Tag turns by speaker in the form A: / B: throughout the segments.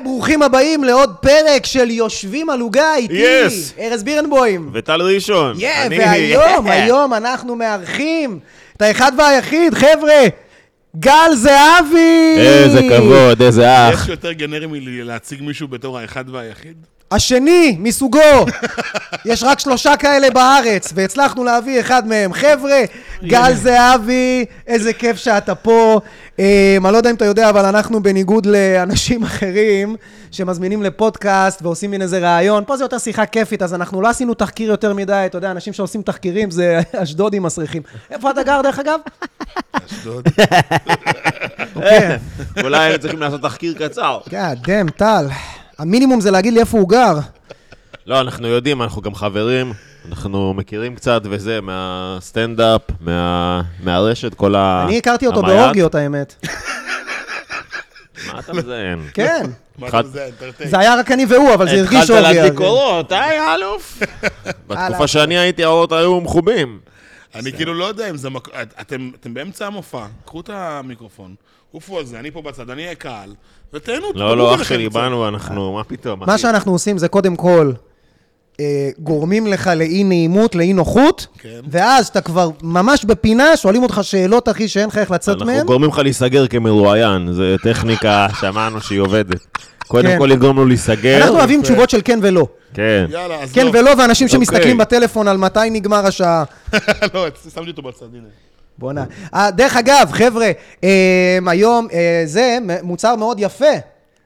A: וברוכים הבאים לעוד פרק של יושבים על עוגה איתי,
B: Yes.
A: ארז בירנבוים.
B: וטל ראשון.
A: יא,
B: אני-
A: והיום,
B: יא.
A: היום אנחנו מארחים את האחד והיחיד, חבר'ה, גל זהבי!
C: איזה כבוד, איזה
D: יש
C: אח.
D: יותר גנרי מלהציג מישהו בתור האחד והיחיד?
A: השני מסוגו. יש רק שלושה כאלה בארץ, והצלחנו להביא אחד מהם. חבר'ה, גל זהבי, איזה כיף שאתה פה. אה, אני לא יודע אם אתה יודע, אבל אנחנו בניגוד לאנשים אחרים שמזמינים לפודקאסט ועושים מין איזה ראיון. פה זה יותר שיחה כיפית, אז אנחנו לא עשינו תחקיר יותר מדי. אתה יודע, אנשים שעושים תחקירים זה אשדודים מסריחים. איפה אתה גר, דרך אגב?
D: אשדוד.
A: אוקיי.
B: אולי היינו צריכים לעשות תחקיר קצר.
A: God damn, טל. המינימום זה להגיד לי איפה הוא גר.
C: לא, אנחנו יודעים, אנחנו גם חברים, אנחנו מכירים קצת וזה, מהסטנדאפ, מה- מהרשת, כל ה...
A: אני הכרתי אותו
C: אה, המעיין.
A: באורגיות, האמת.
C: מה אתה מזיין?
A: כן.
D: מה אתה מזהה? תרתי.
A: זה היה רק אני והוא, אבל זה הרגיש
C: התחלת
A: אורגיה.
C: להדליק
A: כן.
C: אורות, היי, אלוף.
A: הלאה.
C: בתקופה שאני הייתי, האורות היו מחובים.
D: אני כאילו לא יודע אם זה מקום... אתם אתם באמצע המופע, קחו את המיקרופון, עופו על זה, אני פה בצד, אני אהיה קהל, ותהנו.
C: לא,
D: תדברו
C: לא, אח
D: ביניכם
C: שלי,
D: קצת.
C: באנו, אנחנו, מה פתאום,
A: מה
C: אחי?
A: שאנחנו עושים זה קודם כל, אה, גורמים לך לאי נעימות, לאי נוחות,
D: כן.
A: ואז אתה כבר ממש בפינה, שואלים אותך שאלות, אחי, שאין לך איך לצאת
C: אנחנו
A: מהן.
C: גורמים לך להיסגר כמרואיין, זו טכניקה, שמענו שהיא עובדת.
A: כן.
C: קודם כל לגרום לו להיסגר.
A: אנחנו אוהבים תשובות של כן ולא.
C: כן.
D: יאללה, אז
A: כן
D: לא.
A: ולא, ואנשים שמסתכלים
C: אוקיי.
A: בטלפון על מתי נגמר השעה.
D: לא, שמתי אותו בצד, הנה.
A: בואנה. אה, דרך אגב, חבר'ה, אה, היום אה, זה מ- מוצר מאוד יפה.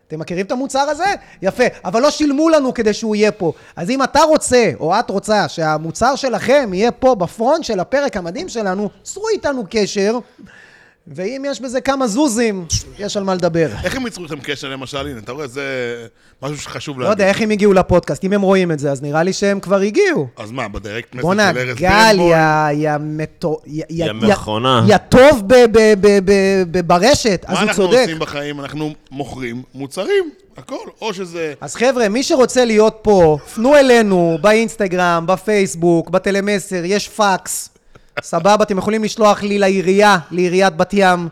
A: אתם מכירים את המוצר הזה? יפה. אבל לא שילמו לנו כדי שהוא יהיה פה. אז אם אתה רוצה, או את רוצה, שהמוצר שלכם יהיה פה בפרונט של הפרק המדהים שלנו, צרו איתנו קשר, ואם יש בזה כמה זוזים, יש על מה לדבר.
D: איך הם ייצרו איתכם קשר למשל? הנה, אתה רואה, זה משהו שחשוב
A: לא יודע
D: להגיד.
A: איך הם הגיעו לפודקאסט, אם הם רואים את זה, אז נראה לי שהם כבר הגיעו.
D: אז מה, בדירקט מסר
A: בואנה,
D: של ארז
A: גל,
D: בירנבוים?
A: יא יא מטו... יא- יא-
C: יא מכונה.
A: יא טוב ב- ב- ב- ב- ב- ברשת, אז
D: מה
A: הוא
D: אנחנו
A: צודק.
D: עושים בחיים? אנחנו מוכרים מוצרים, הכל. או שזה...
A: אז חבר'ה, מי שרוצה להיות פה, פנו אלינו באינסטגרם, בפייסבוק, בטלמסר, יש פקס. סבבה, אתם יכולים לשלוח לי לעירייה, לעיריית בת ים.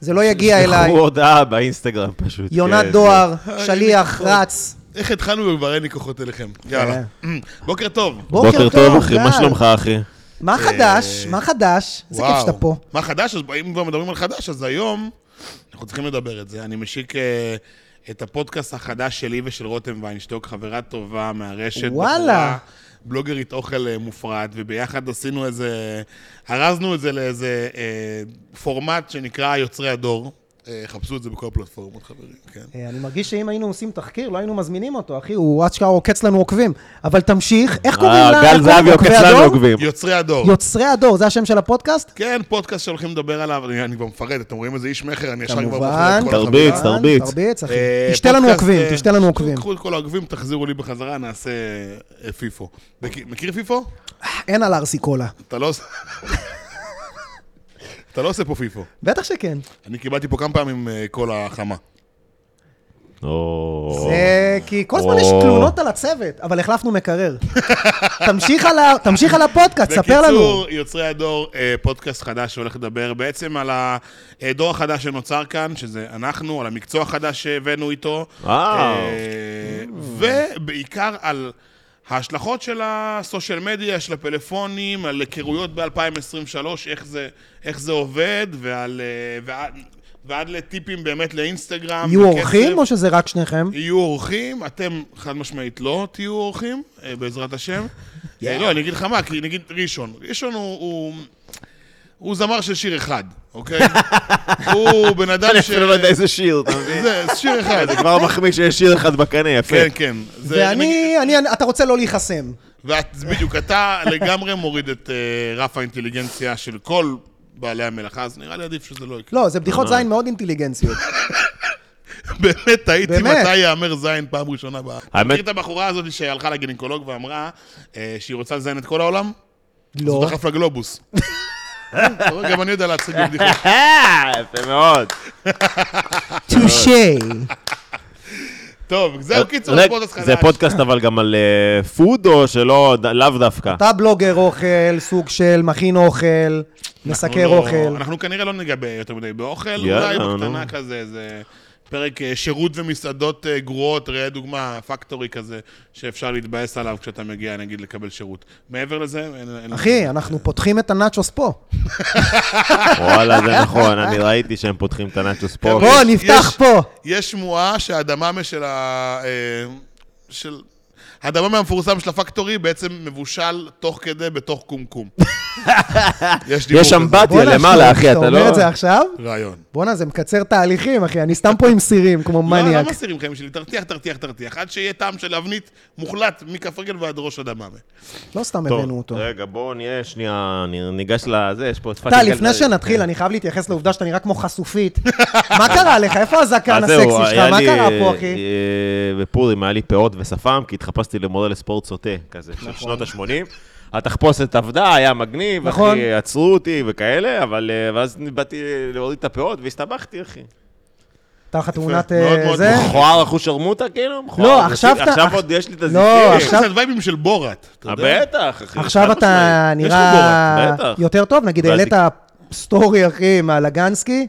A: זה לא יגיע אליי.
C: שלחו הודעה באינסטגרם פשוט.
A: יונת
C: נכון. כן,
A: דואר,
D: אה,
A: שליח,
D: הנה,
A: רץ.
D: איך התחלנו בברני כוחות אליכם?
A: כן.
D: יאללה.
A: אה.
D: Mm, בוקר טוב.
C: בוקר טוב, אחי, מה
A: גל.
C: שלומך, אחי?
A: מה חדש? מה חדש? איזה כיף
D: וואו.
A: שאתה פה.
D: מה חדש? אז אם כבר מדברים על חדש, אז היום אנחנו צריכים לדבר את זה. אני משיק אה, את הפודקאסט החדש שלי ושל רותם ויינשטוק, חברה טובה מהרשת.
A: וואלה.
D: בחורה, בלוגרית אוכל אה, מופרעת, וביחד עשינו איזה... ארזנו את זה לאיזה אה, פורמט שנקרא יוצרי הדור. אה, חפשו את זה בכל הפלטפורמות, חברים, כן.
A: אה, אני מרגיש שאם היינו עושים תחקיר, לא היינו מזמינים אותו, אחי, הוא אשכרה עוקץ לנו עוקבים. אבל תמשיך, איך קוראים
C: אה,
A: לה?
C: גל
A: איך קוראים
C: זהבי
A: עוקבי
C: עוקץ לנו
A: הדור?
C: עוקבים.
D: יוצרי הדור.
A: יוצרי הדור, זה השם של הפודקאסט?
D: כן, פודקאסט שהולכים לדבר עליו, אני, אני כבר מפרט, אתם רואים איזה איש מכר, אני ישר כבר
A: כמובן.
D: את כל
C: תרביץ,
D: החבילה.
A: כמובן,
C: תרביץ.
A: תרביץ, אחי.
D: אה,
A: תשתה לנו
D: פודקאסט,
A: עוקבים,
D: אה,
A: תשתה לנו
D: קחו-
A: עוקבים.
D: קחו את כל העוקבים, תחזירו לי בחזרה, נעשה אה, פיפו. מכיר- מכיר פיפו?
A: אין על ארסי קולה.
D: אתה לא עושה... אתה לא עושה פה פיפו.
A: בטח שכן.
D: אני קיבלתי פה כמה פעמים אה, כל החמה.
C: או,
A: זה אה, כי כל הזמן
C: או.
A: יש תלונות על הצוות, אבל החלפנו מקרר. תמשיך על ה- תמשיך על הפודקאסט, ספר לנו.
D: בקיצור, יוצרי הדור, אה, פודקאסט חדש שהולך לדבר בעצם על הדור החדש שנוצר כאן, שזה אנחנו, על המקצוע החדש שהבאנו איתו.
C: וואו.
D: אה, ובעיקר על ההשלכות של הסושיאל מדיה, של הפלאפונים, על היכרויות ב-2023, איך זה, איך זה עובד, ועל, אה, ועד, ועד לטיפים באמת לאינסטגרם.
A: יהיו
D: וכסף.
A: אורחים או שזה רק שניכם?
D: יהיו אורחים, אתם חד משמעית לא תהיו אורחים, אה, בעזרת השם. אה, לא, אני אגיד לך מה, כי נגיד ראשון. ראשון הוא- הוא... הוא זמר של שיר אחד, אוקיי? הוא בן אדם
C: אני
D: ש...
C: אפילו לא יודע איזה שיר, אתה מבין?
D: זה שיר אחד.
C: זה כבר מחמיא שיש שיר אחד בקנה, יפה.
D: כן, כן. זה-
A: ואני, אני- אתה רוצה לא להיחסם.
D: ואת, בדיוק, אתה לגמרי מוריד את אה, רף האינטליגנציה של כל בעלי המלאכה, אז נראה לי עדיף שזה לא יקרה.
A: לא, זה בדיחות זין מאוד אינטליגנציות.
D: באמת, הייתי
A: באמת.
D: מתי יאמר זין פעם ראשונה ב... האמת...
C: האמת-
D: מכיר את הבחורה הזאת שהלכה לגינקולוג ואמרה אה, שהיא רוצה לזיין את כל העולם?
A: לא.
D: הוא דחף לגלובוס. אתה רואה, גם אני יודע להציג בדיחות.
C: אה, יפה מאוד.
A: טושי.
D: טוב, זהו, קיצור,
C: רק-
D: זה פודקאסט חדש.
C: אה, אוקיי, זה פודקאסט אבל גם על אה, פוד או שלא, ד- לאו דווקא.
A: אתה בלוגר אוכל, סוג של מכין אוכל,
D: אנחנו
A: מסקר
D: לא-
A: אוכל.
D: אנחנו כנראה לא ניגבה יותר מדי באוכל,
C: יאללה,
D: אולי
C: נו.
D: בקטנה כזה, איזה פרק אה, שירות ומסעדות אה, גרועות, ראה דוגמה, פקטורי כזה, שאפשר להתבאס עליו כשאתה מגיע, נגיד, לקבל שירות. מעבר לזה, אין... אין-
A: אחי, אנחנו פותחים את הנאצ'וס פה.
C: וואלה, זה נכון, אני ראיתי שהם פותחים את הנאצ'וס פה.
D: אוקיי.
A: בוא,
D: יש-
A: נפתח
D: יש-
A: פה.
D: יש שמועה שהדממה של ה... אה, של... הדממה המפורסם של הפקטורי בעצם מבושל תוך כדי בתוך קומקום. יש דיבור
C: יש שם
D: כזה.
C: בת-
A: בואנה,
C: למעלה,
A: שלום,
C: אחי, אתה
A: אתה אומר
C: לא-
A: את זה עכשיו?
D: רעיון.
A: בואנה, זה מקצר תהליכים, אחי. אני סתם פה עם סירים, כמו
D: לא, לא
A: מניאק.
D: מסירים חיים שלי, תרתיח, תרתיח, תרתיח, עד שיהיה טעם של אבנית מוחלט מכף רגל ועד ראש הדממה.
A: לא סתם
C: טוב,
A: הבאנו אותו.
C: רגע, בואו נהיה, שנייה, נ- ניגש לזה, יש פה את כן.
A: טל,
C: פאקינג
A: לפני
C: גלגל.
A: שנתחיל, אני חייב להתייחס לעובדה שאתה נראה כמו חשופית. מה קרה לך? איפה הזקן
C: אז זהו,
A: הסקסי שלך?
C: היה
A: מה
C: לי,
A: קרה פה,
C: אה,
A: אחי?
C: אה, בפורים היה לי פאות ושפם, כי התחפשתי למורה לספורט סוטה, כזה, של שנות ה-80. התחפושת עבדה, היה מגניב,
A: נכון.
C: אחי, עצרו אותי וכאלה, אבל אה, ואז באתי להוריד את הפאות והסתבכתי, אחי.
A: הייתה לך תמונת
D: מאוד
A: אה,
D: מאוד
A: זה?
D: נכון.
C: מכוער אחושרמוטה, כאילו? מכוער
A: לא,
C: אחושי-
A: עכשיו אתה-
C: עכשיו
A: אח-
C: עוד יש לי את
A: לא,
C: הזיקים.
D: יש לך
A: עכשיו-
D: קצת וייבים של בורת, אתה
C: אה,
D: יודע?
C: בטח, אחי.
A: עכשיו
C: חד
A: אתה
C: משמעית. יש לי
A: נראה
C: בורות, בטח.
A: יותר טוב? נגיד,
C: והזיק-
A: העלית סטורי, אחי, מהלגנסקי.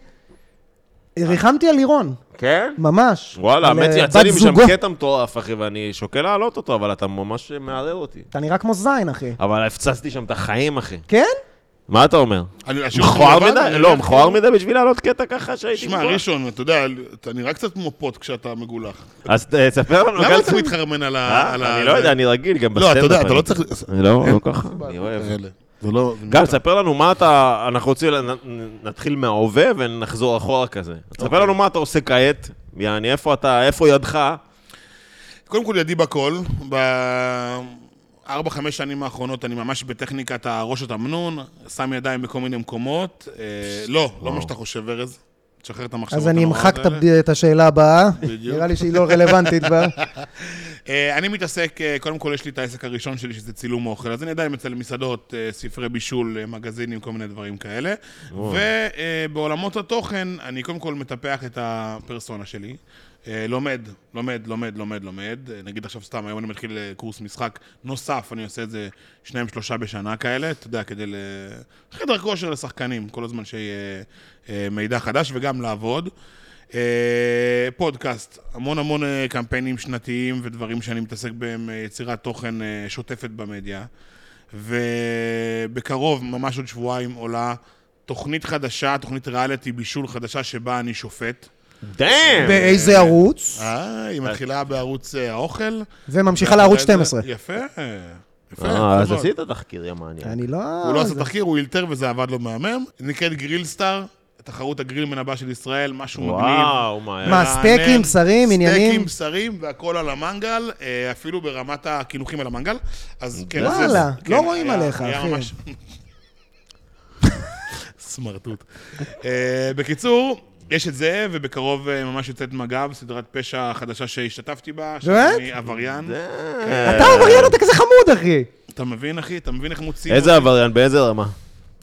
A: ריחמתי על לירון,
C: כן?
A: ממש.
C: וואלה,
A: על,
C: האמת
A: אה,
C: היא, יצא
A: בת
C: לי
A: זוגו.
C: משם קטע מטורף, אחי, ואני שוקל להעלות אותו, אבל אתה ממש מערער אותי.
A: אתה נראה כמו זין, אחי.
C: אבל הפצצתי שם את החיים, אחי.
A: כן?
C: מה אתה אומר?
D: אני- השיר שלי
C: מכוער
D: לבן,
C: מדי?
D: אני-
C: לא, מכוער מדי בשביל לעלות קטע ככה שהייתי...
D: שמע,
C: מכוער.
D: ראשון, אתה יודע, אתה נראה קצת כמו פוט כשאתה מגולח.
C: אז אה, תספר לנו...
D: למה
C: גל,
D: אתה מתחרמן על ה...
C: אה?
D: על ה-
C: אני לא יודע, אני רגיל, גם
D: לא,
C: בסטנדאפ.
D: אתה יודע, אתה
C: אני-
D: לא צריך...
C: אני לא לא ככה, אני אוהב.
D: אלה. זה לא...
C: גל, ספר לנו מה אתה... אנחנו רוצים... לנ- נתחיל מההווה ונחזור אחורה כזה. ספר
D: אוקיי.
C: לנו מה אתה עושה כעת, יעני, איפה אתה, איפה ידך?
D: קודם כל ידי בכל, בארבע, חמש שנים האחרונות אני ממש בטכניקת הראש התמנון, שם ידיים בכל מיני מקומות. אה, לא, לא מה שאתה חושב, ארז. תשחרר את המחשבות
A: אז אני
D: הנוראות
A: אמחק את
D: האלה.
A: הבד- את השאלה הבאה.
D: בדיוק.
A: נראה לי שהיא לא רלוונטית כבר.
D: אה, אני מתעסק, אה, קודם כל יש לי את העסק הראשון שלי, שזה צילום אוכל, אז אני עדיין מצלם מסעדות, אה, ספרי בישול, אה, מגזינים, כל מיני דברים כאלה. ובעולמות התוכן, אני קודם כל מטפח את הפרסונה שלי. אה, לומד, לומד, לומד, לומד, לומד. אה, נגיד עכשיו סתם, היום אני מתחיל אה, קורס משחק נוסף, אני עושה את זה שניים, שלושה בשנה כאלה, אתה יודע, כדי ל... חדר כושר לשחקנים, כל הזמן שיהיה אה, מידע חדש וגם לעבוד. אה, פודקאסט, המון המון אה, קמפיינים שנתיים ודברים שאני מתעסק בהם, אה, יצירת תוכן אה, שוטפת במדיה. ובקרוב, ממש עוד שבועיים, עולה תוכנית חדשה, תוכנית ריאליטי בישול חדשה שבה אני שופט.
C: דאם!
A: באיזה ערוץ?
D: אה, היא מתחילה בערוץ אה, האוכל.
A: וממשיכה לערוץ
D: אתה יודע,
A: 12.
D: יפה, יפה.
C: אה, אז
D: כבוד.
C: עשית תחקיר, יא מניאק.
A: אני לא...
D: הוא לא עשה תחקיר, הוא אילתר וזה עבד לו מהמם. נקראת גרילסטאר, תחרות הגרילמן הבא של ישראל, משהו מגניב.
C: וואו,
A: מה,
C: מה...
D: מרענן.
A: סטייקים, בשרים, עניינים?
D: סטייקים, בשרים והכל על המנגל, אה, אפילו ברמת הקינוחים על המנגל. אז כן,
A: וואלה,
D: זה-
A: לא
D: כן,
A: רואים
D: היה-
A: עליך,
D: היה
A: אחי.
D: ממש- סמרטוט. אה, בקיצור, יש את זה, ובקרוב אה, ממש יוצאת מג"ב, סדרת פשע חדשה שהשתתפתי בה. שאני עבריין.
C: אה,
A: אתה עבריין, אתה כזה חמוד, אחי.
D: אתה מבין, אחי? אתה מבין איך מוציאים?
C: איזה עבריין? באיזה רמה?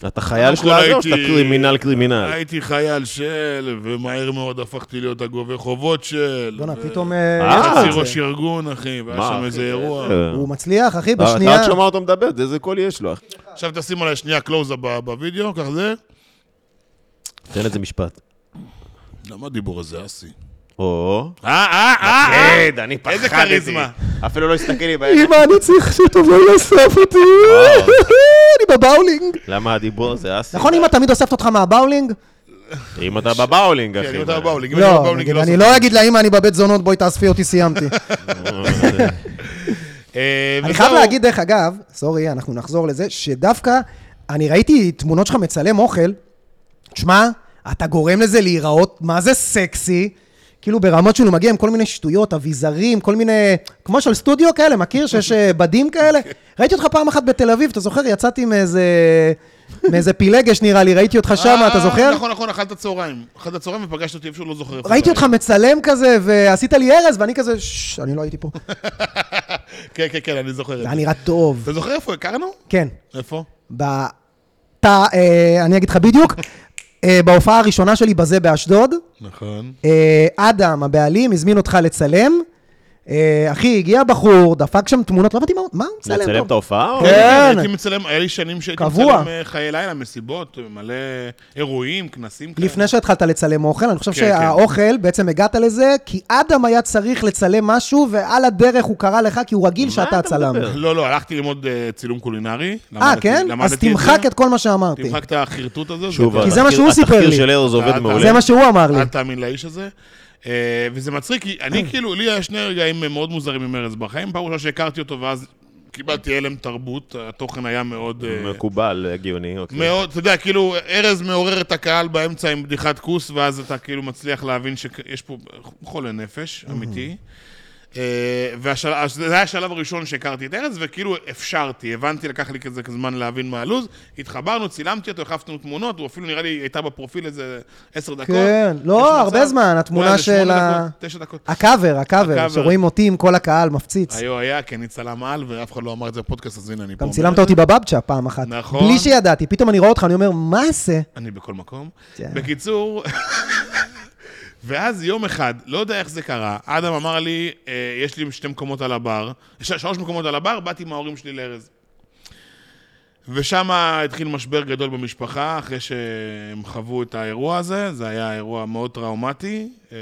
C: אתה
D: קודם
C: חייל של
D: כל
C: הזה או שאתה
D: לא הייתי-
C: קרימינל קרימינל?
D: הייתי חייל של, ומהר מאוד הפכתי להיות הגובה חובות של.
A: בואנה,
D: ו-
A: פתאום... אה,
C: אה,
A: יש לך את
D: חצי
A: זה.
D: ראש ארגון, אחי, והיה
C: מה,
D: שם
C: אחי,
D: איזה אירוע.
C: אה,
A: הוא מצליח, אחי,
C: אה, אתה
A: בשנייה.
C: רק שומע אותו מדבר, זה איזה קול יש לו. אחי.
D: עכשיו תשים עליי שנייה קלוזאפ ב- בווידאו, ככה זה.
C: תן איזה משפט.
D: למה הדיבור הזה, אסי?
C: או...
D: אה, אה, אה, אה!
C: כן, אני פחדתי.
D: איזה כריזמה.
C: אפילו לא הסתכל לי בעיניים.
A: אמא, אני צריך שתבוא לאסוף אותי. אני בבאולינג.
C: למה הדיבור הזה, אסי?
A: נכון, אמא תמיד אוספת אותך מהבאולינג?
C: אם אתה בבאולינג, אחי.
D: כן, אם
C: מה-
D: אתה בבאולינג, אם אתה
A: לא,
D: בבאולינג,
A: נגיד,
D: לא
A: אני
D: עושה-
A: לא אגיד לאמא, אני בבית זונות, בואי תאספי אותי, סיימתי.
D: אה,
A: אני
D: וזהו.
A: חייב להגיד, דרך אגב, סורי, אנחנו נחזור לזה, שדווקא אני ראיתי תמונות שלך מצלם אוכל, תשמע, אתה גורם לזה להיראות, מה זה סקסי? כאילו ברמות שהוא מגיע עם כל מיני שטויות, אביזרים, כל מיני... כמו של סטודיו כאלה, מכיר? שיש אה, בדים כאלה? ראיתי אותך פעם אחת בתל אביב, אתה זוכר? יצאתי מאיזה... מאיזה פילגש נראה לי, ראיתי אותך שם,
D: אה,
A: אתה זוכר?
D: נכון, נכון, אכלת צהריים. אכלת צהריים ופגשת אותי איפשהו, לא זוכר. איפה
A: ראיתי
D: זה
A: אותך מצלם כזה, ועשית לי ארז, ואני כזה, ששש, אני לא הייתי פה.
D: היה. כן, כן, כן, אני זוכר. את
A: זה
D: זה.
A: היה נראה טוב.
D: אתה זוכר איפה הכרנו?
A: כן.
D: איפה?
A: בתא, אה, אני אגיד לך בדיוק, אה, בהופעה הראשונה שלי בזה באשדוד,
D: נכון.
A: אה, אדם, הבעלים, הזמין אותך לצלם, אה, אחי, הגיע בחור, דפק שם תמונות, לא הבנתי מה הוא- מה הוא מצלם.
C: לצלם
A: טוב.
C: את ההופעה? או-
A: כן.
D: הייתי מצלם, היה לי שנים שהייתי
A: קבוע.
D: מצלם אה, חיי לילה, מסיבות, מלא אירועים, כנסים כאלה.
A: לפני שהתחלת לצלם אוכל, אני חושב
D: כן,
A: שהאוכל, בעצם הגעת לזה, כי אדם היה צריך לצלם משהו, ועל הדרך הוא קרא לך, כי הוא רגיל שאתה
C: אתה
A: הצלם.
C: מדבר?
D: לא, לא, הלכתי ללמוד אה, צילום קולינרי.
A: אה,
D: למדתי-
A: כן?
D: למדתי
A: אז
D: את זה.
A: תמחק את כל מה שאמרתי.
D: תמחק את החרטוט הזה.
C: שוב,
D: זה-
A: כי זה מה
C: התחקיר-
A: שהוא סיפר לי.
C: התחקיר של ארז
D: כן. אה, אתה-
C: עובד
D: אתה-
C: מעולה.
A: זה מה שהוא אמר לי. כן.
D: אל תאמין לאיש הזה. אה, וזה מצחיק, כי אני כאילו, לי היה שני רגעים מאוד מוזרים עם ארז בחיים. פעם ראשונה שהכרתי אותו, ואז קיבלתי הלם תרבות, התוכן היה מאוד... אה,
C: מקובל, הגיוני, אוקיי.
D: מאוד, אתה יודע, כאילו, ארז מעורר את הקהל באמצע עם בדיחת כוס, ואז אתה כאילו מצליח להבין שיש פה חולה נפש, אמיתי. אה, וזה היה השלב הראשון שהכרתי את ארז, וכאילו אפשרתי, הבנתי, לקח לי כזה זמן להבין מה הלו"ז. התחברנו, צילמתי אותו, החלפנו תמונות, הוא אפילו נראה לי הייתה בפרופיל איזה עשר דקות.
A: כן, לא,
D: יש מצב-
A: הרבה זמן, התמונה
D: אולי איזה שמונה
A: של ה-
D: דקות, תשע דקות.
A: הקאבר, הקאבר,
D: הקאבר.
A: שרואים אותי עם כל הקהל מפציץ.
D: היו היה, כי אני צלם על, ואף אחד לא אמר את זה בפודקאסט, אז הנה אני פה.
A: אה, גם
D: אומר
A: צילמת
D: את
A: אותי בבבצ'ה פעם אחת.
D: נכון.
A: בלי שידעתי, פתאום אני רואה אותך, אני אומר, מה זה?
D: אני בכל מקום.
A: כן.
D: בקיצור, ואז יום אחד, לא יודע איך זה קרה, אדם אמר לי, אה, יש לי שתי מקומות על הבר, ש- שלוש מקומות על הבר, באתי עם ההורים שלי לארז. ושם התחיל משבר גדול במשפחה, אחרי שהם חוו את האירוע הזה, זה היה אירוע מאוד טראומטי. אה,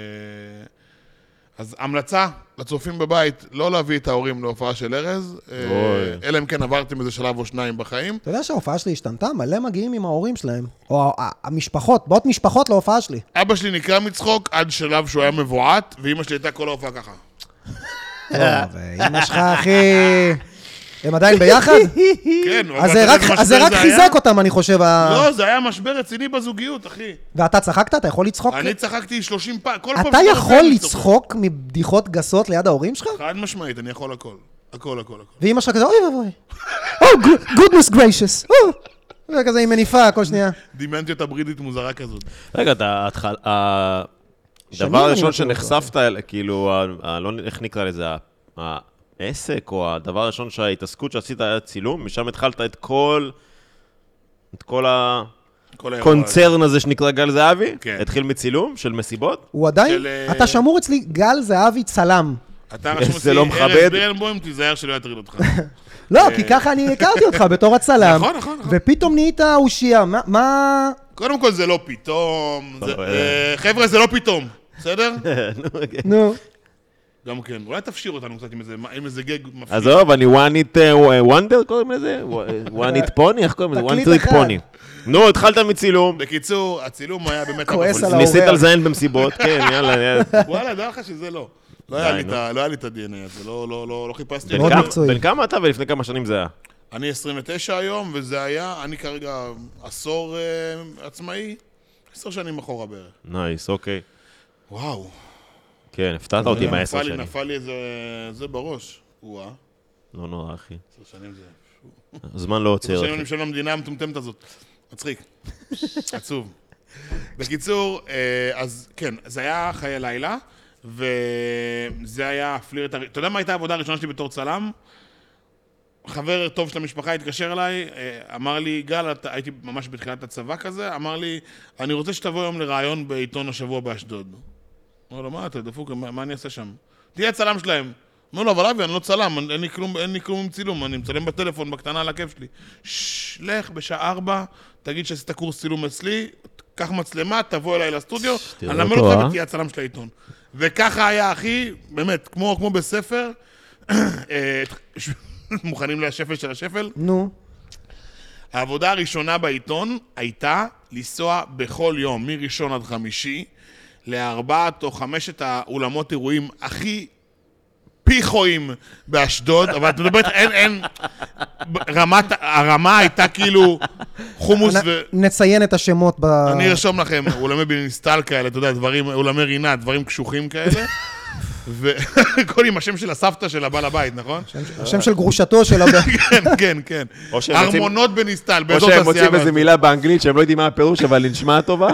D: אז המלצה לצופים בבית, לא להביא את ההורים להופעה של ארז, אה,
C: אוי.
D: אלא אם כן עברתם איזה שלב או שניים בחיים.
A: אתה יודע שההופעה שלי השתנתה? מלא מגיעים עם ההורים שלהם. או ה- ה- המשפחות, באות משפחות להופעה שלי.
D: אבא שלי נקרע מצחוק עד שלב שהוא היה מבועת, ואימא שלי הייתה כל ההופעה ככה. אה.
A: אמא לא, שלך, אחי... הם עדיין ביחד?
D: כן, אבל
A: אז
D: אתה
A: זה
D: יודע
A: רק-
D: איזה
A: אז זה
D: משבר
A: רק
D: היה?
A: חיזק אותם, אני חושב. ה-
D: לא, זה היה משבר רציני בזוגיות, אחי.
A: ואתה צחקת? אתה יכול לצחוק?
D: אני צחקתי 30 פעם, כל פעם...
A: אוקיי. אתה
D: שאתה
A: יכול
D: רוצה, אני צוחק.
A: לצחוק מבדיחות גסות ליד ההורים שלך?
D: חד משמעית, אני יכול הכל. הכל, הכל, הכל.
A: ואימא שלך כזה, אוי ואבוי.
D: Oh,
A: או, גודנס גריישס. וכזה היא מניפה כל שנייה.
D: דימנטיות הברידית מוזרה כזאת.
C: רגע, אתה ההתחל... ה-
A: שנים
C: הדבר
A: אני
C: הראשון
A: מכיר אותו.
C: שנחשפת, אל- כאילו, ה- ה- לא- איך נקרא לזה, ה- העסק, או הדבר הראשון שההתעסקות שעשית היה צילום, משם התחלת את כל... את כל
D: כל האירוע
C: הקונצרן הזה שנקרא גל זהבי?
D: כן.
C: התחיל מצילום של מסיבות?
A: הוא עדיין,
D: של, אה,
A: אתה שמור אצלי, גל זהבי צלם.
D: הזה. אתה רשום
C: זה לא
D: אותי, ארז
C: מכבד.
D: בירנבוים, תיזהר שלא יטריד אותך.
A: לא, כי ככה אני הכרתי אותך בתור הצלם.
D: אה, נכון, נכון, נכון.
A: ופתאום נהיית אושייה, מה- מה...
D: קודם כל, זה לא פתאום. זה-
C: טוב,
D: אה, חבר'ה, זה לא פתאום, בסדר?
C: נו, אוקיי.
A: נו.
D: גם כן. אולי תפשיר אותנו קצת עם איזה- עם איזה גג מפחיד.
C: עזוב, אני one it uh, wonder קוראים לזה? one it pony? איך קוראים לזה? one
A: תקליט
C: trick
A: אחד.
C: pony. נו, התחלת מצילום,
D: בקיצור, הצילום היה באמת...
A: כועס
D: אבל-
A: על האורח.
C: ניסית לזיין במסיבות, כן, יאללה, יאללה.
D: וואלה, דע לך שזה לא. לא היה לי
C: נו.
D: את ה- לא היה לי את ה-DNA הזה, לא- לא לא- לא חיפשתי.
C: בן
A: מאוד
C: כמה-
A: מקצועי.
C: בן כמה אתה ולפני כמה שנים זה היה?
D: אני 29 היום, וזה היה, אני כרגע עשור אה, עצמאי, עשר שנים אחורה בערך.
C: נייס, אוקיי.
D: וואו.
C: כן, הפתעת אותי
D: נפל
C: בעשר
D: לי-
C: שנים.
D: נפל לי איזה... זה בראש. וואה,
C: לא נורא, אחי.
D: עשר שנים זה...
C: הזמן לא
D: עשר
C: עוצר,
D: שנים אני
C: אחי.
D: משלם למדינה המטומטמת הזאת. מצחיק. עצוב. בקיצור, אה, אז כן, זה היה חיי לילה, וזה היה הפלירט... הר- אתה יודע מה הייתה העבודה הראשונה שלי בתור צלם? חבר טוב של המשפחה התקשר אליי, אה, אמר לי, גל, אתה, הייתי ממש בתחילת הצבא כזה, אמר לי, אני רוצה שתבוא היום לראיון בעיתון השבוע באשדוד. אמר לו, מה אתה דפוק, מה, מה אני אעשה שם? תהיה הצלם שלהם. אמר לו, אבל אבי, אני לא צלם, אין- אין לי כלום, אין לי כלום עם צילום, אני מצלם בטלפון, בקטנה על הכיף שלי. ששש, לך בשעה ארבע, תגיד שעשית קורס צילום אצלי, קח מצלמה, תבוא אליי לסטודיו,
C: תראה
D: אני אלמד
C: אותו,
D: אותך
C: אה?
D: ותהיה הצלם של העיתון. וככה היה, אחי, באמת, כמו, כמו בספר, אה, מוכנים לשפל של השפל.
A: נו.
D: העבודה הראשונה בעיתון הייתה לנסוע בכל יום, מראשון עד חמישי, לארבעת או חמשת האולמות אירועים הכי פיכואים באשדוד, אבל את מדברת, אין, אין, רמת, הרמה הייתה כאילו חומוס
A: אנ-
D: ו...
A: נציין את השמות ב...
D: אני ארשום לכם, אולמי בילינסטל כאלה, אתה יודע, דברים, אולמי רינה, דברים קשוחים כאלה. וכל עם השם של הסבתא של הבעל הבית, נכון?
A: השם של גרושתו של הבן.
D: כן, כן, כן.
C: או שהם מוצאים-
D: ארמונות בניסטל,
C: או
D: באזור
C: שהם
D: תעשייה.
C: מוצאים איזה מילה באנגלית שהם לא יודעים מה הפירוש, אבל נשמע טובה.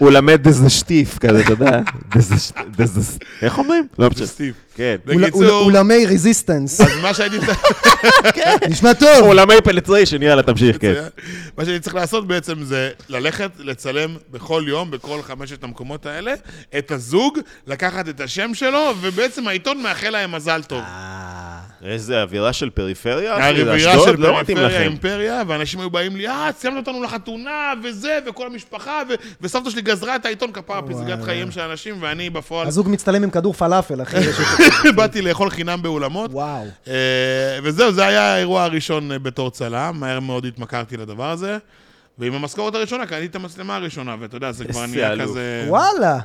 C: הוא למד איזה שטיף כזה, אתה יודע? דזה שט- דזה ס- איך אומרים? לא משנה.
D: סטיב.
C: כן.
A: אול-
D: בקיצור,
A: אולמי רזיסטנס.
D: אז מה שהייתי צריך... כן.
A: נשמע טוב.
C: עולמי פלטריישן, יאללה, תמשיך, כן.
D: מה שאני צריך לעשות בעצם זה ללכת, לצלם בכל יום, בכל חמשת המקומות האלה, את הזוג, לקחת את השם שלו, ובעצם העיתון מאחל להם מזל טוב.
C: איזה אווירה של פריפריה. אה, אחי, זה
D: הרבירה
C: אשדוד,
D: של
C: לא מתאים
D: פריפריה,
C: לכם.
D: אימפריה, ואנשים היו באים לי, אה, סיימת אותנו לחתונה, וזה, וכל המשפחה, ו- וסבתא שלי גזרה את העיתון כפרה פסגת חיים של אנשים, ואני בפועל
A: הזוג מצטלם עם כדור פלאפל, אחי. יש את-
D: באתי לאכול חינם באולמות.
A: וואו.
D: אה, וזהו, זה היה האירוע הראשון אה, בתור צלם, מהר מאוד התמכרתי לדבר הזה. ועם המשכורת הראשונה קניתי את המצלמה הראשונה, ואתה יודע, זה כבר
C: איזה
D: נהיה
C: אלוף.
D: כזה...
A: וואלה.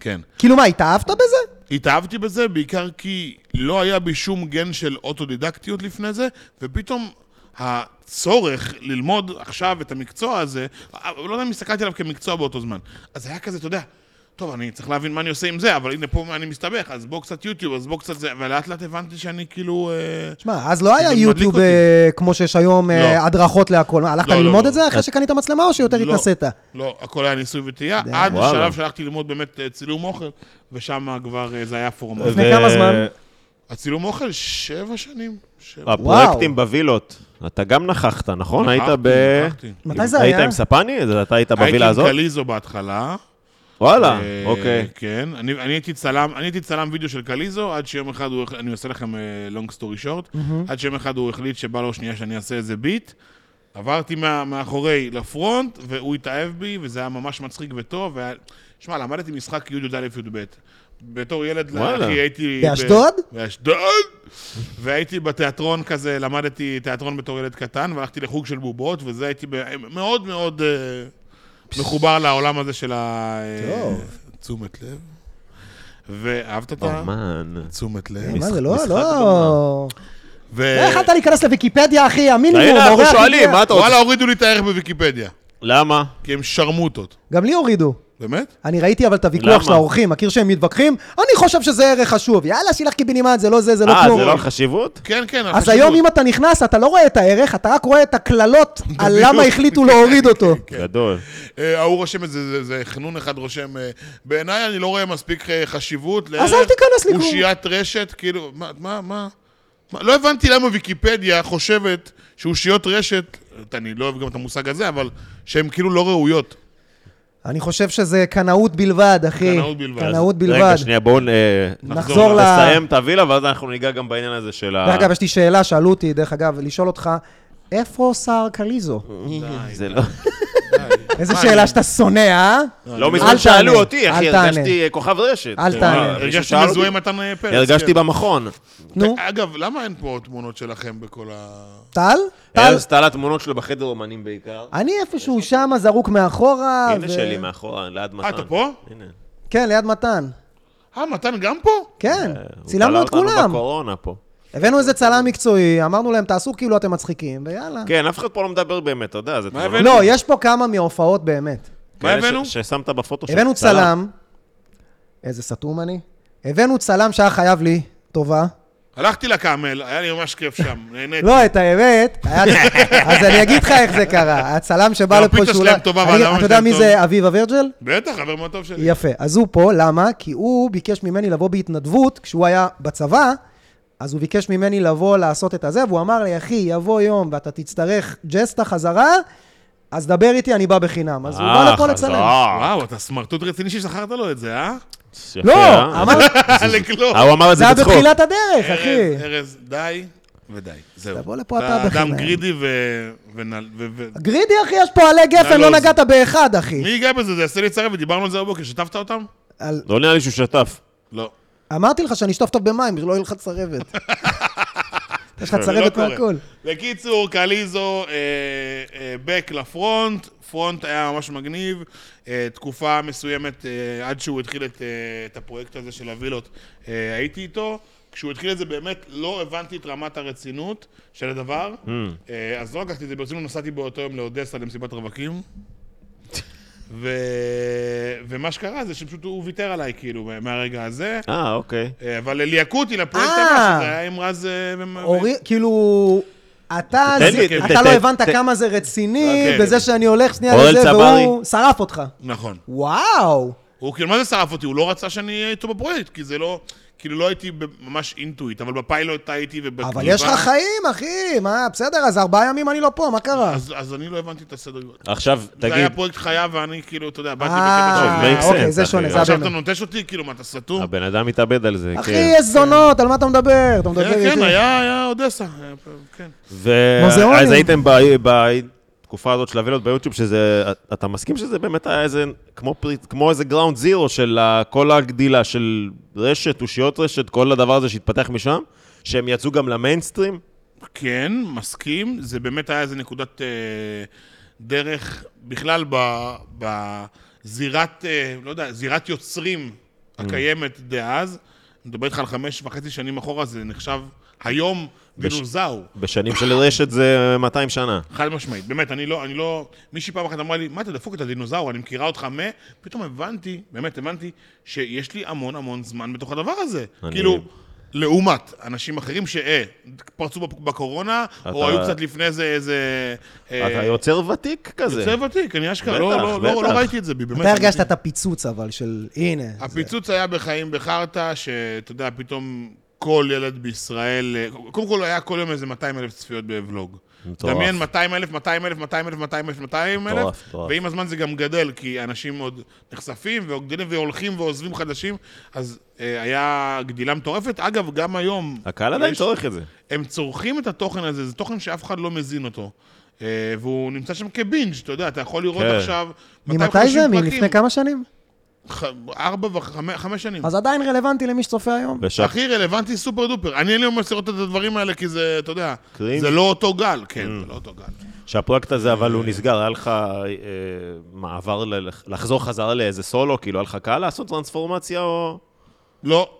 D: כן.
A: כאילו מה, התאהבת בזה?
D: התאהבתי בזה בעיקר כי לא היה בי שום גן של אוטודידקטיות לפני זה, ופתאום הצורך ללמוד עכשיו את המקצוע הזה, אה, לא יודע אם הסתכלתי עליו כמקצוע באותו זמן. אז היה כזה, אתה יודע, טוב, אני צריך להבין מה אני עושה עם זה, אבל הנה פה אני מסתבך, אז בוא קצת יוטיוב, אז בוא קצת זה, ולאט לאט הבנתי שאני כאילו... אה,
A: שמע, אז לא היה
D: זה מדליק
A: יוטיוב
D: אותי.
A: אה, כמו שיש היום אה,
D: לא.
A: הדרכות להכל. מה, הלכת
D: לא, לא,
A: ללמוד
D: לא.
A: את זה אחרי שקנית מצלמה או שיותר
D: לא.
A: התנסית? אה,
D: לא, הכל היה ניסוי וטעייה, עד
C: וואלה.
D: השלב שהלכתי ללמוד באמת אה, צילום אוכל, ושם כבר אה, זה היה פורמט.
A: לפני כמה זמן?
D: הצילום אוכל, שבע שנים.
C: אה,
D: שבע.
C: הפרויקטים בווילות. אתה גם נכחת, נכון? היית
D: נכחתי,
C: ב...
D: נכחתי.
A: מתי זה
C: היית
A: היה?
C: עם ספני? זה- אתה היית
D: הייתי
C: בווילה
D: עם
C: הזאת?
D: קליזו בהתחלה.
C: וואלה,
D: אה,
C: אוקיי.
D: כן, אני אני הייתי צלם, אני הייתי צלם וידאו של קליזו, עד שיום אחד הוא, החל- אני עושה לכם אה, לונג סטורי שורט, עד שיום אחד הוא החליט שבא לו שנייה שאני אעשה איזה ביט. עברתי מה- מאחורי לפרונט, והוא התאהב בי, וזה היה ממש מצחיק וטוב. והיה- שמע, למדתי משחק י"א-י"ב. בתור ילד,
C: וואלה.
D: אחי, הייתי... ב-
A: באשדוד?
D: באשדוד! והייתי בתיאטרון כזה, למדתי תיאטרון בתור ילד קטן, והלכתי לחוג של בובות, וזה הייתי ב- מאוד מאוד אה, מחובר לעולם הזה של ה...
A: טוב.
D: אה, תשומת לב. ואהבת את
C: אה,
D: ה...
C: אומן.
D: תשומת לב.
A: אה, מה זה, לא,
C: משחק
A: לא...
D: ו-
A: לא יכלת להיכנס לוויקיפדיה, אחי, המינימום,
C: הנה, אנחנו
A: העורך
C: שואלים,
A: הגיע.
C: מה אתה רוצה?
D: וואלה, הורידו לי את הערך בוויקיפדיה,
C: למה?
D: כי הם שרמוטות.
A: גם לי הורידו.
D: באמת?
A: אני ראיתי אבל את הוויכוח
C: למה?
A: של האורחים, מכיר שהם מתווכחים? אני חושב שזה ערך חשוב. יאללה, שילח קיבינימט, זה לא זה, זה לא
C: אה,
A: כלום.
C: זה לא על חשיבות?
D: כן, כן,
A: אז
D: החשיבות.
A: היום אם אתה נכנס, אתה לא רואה את הערך, אתה רק רואה את הקללות על למה החליטו להוריד אותו.
D: כן.
C: גדול.
D: אה, ההוא רושם את זה, זה, זה חנון אחד רושם, אה, בעיניי אני לא רואה מספיק אה, חשיבות לערך.
A: אל תיכנס לקרוא.
D: אושיית רשת, כאילו, מה, מה, מה? מה, לא הבנתי למה ויקיפדיה חושבת שאושיות רשת, אני לא אוהב גם את המושג הזה, אבל שהן כאילו לא ראויות.
A: אני חושב שזה קנאות בלבד, אחי.
D: קנאות בלבד.
A: קנאות בלבד.
C: רגע, שנייה, בואו אה,
A: נחזור ל...
C: נסיים את הווילה, ואז אנחנו ניגע גם בעניין הזה של ה...
A: דרך אגב, יש לי שאלה, שאלו אותי, דרך אגב, לשאול אותך, איפה סער קליזו?
C: זה לא...
A: איזה שאלה שאתה שונא, אה?
C: לא
A: אל
C: מזמן שאלו
A: תענה,
C: אותי, אחי,
A: אל תענה.
C: הרגשתי אה, כוכב רשת.
A: אל
C: אה,
A: תענה.
C: מישהו
D: הרגשתי
C: שאל אותי?
D: מזוהה עם מתן אה, פרץ.
C: הרגשתי
D: כן.
C: במכון.
A: נו,
D: אגב, למה אין פה תמונות שלכם בכל ה...
A: טל? טל?
C: ארז טל התמונות שלו בחדר אומנים בעיקר.
A: אני איפשהו שם, זרוק מאחורה.
C: הנה
A: ו-
C: שלי מאחורה, ליד מתן.
D: אה, אתה פה?
C: הנה.
A: כן, ליד מתן.
D: אה, מתן גם פה?
A: כן,
C: אה, הוא
A: צילמנו
C: תלה
A: את
C: אותנו
A: כולם.
C: בקורונה פה.
A: הבאנו איזה צלם מקצועי, אמרנו להם, תעשו כאילו אתם מצחיקים, ויאללה.
C: כן, אף אחד פה לא מדבר באמת, אתה יודע, זה
D: מה
C: תמונות
D: הבאנו?
A: לא, יש פה כמה מההופעות באמת.
D: מה
C: כאלה ש-
D: הבאנו?
C: ששמת בפוטו
A: הבאנו צלם, איזה סתום אני. הבאנו צלם שהיה חייב לי, טובה.
D: הלכתי לקאמל, היה לי ממש כיף שם, נהניתי.
A: לא, את האמת, היה- אז אני אגיד לך איך זה קרה. הצלם שבא
D: גם
A: לפה
D: הפיצה
A: שהוא
D: שלהם
A: לא-
D: טובה,
A: אני-
D: והאדם
A: אתה יודע
D: שלהם
A: מי
D: טוב.
A: זה אביב אברג'ל?
D: בטח, חבר מאוד טוב שלי.
A: יפה. אז הוא פה, למה? כי הוא ביקש ממני לבוא בהתנדבות, כשהוא היה בצבא, אז הוא ביקש ממני לבוא לעשות את הזה, והוא אמר לי, אחי, יבוא יום ואתה תצטרך ג'סטה חזרה, אז דבר איתי, אני בא בחינם. אז הוא
C: אה,
A: בא לפה לצלם.
D: וואו, אתה סמרטוט רציני ששכרת לו את זה, אה?
A: לא, אמר-
D: עלק לא.
C: אה, הוא אמר את
A: זה
C: זה
A: היה
C: בצחוק.
A: בתחילת הדרך, אחי.
D: ארז, ארז, די ודי. זהו.
A: תבוא לפה אתה בחינם.
D: אדם גרידי ו... ונל- ו... ו...
A: גרידי, אחי, יש פה עלי גפן, לא
D: נלוז.
A: נגעת באחד, אחי.
D: מי ייגע בזה? זה יעשה לי צער, ודיברנו על זה בבוקר. שתפת אותם?
A: על-
C: לא נראה לי שהוא שטף.
D: לא.
A: אמרתי לך שאני אשטוף טוב במים, שלא יהיה לך צרבת. יש לך
D: זה לא
A: צרבת
D: קורה.
A: מהכל.
D: בקיצור, קליזו, אה, אה, בק לפרונט, פרונט היה ממש מגניב, אה, תקופה מסוימת אה, עד שהוא התחיל את, אה, את הפרויקט הזה של הווילות, אה, הייתי איתו. כשהוא התחיל את זה באמת לא הבנתי את רמת הרצינות של הדבר, אה, אז לא לקחתי את זה ברצינות, נסעתי באותו יום לאודסה למסיבת רווקים. ו... ומה שקרה זה שפשוט הוא ויתר עליי כאילו מהרגע הזה,
C: אה, אוקיי.
D: אה, אבל ליקוטי לפרויקט
A: אה.
D: הבא, שזה היה עם רז... אה, ומ-
A: אורי, כאילו... אתה
C: תן
A: זה-
C: לי, ת-
A: אתה לא
C: ת-
A: הבנת
C: ת-
A: כמה זה רציני,
D: אוקיי.
A: בזה שאני הולך שנייה
C: אורל
A: לזה,
C: צברי.
A: והוא שרף אותך.
D: נכון.
A: וואו.
D: הוא כאילו, מה זה שרף אותי? הוא לא רצה שאני אהיה איתו בפרויקט, כי זה לא... כאילו, לא הייתי ב- ממש אינטואיט, אבל בפיילוט הייתי ובכתיבה...
A: אבל יש לך חיים, אחי, מה, בסדר, אז ארבעה ימים אני לא פה, מה קרה?
D: אז, אז אני לא הבנתי את הסדר גודל.
C: עכשיו,
D: זה היה
C: תגיד,
D: פרויקט חייו, ואני כאילו, אתה יודע, באתי
A: אה,
D: בקטע
C: make
D: של...
A: אוקיי,
C: sense,
A: זה
C: אחי.
A: שונה, זה
D: עכשיו
A: הבן.
D: אתה נוטש אותי? כאילו, מה, אתה סתום?
C: הבן אדם מתאבד על זה,
A: אחי,
C: כן.
A: יש זונות, על מה אתה מדבר? אתה מדבר
D: כן, כן,
A: איתי.
D: היה היה אודסה. היה- כן.
A: מוזיאונים.
C: ואז הייתם ב- בתקופה הזאת של הווילות ביוטיוב, שזה, אתה מסכים שזה באמת היה איזה, כמו פריט- כמו איזה גראונד זירו של ה- כל הגדילה של רשת, אושיות רשת, כל הדבר הזה שהתפתח משם, שהם יצאו גם למיינסטרים?
D: כן, מסכים. זה באמת היה איזה נקודת אה, דרך בכלל ב- בזירת, אה, לא יודע, זירת יוצרים הקיימת דאז. אני מדבר איתך על חמש וחצי שנים אחורה, זה נחשב היום
C: בש-
D: בנוזאו.
C: בשנים של רשת זה 200 שנה.
D: חד משמעית, באמת, אני לא, אני לא... מישהי פעם אחת אמרה לי, מה אתה דפוק את הדינוזאור, אני מכירה אותך מ... פתאום הבנתי, באמת הבנתי, שיש לי המון המון זמן בתוך הדבר הזה.
C: אני-
D: כאילו, לעומת אנשים אחרים שאה, פרצו בק- בקורונה, או
C: אתה-
D: היו קצת לפני זה איזה... אה,
C: אתה יוצר ותיק כזה.
D: יוצא ותיק, אני אשכרה,
C: בטח,
D: לא, לא, לא,
C: בטח.
D: לא ראיתי את זה בי, באמת.
A: אתה הרגשת
D: אני-
A: את הפיצוץ, אבל, של הנה. זה-
D: הפיצוץ היה בחיים בחרטא, שאתה יודע, פתאום כל ילד בישראל... קודם כל, היה כל יום איזה 200 אלף צפיות בוולוג.
C: מטורף.
D: דמיין 200 אלף, 200 אלף, 200 אלף, 200 אלף, 200 אלף,
C: מטורף, מטורף.
D: ועם הזמן זה גם גדל, כי אנשים עוד נחשפים וגדלים והולכים ועוזבים חדשים, אז אה, היה גדילה מטורפת. אגב, גם היום...
C: הקהל עדיין
D: יש-
C: צורך את זה.
D: הם צורכים את התוכן הזה, זה תוכן שאף אחד לא מזין אותו. אה, והוא נמצא שם כבינג', אתה יודע, אתה יכול לראות
C: כן.
D: עכשיו...
A: ממתי
D: 250
A: זה?
D: פרקים.
A: מלפני כמה שנים?
D: ח- ארבע וחמש שנים.
A: אז עדיין רלוונטי למי שצופה היום.
C: וש-
D: הכי רלוונטי סופר דופר. אני אין לי ממש לראות את הדברים האלה, כי זה, אתה יודע,
C: קרינג'.
D: זה לא אותו גל. כן, זה לא אותו גל.
C: שהפרויקט הזה, אבל הוא נסגר, היה לך אה, מעבר, ל- לחזור חזרה לאיזה סולו, כאילו, היה לך קהל לעשות טרנספורמציה או...
D: לא.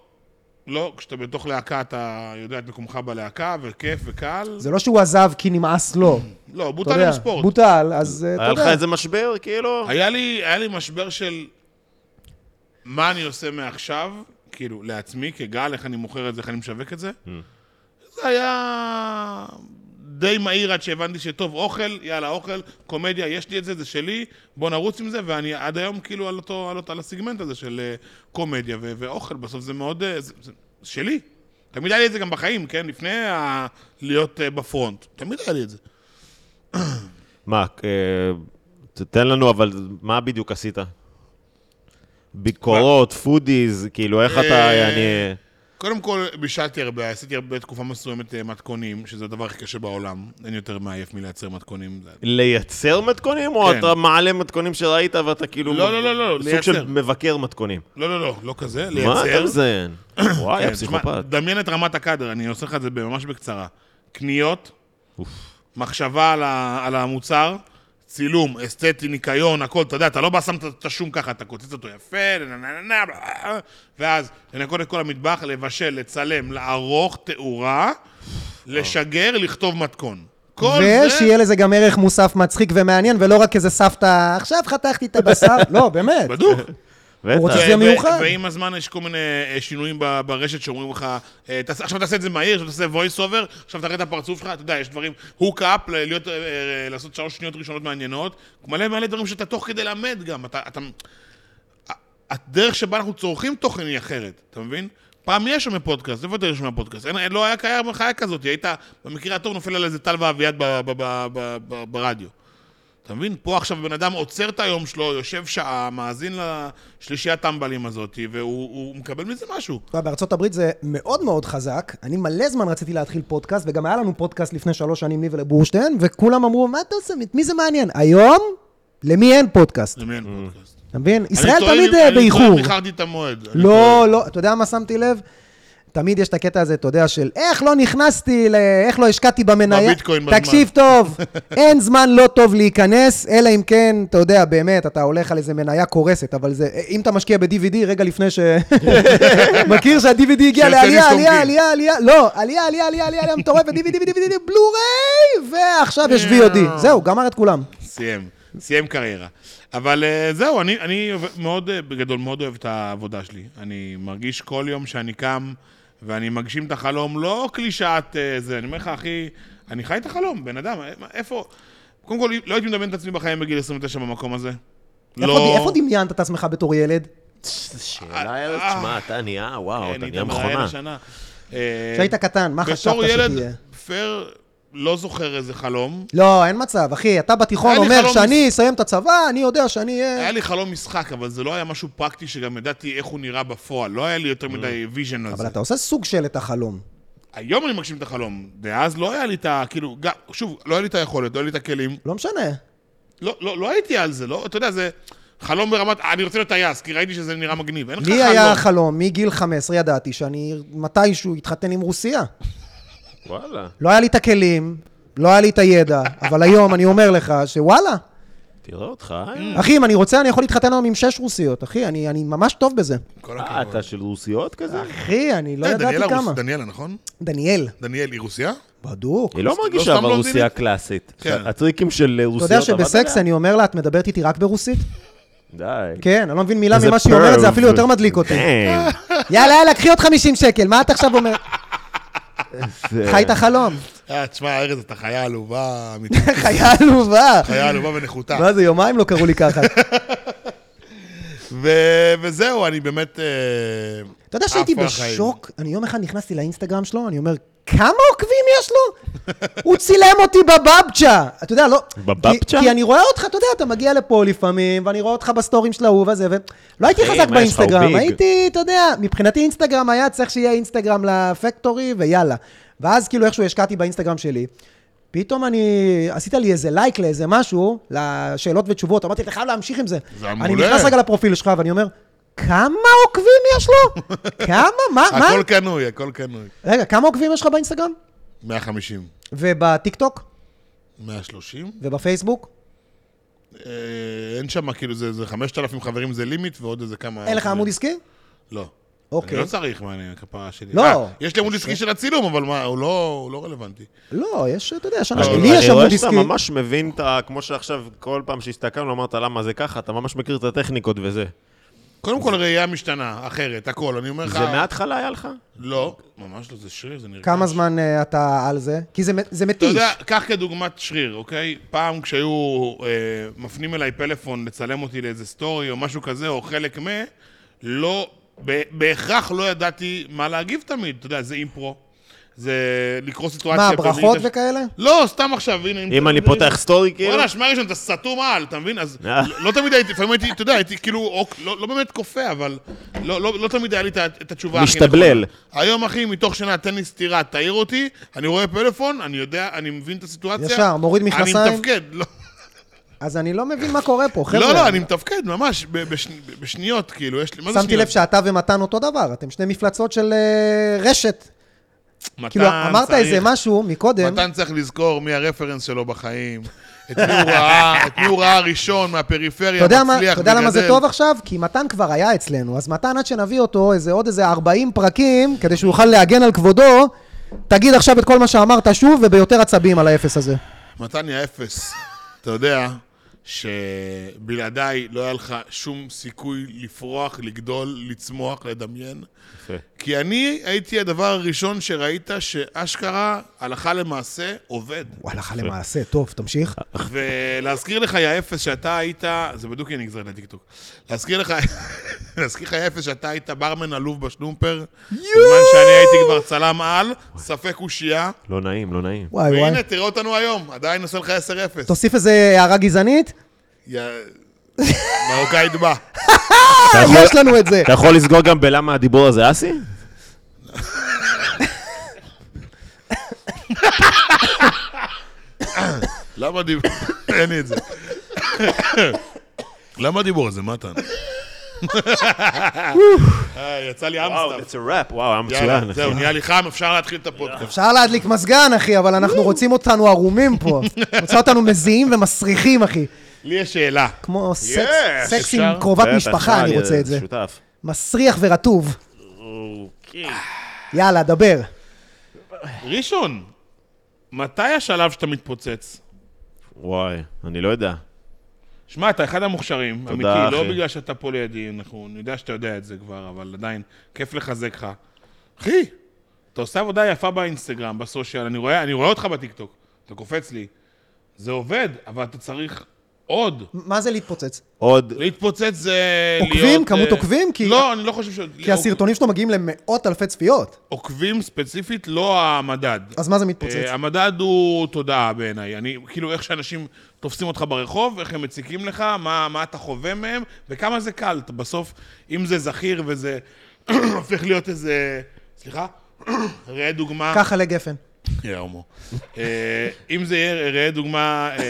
D: לא, כשאתה בתוך להקה, אתה יודע את מקומך בלהקה, וכיף וקל.
A: זה לא שהוא עזב כי נמאס לו.
D: לא,
A: אתה
D: בוטל
A: יודע,
D: עם ספורט.
A: בוטל, אז אה, אתה
C: היה לך
A: יודע.
C: איזה משבר, כאילו?
D: היה לי, היה לי משבר של מה אני עושה מעכשיו, כאילו, לעצמי, כגל, איך אני מוכר את זה, איך אני משווק את זה. זה היה די מהיר עד שהבנתי שטוב, אוכל, יאללה, אוכל, קומדיה, יש לי את זה, זה שלי, בוא נרוץ עם זה, ואני עד היום כאילו על אותו, על אותו, על הסגמנט הזה של אה, קומדיה ו- ואוכל, בסוף זה מאוד, אה, זה, זה שלי. תמיד היה לי את זה גם בחיים, כן? לפני ה- להיות אה, בפרונט. תמיד היה לי את זה.
C: מה, אה, ת- תן לנו, אבל מה בדיוק עשית? ביקורות, פודיז, כאילו, איך אתה,
D: אה,
C: אני...
D: קודם כל, בישלתי הרבה, עשיתי הרבה תקופה מסוימת אה, מתכונים, שזה הדבר הכי קשה בעולם. אין יותר מעייף מלייצר מתכונים. זה-
C: לייצר מתכונים, או
D: כן.
C: אתה מעלה מתכונים שראית ואתה כאילו...
D: לא, לא, לא, לא,
C: סוג
D: לייצר.
C: של מבקר מתכונים.
D: לא, לא, לא, לא כזה, לייצר.
C: מה אתה מזיין? וואי,
D: כן, תשמע,
C: הפסיכופת.
D: דמיין את רמת הקאדר, אני עושה לך את זה ממש בקצרה. קניות,
C: אוף.
D: מחשבה על, ה, על המוצר, צילום, אסתטי, ניקיון, הכל, אתה יודע, אתה לא בא שם את- את השום ככה, אתה קוצץ אותו יפה, נה, נה, נה, נה, בלה, ואז לנקות את כל המטבח, לבשל, לצלם, לערוך תאורה, לשגר, לכתוב מתכון. כל זה...
A: ושיהיה לזה גם ערך מוסף מצחיק ומעניין, ולא רק איזה סבתא, עכשיו חתכתי את הבשר, לא, באמת.
D: בדוק.
A: רוצה-
C: בטח.
A: זה
D: ו-
A: מיוחד.
D: ו- ועם הזמן יש כל מיני אה, שינויים ב- ברשת שאומרים לך, אה, תעשה- עכשיו תעשה את זה מהיר, עכשיו תעשה voice over, עכשיו תראה את הפרצוף שלך, אתה יודע, יש דברים, hook up, ל- להיות, אה, אה, לעשות שלוש שניות ראשונות מעניינות, מלא מלא דברים שאתה תוך כדי למד גם, אתה... אתה- הדרך שבה אנחנו צורכים תוכן היא אחרת, אתה מבין? פעם יש שם פודקאסט, איפה אתה שומע פודקאסט? אין- לא היה קיים חיה כזאת, היית במקרה הטוב נופל על איזה טל ואביעד ב- ב- ב- ב- ב- ברדיו. אתה מבין? פה עכשיו בן אדם עוצר את היום שלו, יושב שעה, מאזין לשלישיית טמבלים הזאת, והוא הוא מקבל מזה משהו.
A: אתה יודע, בארצות הברית זה מאוד מאוד חזק. אני מלא זמן רציתי להתחיל פודקאסט, וגם היה לנו פודקאסט לפני שלוש שנים לי ולבורשטיין, וכולם אמרו, מה אתה עושה, את מי זה מעניין? היום, למי אין פודקאסט?
D: זה מעין פודקאסט.
A: אתה מבין?
D: אני
A: ישראל
D: טועה
A: תמיד
D: אם-
A: אה,
D: אני
A: באיחור.
D: טועה אם איחרתי את המועד. אני טועה.
A: לא, לא, אתה יודע מה שמתי לב? תמיד יש את הקטע הזה, אתה יודע, של איך לא נכנסתי, ל... איך לא השקעתי במניה.
D: בביטקוין בזמן.
A: תקשיב טוב, אין זמן לא טוב להיכנס, אלא אם כן, אתה יודע, באמת, אתה הולך על איזה מניה קורסת, אבל זה, אם אתה משקיע ב-DVD רגע לפני ש... מכיר שה-DVD הגיע
D: של
A: לעלייה,
D: טניס
A: עלייה,
D: טורקי.
A: עלייה, עלייה, לא, עלייה, עלייה, עלייה, עלייה, עלייה מטורפת, DVD, DVD, בלו-ריי, ועכשיו יש VOD. זהו, גמר את כולם.
D: סיים, סיים קריירה. אבל אה, זהו, אני, אני אוהב- מאוד, אה, בגדול, מאוד אוהב את העבודה שלי. אני מרגיש כל יום שאני קם ואני מגשים את החלום, לא קלישאת אה, זה, אני אומר לך, אחי, אני חי את החלום, בן אדם, אה, מה- איפה... קודם כל, לא הייתי מדמיין את עצמי בחיים בגיל 29 במקום הזה. לא.
A: איפה- איפה דמיינת את עצמך בתור ילד?
C: שאלה, ארז, תשמע, אתה נהיה, וואו, אתה
D: אה, כן,
C: נהיה
D: איתמר היה
C: מכונה.
D: השנה.
A: כשהיית קטן, מה חשבת
D: אה, בתור ילד,
A: שתהיה?
D: פייר לא זוכר איזה חלום.
A: לא, אין מצב, אחי. אתה בתיכון
D: היה לי
A: אומר,
D: חלום-
A: כשאני אסיים את הצבא, אני יודע שאני אהיה...
D: היה לי חלום משחק, אבל זה לא היה משהו פרקטי שגם ידעתי איך הוא נראה בפועל. לא היה לי יותר מדי ויז'ן על זה.
A: אבל אתה עושה סוג של את החלום.
D: היום אני מגשים את החלום. דאז לא היה לי את ה... כאילו, גם- שוב, לא היה לי את היכולת, לא היה לי את הכלים.
A: לא משנה.
D: לא- לא לא הייתי על זה, לא? אתה יודע, זה חלום ברמת... אה, אני רוצה להיות טייס, כי ראיתי שזה נראה מגניב. אין לך
A: לי היה
D: חלום.
A: חלום, מגיל 15 ידעתי שאני מתישהו אתחתן עם רוסיה.
C: וואלה,
A: לא היה לי את הכלים, לא היה לי את הידע, אבל היום אני אומר לך שוואלה,
C: תראה אותך, אה?
A: אחי, אם אני רוצה, אני יכול להתחתן היום עם שש רוסיות, אחי, אני אני ממש טוב בזה.
D: כל הכבוד.
C: אה, אתה של רוסיות כזה?
A: אחי, אני לא
D: אה,
A: ידעתי
D: דניאלה
A: כמה.
D: רוס- דניאלה, נכון?
A: דניאל,
D: דניאל, היא רוסיה?
A: בדוק.
C: היא לא
D: לא
C: מרגישה
D: סתם
C: אבל
D: בלונדינית?
C: רוסיה קלאסית.
D: כן.
C: הטריקים של אה,
A: אתה
C: רוסיות
A: יודע
C: עבד
A: שבסקס
C: עליה?
A: אני אומר לה, את מדברת איתי רק ברוסית?
C: די.
A: כן, אני לא מבין מילה
C: איזה
A: ממה שהיא אומרת, זה
C: perv.
A: אפילו יותר מדליק אותי.
C: כן.
D: אה,
A: יאללה, יאללה, קחי עוד 50 שקל, מה את עכשיו אומרת?
C: זה-
A: חי את החלום.
D: אה, תשמע, ארז, אתה חיה עלובה אמיתית.
A: חיה עלובה.
D: חיה עלובה ונחותה.
A: מה זה, יומיים לא קראו לי ככה.
D: ו- וזהו, אני באמת... אה,
A: אתה יודע שהייתי
D: עף על החיים.
A: בשוק? אני יום אחד נכנסתי לאינסטגרם שלו, אני אומר, כמה עוקבים יש לו? הוא צילם אותי בבבצ'ה. אתה יודע, לא...
C: בבבצ'ה?
A: כי, כי אני רואה אותך, אתה יודע, אתה מגיע לפה לפעמים, ואני רואה אותך בסטורים של ההוא וזה, ולא הייתי
C: אחי,
A: חזק
C: מה, יש לך
A: באינסטגרם,
C: ביג?
A: הייתי, אתה יודע, מבחינתי אינסטגרם היה צריך שיהיה אינסטגרם לפקטורי, ויאללה. ואז כאילו איכשהו השקעתי באינסטגרם שלי. פתאום אני, עשית לי איזה לייק לאיזה משהו, לשאלות ותשובות, אמרתי, אתה חייב להמשיך עם זה.
D: זה
A: אני
D: מעולה.
A: נכנס רגע לפרופיל שלך ואני אומר, כמה עוקבים יש לו? כמה? מה? אה, מה?
D: הכל קנוי, הכל קנוי.
A: רגע, כמה עוקבים יש לך באינסטגרם?
D: 150.
A: ובטיקטוק?
D: 130?
A: ובפייסבוק?
D: אה, אין שם, כאילו, זה זה 5,000 חברים זה לימיט, ועוד איזה כמה...
A: אין לך עמוד עסקי?
D: לא.
A: אוקיי.
D: אני לא צריך, מה, אני הכפרה שלי.
A: לא.
D: אה, יש לי עמוד עסקי של הצילום, אבל מה, הוא לא הוא לא רלוונטי.
A: לא, יש, אתה יודע,
D: אה,
A: יש
C: אני-
A: אנשים. לי יש
C: אני רואה
A: עמוד
C: שאתה
A: עסקי.
C: ממש מבין את ה... כמו שעכשיו, כל פעם שהסתכלנו, אמרת למה זה ככה, אתה ממש מכיר את הטכניקות וזה.
D: אה. קודם כל, ראייה משתנה, אחרת, הכל, אני אומר לך...
C: זה מההתחלה היה לך?
D: לא, ממש לא, זה שריר, זה נראה...
A: כמה זמן אה, אתה על זה? כי זה מ- זה
D: אתה
A: מתיש.
D: יודע, קח כדוגמת שריר, אוקיי? פעם כשהיו אה, מפנים אליי פלאפון לצלם אותי לאיזה סטורי או משהו כזה, או חלק מ... לא, ב- בהכרח לא ידעתי מה להגיב תמיד, אתה יודע, זה אימפרו. זה לקרוא סיטואציה...
A: מה, ברכות
D: בלי-
A: וכאלה?
D: לא, סתם עכשיו, הנה...
C: אם אני פותח סטורי כאילו?
D: וואלה, שמע ראשון, אתה סתום על, אתה מבין? אז
C: אה.
D: לא- לא תמיד הייתי, לפעמים הייתי, אתה יודע, הייתי כאילו, אוק- לא לא באמת כופה, אבל לא- לא לא תמיד היה לי את ה- את התשובה הכי נכונה.
C: משתבלל.
D: היום, אחי, מתוך שנה, תן לי סטירה, תעיר אותי, אני רואה פלאפון, אני יודע, אני מבין את הסיטואציה.
A: ישר, מוריד מכנסיים?
D: אני מתפקד, לא,
A: אז אני לא מבין מה קורה פה, חבר'ה.
D: לא, לא, אני מתפקד, ממש, ב- בש- בשניות, כאילו, יש לי, מה זה שניות?
A: שמתי לב שאתה ומתן אותו דבר, אתם שני מפלצות של אה, רשת.
D: מתן
A: כאילו, אמרת
D: צריך-
A: איזה משהו מקודם.
D: מתן צריך לזכור מי הרפרנס שלו בחיים, את מי הוא ראה, את מי הוא ראה ראשון
A: אתה
D: מהפריפריה,
A: יודע, מה,
D: מצליח,
A: אתה יודע למה זה
D: מגדל.
A: טוב עכשיו? כי מתן כבר היה אצלנו, אז מתן, עד שנביא אותו איזה עוד איזה 40 פרקים, כדי שהוא יוכל להגן על כבודו, תגיד עכשיו את כל מה שאמרת שוב, וביותר עצבים על האפס הזה.
D: מתניה אפס, אתה יודע שבלעדיי לא היה לך שום סיכוי לפרוח, לגדול, לצמוח, לדמיין.
C: יפה.
D: כי אני הייתי הדבר הראשון שראית שאשכרה, הלכה למעשה, עובד.
A: הלכה למעשה, טוב, תמשיך.
D: ולהזכיר לך, יא אפס, שאתה היית... זה בדיוק יהיה נגזרת לטיקטוק. להזכיר לך, להזכיר לך, יא אפס, שאתה היית ברמן עלוב בשלומפר, בזמן שאני הייתי כבר צלם על, ספק אושייה.
C: לא נעים, לא נעים.
A: וואי וואי.
D: והנה, תראה אותנו היום, עדיין עושה לך 10-0.
A: תוסיף איזה הערה גזענית? אה,
D: יא... מרוקאית בא.
C: אתה
A: אה,
C: יכול-
A: יש לנו את זה.
C: אתה יכול לסגור גם בלמה הדיבור הזה אסי?
D: למה דיבור? אין לי את זה. למה הדיבור הזה, מתן? אה, יצא לי אמסטאפ.
C: a rap, וואו, היה מצוין.
D: יאללה,
C: אחי.
D: זהו, נהיה לי חם, אפשר להתחיל את הפודקאסט.
A: אפשר להדליק מזגן, אחי, אבל אנחנו רוצים אותנו ערומים פה. רוצים אותנו מזיעים ומסריחים, אחי.
D: לי יש שאלה.
A: כמו סקס-
D: יש,
A: סקס עם
D: אפשר?
A: קרובת
C: בטח,
A: משפחה, אני
C: אה,
A: רוצה את זה.
C: שותף.
A: מסריח ורטוב. יאללה, דבר.
D: ראשון, מתי השלב שאתה מתפוצץ?
C: וואי, אני לא יודע.
D: שמע, אתה אחד המוכשרים, אמיתי,
C: תודה,
D: לא
C: אחי.
D: בגלל שאתה פה לידי, אנחנו, אני יודע שאתה יודע את זה כבר, אבל עדיין, כיף לחזק לך. אחי, אתה עושה עבודה יפה באינסטגרם, בסושיאל, אני רואה, אני רואה אותך בטיקטוק, אתה קופץ לי. זה עובד, אבל אתה צריך עוד.
A: מה זה להתפוצץ?
D: לא,
C: עוד,
D: להתפוצץ זה
A: עוקבים?
D: להיות... אה,
A: כמות עוקבים? כי-
D: לא, אני לא חושב ש...
C: אוקיי.
A: כי הסרטונים שלו מגיעים למאות אלפי צפיות,
D: עוקבים ספציפית, לא המדד.
A: אז מה זה מתפוצץ?
D: אה, המדד הוא תודעה בעיניי. אני, כאילו, איך שאנשים תופסים אותך ברחוב, איך הם מציקים לך, מה, מה אתה חווה מהם, וכמה זה קל. אתה בסוף, אם זה זכיר וזה הופך להיות איזה... סליחה? ראה דוגמה...
A: ככה לגפן.
D: יהיה הומו. אה, אם זה יהיה, ראה דוגמה... אה,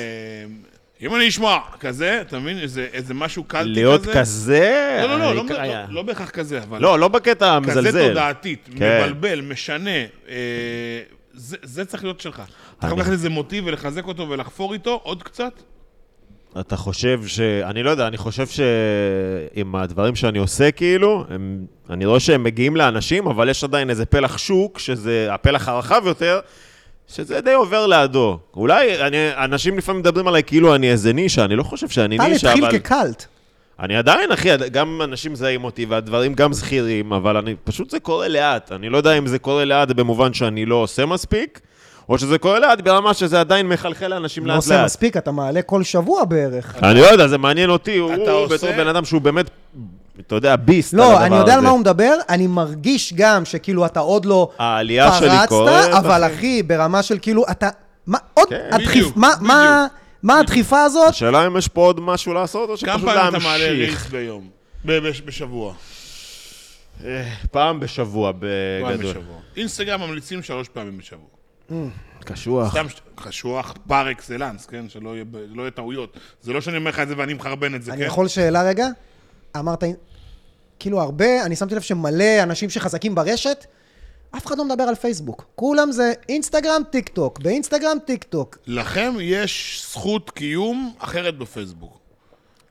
D: אם אני אשמע, כזה, אתה מבין? איזה, איזה משהו קלטי כזה.
C: להיות כזה...
D: לא, לא, לא, לא,
C: העיקר היה-
D: לא, לא בהכרח כזה, אבל...
C: לא, לא בקטע המזלזל.
D: כזה תודעתית,
C: כן.
D: מבלבל, משנה. אה, זה, זה צריך להיות שלך. אתה
C: אני-
D: יכול לקחת איזה מוטיב ולחזק אותו ולחפור איתו עוד קצת?
C: אתה חושב ש... אני לא יודע, אני חושב שעם הדברים שאני עושה, כאילו, הם... אני רואה שהם מגיעים לאנשים, אבל יש עדיין איזה פלח שוק, שזה הפלח הרחב יותר, שזה די עובר לידו. אולי אני... אנשים לפעמים מדברים עליי כאילו אני איזה נישה, אני לא חושב שאני
A: טל
C: נישה, אבל...
A: התחיל כקאלט.
C: אני עדיין, אחי, עד- גם אנשים זהים אותי, והדברים גם זכירים, אבל אני... פשוט זה קורה לאט. אני לא יודע אם זה קורה לאט במובן שאני לא עושה מספיק, או שזה קורה לאט ברמה שזה עדיין מחלחל לאנשים
A: לא
C: לאט-לאט.
A: עושה מספיק, אתה מעלה כל שבוע בערך.
C: אני לא יודע, זה מעניין אותי, הוא
D: אתה
C: הוא
D: עושה-
C: בתור בן אדם שהוא באמת, אתה יודע, ביסט על הדבר
A: לא,
C: הזה.
A: אני יודע על מה הוא מדבר, אני מרגיש גם שכאילו אתה עוד לא
C: העלייה שלי קורית,
A: פרצת, אבל
C: אחי.
A: אחי, ברמה של כאילו, אתה... מה עוד?
C: כן.
A: הדחיפ-
D: בדיוק,
A: מה- מה- מה הדחיפה הזאת?
C: השאלה אם יש פה עוד משהו לעשות, או
D: כמה
C: שפשוט
D: פעמים אתה מעלה רילס
C: להמשיך.
D: ביום? ב- בש- בשבוע.
C: אה, פעם בשבוע,
D: פעם
C: בגדול.
D: בשבוע. אינסטגרם ממליצים שלוש פעמים בשבוע.
C: קשוח.
D: סתם ש- קשוח פר אקסלנס, כן? שלא יהיה ב- לא יהיה טעויות. זה לא שאני אומר לך את זה ואני מחרבן את זה,
A: אני
D: כן?
A: יכול שאלה רגע? אמרת, כאילו הרבה, אני שמתי לב שמלא אנשים שחזקים ברשת, אף אחד לא מדבר על פייסבוק. כולם זה אינסטגרם, טיק טוק, באינסטגרם, טיק טוק.
D: לכם יש זכות קיום אחרת בפייסבוק.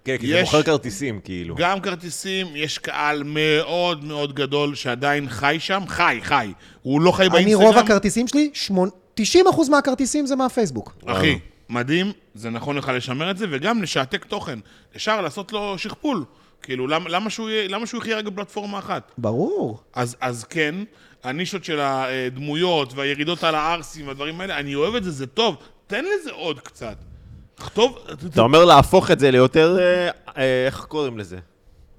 C: כן, כי זה
D: יש-
C: מוכר כרטיסים, כאילו.
D: גם כרטיסים, יש קהל מאוד מאוד גדול שעדיין חי שם, חי, חי. הוא לא חי
A: אני,
D: באינסטגרם.
A: רוב הכרטיסים שלי, שמון- 90% מהכרטיסים זה מהפייסבוק.
D: אחי, מדהים, זה נכון לך לשמר את זה, וגם לשעתק תוכן. אפשר לעשות לו שכפול. כאילו, למה, למה, שהוא, יהיה- למה שהוא יחיה רק בפלטפורמה אחת?
A: ברור.
D: אז, אז כן, הנישות של הדמויות והירידות על הערסים והדברים האלה, אני אוהב את זה, זה טוב. תן לזה עוד קצת. כתוב...
C: אתה אומר להפוך את זה ליותר, אה, אה, איך קוראים לזה?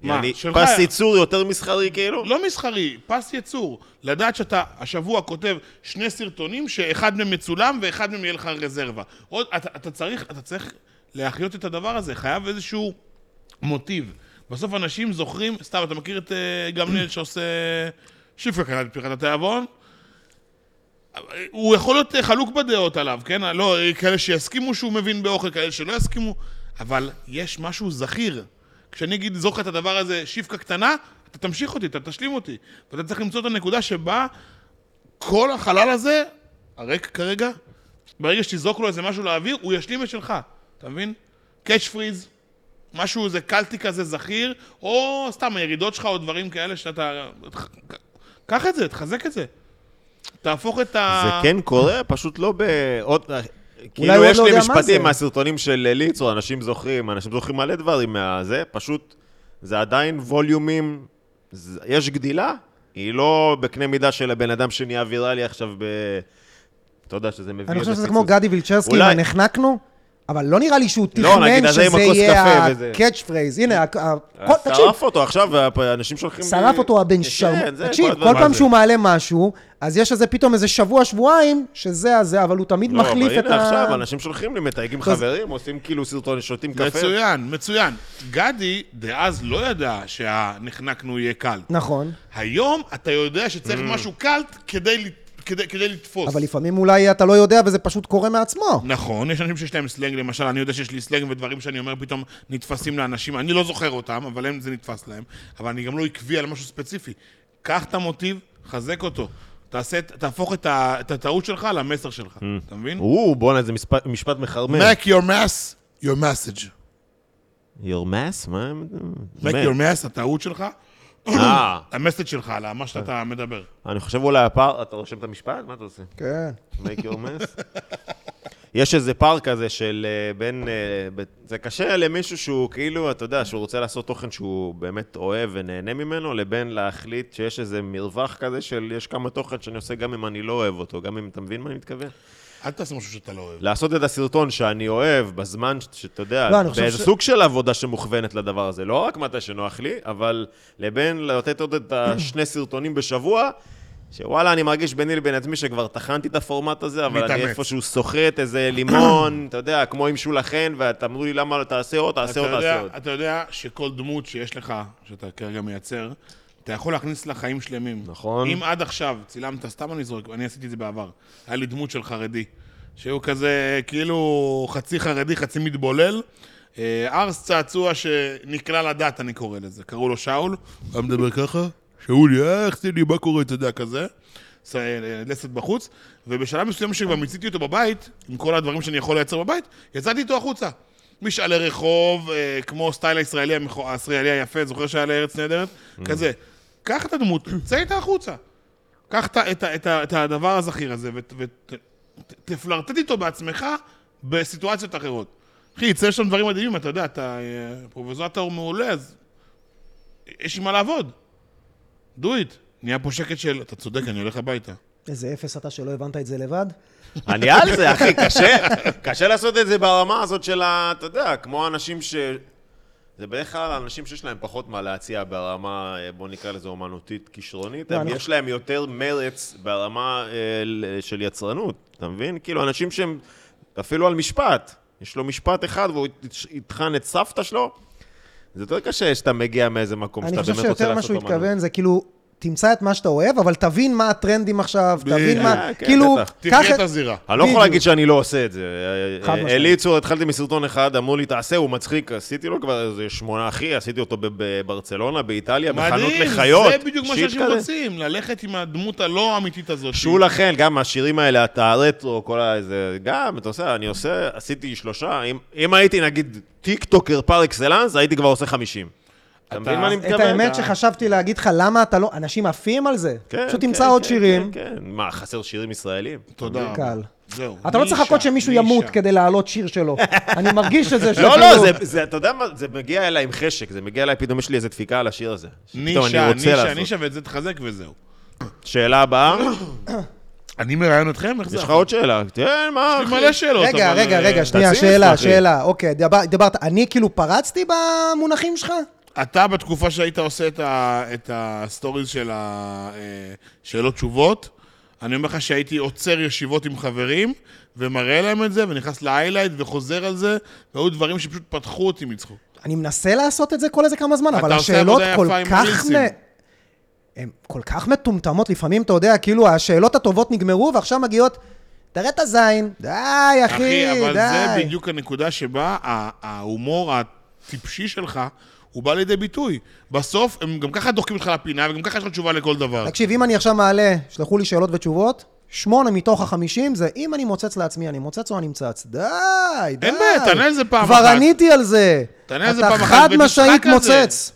D: מה,
C: יעני,
D: שלך-
C: פס ייצור יותר מסחרי, כאילו?
D: לא מסחרי, פס יצור. לדעת שאתה השבוע כותב שני סרטונים שאחד מהם מצולם ואחד מהם יהיה לך רזרבה. עוד, אתה, אתה צריך, אתה צריך להחיות את הדבר הזה, חייב איזשהו מוטיב. בסוף אנשים זוכרים, סתם, אתה מכיר את uh, גמליאל שעושה שיפר קנה את פירת התיאבון? הוא יכול להיות אה, חלוק בדעות עליו, כן? לא, אה, כאלה שיסכימו שהוא מבין באוכל, כאלה שלא יסכימו, אבל יש משהו זכיר. כשאני אגיד, זוכר את הדבר הזה, שיפקה קטנה, אתה תמשיך אותי, אתה תשלים אותי. ואתה צריך למצוא את הנקודה שבה כל החלל הזה, הריק כרגע, ברגע שתזרוק לו איזה משהו לאוויר, הוא ישלים את שלך, אתה מבין? קאץ' פריז, משהו, איזה קלטי כזה זכיר, או סתם הירידות שלך או דברים כאלה שאתה... אה, קח את זה, תחזק את זה. תהפוך את ה...
C: זה כן קורה, פשוט לא בעוד...
A: אה, הוא
C: כאילו,
A: עוד
C: יש
A: לא
C: לי
A: יודע מה זה.
C: משפטים מהסרטונים של ליצו, אנשים זוכרים, אנשים זוכרים מלא דברים מהזה, פשוט זה עדיין ווליומים, זה- יש גדילה, היא לא בקנה מידה של הבן אדם שנהיה ויראלי עכשיו ב... אתה יודע שזה מביא...
A: אני חושב
C: איזה
A: שזה
C: פיצוץ.
A: כמו גדי וילצ'רסקי,
C: אולי-
A: מה נחנקנו? אבל לא נראה לי שהוא
C: נגיד,
A: תכנן
C: הזה עם
A: שזה
C: הכוס
A: יהיה
C: קפה וזה. אה,
A: הקאץ' פרייז. הנה, ה- ה- כל- תקשיב,
C: שרף אותו עכשיו, והאנשים שולחים...
A: שרף
C: לי-
A: אותו הבן
C: כן,
A: שרמוט.
C: זה,
A: תקשיב,
C: הדברים
A: כל פעם
C: הזה.
A: שהוא מעלה משהו, אז יש איזה פתאום איזה שבוע, שבועיים, שזה הזה, אבל הוא תמיד
C: לא,
A: מחליף
C: אבל
A: את
C: הנה עכשיו,
A: ה...
C: אנשים שולחים לי, מתייגים
A: אז-
C: חברים, עושים כאילו סרטון, שותים קפה.
D: מצוין, מצוין. גדי דאז לא ידע שהנחנקנו יהיה קלט.
A: נכון,
D: היום אתה יודע שצריך משהו קלט כדי, לת- כדי, כדי לתפוס.
A: אבל לפעמים אולי אתה לא יודע וזה פשוט קורה מעצמו.
D: נכון, יש אנשים שיש להם סלנג, למשל, אני יודע שיש לי סלנג ודברים שאני אומר פתאום נתפסים לאנשים, אני לא זוכר אותם, אבל הם זה נתפס להם, אבל אני גם לא עקבי על משהו ספציפי. קח את המוטיב, חזק אותו. תעשה, את- תהפוך את, ה, את הטעות שלך למסר שלך, אתה מבין?
C: או, בואנה, זה משפט- משפט מחרמן.
D: Make your mess your message.
C: your mass? מה הם...
D: Make your mess, הטעות שלך,
C: אה,
D: המסד שלך, על מה שאתה מדבר.
C: אני חושב אולי הפער... אתה רושם את המשפט? מה אתה עושה?
A: כן.
C: make your mess? יש איזה פער כזה של אה, בין... אה, ב- זה קשה למישהו שהוא כאילו, אתה יודע, שהוא רוצה לעשות תוכן שהוא באמת אוהב ונהנה ממנו, לבין להחליט שיש איזה מרווח כזה של יש כמה תוכן שאני עושה גם אם אני לא אוהב אותו, גם אם אתה מבין מה אני מתכוון?
D: אל תעשה משהו שאתה לא אוהב.
C: לעשות את הסרטון שאני אוהב בזמן ש- שאתה יודע,
A: לא, אני חושב
C: באיזה
A: ש-
C: סוג של עבודה שמוכוונת לדבר הזה, לא רק מתי שנוח לי, אבל לבין לתת עוד את השני סרטונים בשבוע, שוואלה, אני מרגיש ביני לבין עצמי שכבר טחנתי את הפורמט הזה, אבל אני
D: מתאמץ.
C: איפשהו סוחט איזה לימון, אתה יודע, כמו עם שולה חן, ואתה אמרו לי למה לא תעשה עוד, תעשה
D: אתה
C: עוד,
D: יודע-
C: תעשה עוד.
D: אתה יודע שכל דמות שיש לך, שאתה כרגע מייצר, אתה יכול להכניס לה חיים שלמים.
C: נכון.
D: אם עד עכשיו צילמת, סתם אני זורק, אני עשיתי את זה בעבר, היה לי דמות של חרדי, שהוא כזה כאילו חצי חרדי, חצי מתבולל. אה, ארס צעצוע שנקלע לדת, אני קורא לזה. קראו לו שאול, היה מדבר ככה, שאולי, אה, איך זה לי, מה קורה, אתה יודע, כזה. ס- אה, לסת בחוץ, ובשלב מסוים שכבר מיציתי אותו בבית, עם כל הדברים שאני יכול לייצר בבית, יצאתי איתו החוצה. משאלי רחוב, אה, כמו סטייל הישראלי, המכו- הישראלי היפה, זוכר שהיה לארץ נהדרת? כזה. קח את הדמות, צא איתה החוצה. קח את, ה- את, ה- את, ה- את הדבר הזכיר הזה ותפלרטט איתו בעצמך בסיטואציות אחרות. אחי, יצא שם דברים מדהימים, אתה יודע, אתה אה, פרובוזטור מעולה, אז יש עם מה לעבוד. do it. נהיה פה שקט של, אתה צודק, אני הולך הביתה.
A: איזה אפס אתה שלא הבנת את זה לבד.
C: אני על זה, אחי, קשה. קשה לעשות את זה ברמה הזאת של ה... אתה יודע, כמו אנשים ש... זה בדרך כלל אנשים שיש להם פחות מה להציע ברמה, אה, בוא נקרא לזה אומנותית כישרונית,
A: לא,
C: הם-
A: אני-
C: יש להם יותר מרץ ברמה אה, ל- של יצרנות, אתה מבין? כאילו, אנשים שהם אפילו על משפט, יש לו משפט אחד והוא ית- יטחן את סבתא שלו, זה יותר קשה שאתה מגיע מאיזה מקום
A: אני
C: שאתה באמת
A: חושב
C: רוצה לעשות אומנות.
A: שיותר מה שהוא התכוון זה כאילו, תמצא את מה שאתה אוהב, אבל תבין מה הטרנדים עכשיו, תבין מה,
C: כן,
A: כאילו,
C: בטח.
A: קח
D: תחיה את
A: את...
D: הזירה.
C: אני לא יכול
A: בדיוק.
C: להגיד שאני לא עושה את זה.
A: חד משמעית.
C: אלי צור, התחלתי מסרטון אחד, אמרו לי, תעשה, הוא מצחיק, עשיתי לו כבר איזה שמונה אחי, עשיתי אותו בברצלונה, באיטליה, בחנות לחיות.
D: זה בדיוק מה
C: שיט
D: שאנשים
C: כזה.
D: רוצים, ללכת עם הדמות הלא האמיתית הזאת.
C: שולה חן, גם השירים האלה, אתה הרטרו, כל ה... זה, גם, אתה עושה, אני עושה, עשיתי שלושה, אם, אם הייתי נגיד טיקטוקר פר אקסלנס, הייתי כבר עושה חמישים. אתה מבין מה אני מתכוון? אה.
A: את האמת שחשבתי להגיד לך, למה אתה לא... אנשים עפים על זה.
C: כן,
A: פשוט
C: כן,
A: תמצא עוד
C: כן,
A: שירים.
C: כן, כן. מה, חסר שירים ישראלים?
D: תודה. רבה.
A: קל.
D: זהו.
C: כן.
A: אתה לא צריך
D: נישה,
A: לחכות שמישהו
D: נישה.
A: ימות כדי להעלות שיר שלו. אני מרגיש את זה.
C: לא,
A: שאתה
C: לא,
A: כאילו-
C: זה- זה, אתה יודע מה, זה מגיע אליי עם חשק, זה מגיע אליי, פתאום יש לי איזו דפיקה על השיר הזה. שפתאום אני
D: נישה,
C: רוצה
D: נישה,
C: לעשות.
D: נישה, לא, ואת זה תחזק וזהו.
C: שאלה הבאה,
D: אני מראיין אתכם? איך זה?
C: יש לך עוד שאלה? כן, מה,
D: יש לי
C: אחי?
D: מלא שאלות.
A: רגע,
D: אבל,
A: רגע,
D: אה,
A: רגע, שנייה,
C: תציף,
A: שאלה,
C: אחי.
A: שאלה. אוקיי, דבר- דיברת, אני כאילו פרצתי במונחים שלך?
D: אה, אתה בתקופה שהיית עושה את, ה, את הסטוריז של השאלות תשובות, אני אומר לך שהייתי עוצר ישיבות עם חברים, ומראה להם את זה, ונכנס לאיילייט וחוזר על זה, והיו דברים שפשוט פתחו אותי מצחוק.
A: אני מנסה לעשות את זה כל איזה כמה זמן, אבל
D: עושה
A: השאלות
D: עבודה
A: כל
D: יפה עם
A: כך...
D: רילסים.
A: הן כל כך מטומטמות, לפעמים, אתה יודע, כאילו, השאלות הטובות נגמרו, ועכשיו מגיעות, תראה את הזין, די, אחי, די.
D: אחי, אבל זה בדיוק הנקודה שבה ה- ההומור הטיפשי שלך, הוא בא לידי ביטוי. בסוף, הם גם ככה דוחקים אותך לפינה, וגם ככה יש לך תשובה לכל דבר.
A: תקשיב, אם אני עכשיו מעלה, שלחו לי שאלות ותשובות, שמונה מתוך החמישים זה אם אני מוצץ לעצמי, אני מוצץ או אני מצץ. די, די.
D: אין בעיה, תענה על זה פעם
A: כבר
D: אחת.
A: עניתי על זה.
D: תענה על זה פעם אחת
A: אתה חד
D: ותצחק
A: משמעית
D: על זה.
A: מוצץ.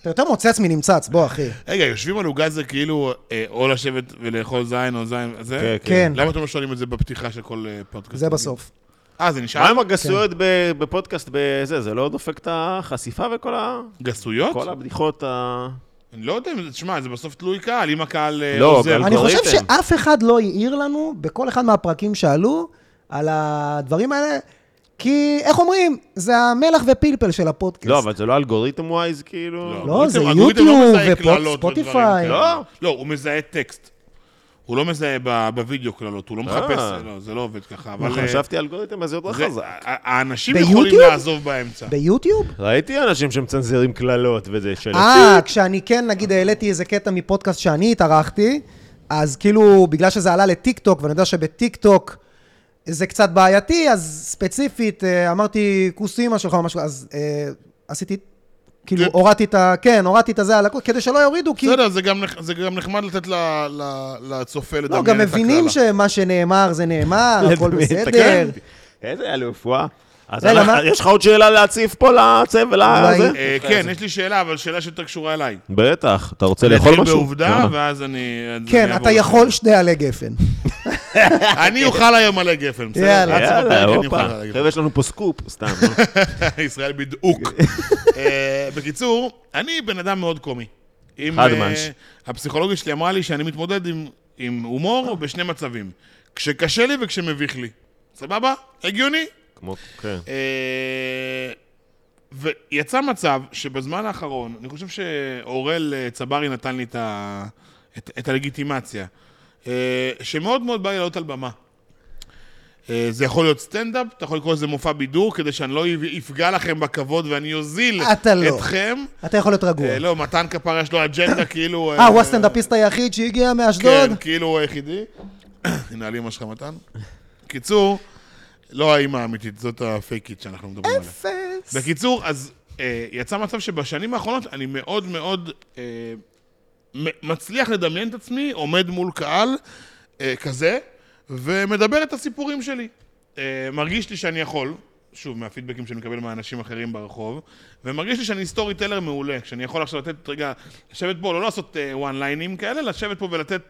A: אתה יותר מוצץ מנמצץ, בוא, אחי.
D: רגע, יושבים על עוגה זה כאילו אה, או לשבת ולאכול זין או זין, זה?
C: כן,
A: כן.
D: למה אתם לא שואלים את זה בפתיחה של כל אה, פודקאסט?
A: זה בסוף.
D: אה, זה
A: כן.
C: מה
D: נשאר
C: עם הגסויות ב- בפודקאסט בזה? זה לא דופק את החשיפה וכל ה... כל
D: גסויות? הבדיחות.
C: הבדיחות ה...
D: אני לא יודע, אם זה- תשמע, זה בסוף תלוי קהל, אם הקהל אה,
C: לא,
D: עוזר.
C: אבל-
A: אני
C: אלגוריתם.
A: חושב שאף אחד לא העיר לנו, בכל אחד מהפרקים שעלו, על הדברים האלה, כי, איך אומרים? זה המלח ופלפל של הפודקאסט.
C: לא, אבל זה לא אלגוריתם ווייז, כאילו?
A: לא, זה
D: האלגוריתם
A: יוטיוב
D: לא מזהה
A: ופוד-
D: קללות ודברים
A: ספוטיפיי.
D: כאלה.
C: לא?
D: לא, הוא מזהה טקסט. הוא לא מזהה ב- בווידאו קללות, הוא לא מחפש, לא, זה לא עובד ככה, אבל... אה,
C: אה. חשבתי אלגוריתם, אז זה יותר
D: זה-
C: חזק.
D: ה- האנשים
A: ביוטיוב?
D: יכולים לעזוב באמצע.
A: ביוטיוב?
C: ראיתי אנשים שמצנזרים קללות וזה של...
A: אה, כשאני כן, נגיד, העליתי איזה קטע מפודקאסט שאני התארחתי, אז כאילו, בגלל שזה עלה לטיק טוק, ואני יודע שבטיק טוק זה קצת בעייתי, אז ספציפית, אה, אמרתי, כוס אימא שלך או משהו, אז אה, עשיתי, כאילו,
D: כן.
A: הורדתי את ה... כן, הורדתי את הזה על הכל, כדי שלא יורידו, כי...
D: בסדר, זה גם נח- זה גם נחמד לתת ל- ל- לצופה לדמיין את
A: לא,
D: הקללה.
A: גם מבינים שמה שנאמר זה נאמר, הכל
C: לדמיין,
A: בסדר. כן,
C: תקן. כן. איזה אלוף, וואה. אז
A: רגע,
C: אנחנו-
A: מה-
C: יש לך עוד שאלה להציף פה לצבל
A: אולי-
C: הזה?
D: אה, כן, יש לי שאלה, אבל שאלה שיותר קשורה אליי.
C: בטח, אתה רוצה לאכול משהו?
D: נתחיל בעובדה,
C: אה.
D: ואז אני... אז אני
A: כן,
D: אעבור
A: אתה
D: לשאלה.
A: יכול שני עלי גפן.
D: אני אוכל היום מלא גפן, בסדר?
A: יאללה.
D: עד סוף הפרק
C: יאללה,
D: אני
C: הופה.
D: אוכל מלא גפן.
C: חבר'ה, יש לנו פה סקופ, סתם. לא? נו.
D: ישראל בדיוק. אה, בקיצור, אני בן אדם מאוד קומי. אם,
C: חד
D: אה,
C: מאנש.
D: הפסיכולוגית שלי אמרה לי שאני מתמודד עם- עם הומור בשני מצבים. כשקשה לי וכשמביך לי. סבבה? הגיוני?
C: כמו, כן.
D: אה, ויצא מצב שבזמן האחרון, אני חושב שאורל אה, צברי נתן לי את, ה... את, את הלגיטימציה, אה, שמאוד מאוד בא לי לעלות על במה. אה, זה יכול להיות סטנדאפ, אתה יכול לקרוא לזה מופע בידור, כדי שאני לא אפגע לכם בכבוד ואני אוזיל
A: אתה לא.
D: אתכם.
A: אתה יכול להיות רגוע.
D: אה, לא, מתן כפר יש לו אג'נדה כאילו...
A: אה, הוא הסטנדאפיסט היחיד שהגיע מאשדוד?
D: כן, כאילו הוא היחידי. הנה על אמא שלך מתן. קיצור, לא האמא האמיתית, זאת הפייקית שאנחנו מדברים עליה.
A: אפס.
D: בקיצור, אז אה, יצא מצב שבשנים האחרונות אני מאוד מאוד אה, מ- מצליח לדמיין את עצמי, עומד מול קהל אה, כזה, ומדבר את הסיפורים שלי. אה, מרגיש לי שאני יכול, שוב, מהפידבקים שאני מקבל מאנשים אחרים ברחוב, ומרגיש לי שאני סטורי טלר מעולה, שאני יכול עכשיו לתת, רגע, לשבת פה, לא לעשות וואן ליינים כאלה, לשבת פה ולתת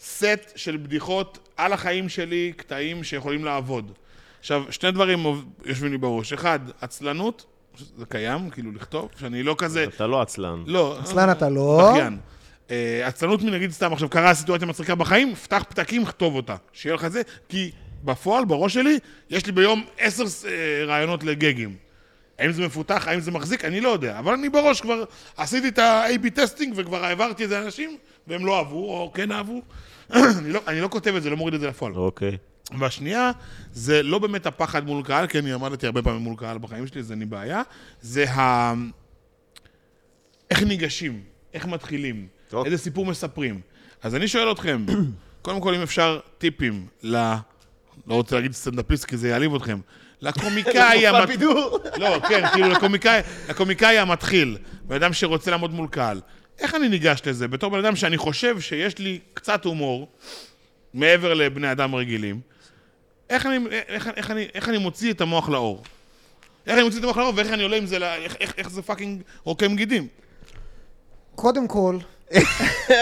D: סט של בדיחות על החיים שלי, קטעים שיכולים לעבוד. עכשיו, שני דברים עוב- יושבים לי בראש. אחד, עצלנות, זה קיים, כאילו לכתוב, שאני לא כזה...
C: אתה לא עצלן.
D: לא.
A: עצלן אתה לא.
D: בכיין. אה, עצלנות מנגיד סתם, עכשיו קרה סיטואציה מצחיקה בחיים, פתח פתקים, כתוב אותה. שיהיה לך זה, כי בפועל, בראש שלי, יש לי ביום עשר אה, רעיונות לגגים. האם זה מפותח, האם זה מחזיק, אני לא יודע. אבל אני בראש כבר עשיתי את ה-AB טסטינג וכבר העברתי את זה לאנשים, והם לא אהבו, או כן אהבו. אני, לא, אני לא כותב את זה, לא מוריד את זה לפועל.
C: אוקיי.
D: והשנייה, זה לא באמת הפחד מול קהל, כי אני עמדתי הרבה פעמים מול קהל בחיים שלי, זה אין לי בעיה, זה ה... איך ניגשים, איך מתחילים,
C: טוב.
D: איזה סיפור מספרים. אז אני שואל אתכם, קודם כל אם אפשר טיפים ל... לא רוצה להגיד סטנדאפיסט כי זה יעליב אתכם. לקומיקאי
C: למופע
D: המת... לא, כן, כאילו לקומיקאי, לקומיקאי המתחיל, בן אדם שרוצה לעמוד מול קהל. איך אני ניגש לזה? בתור בן אדם שאני חושב שיש לי קצת הומור, מעבר לבני אדם רגילים, איך אני, איך, איך, אני, איך אני מוציא את המוח לאור? איך אני מוציא את המוח לאור ואיך אני עולה עם זה, ל... איך, איך, איך זה פאקינג רוקם גידים?
A: קודם כל...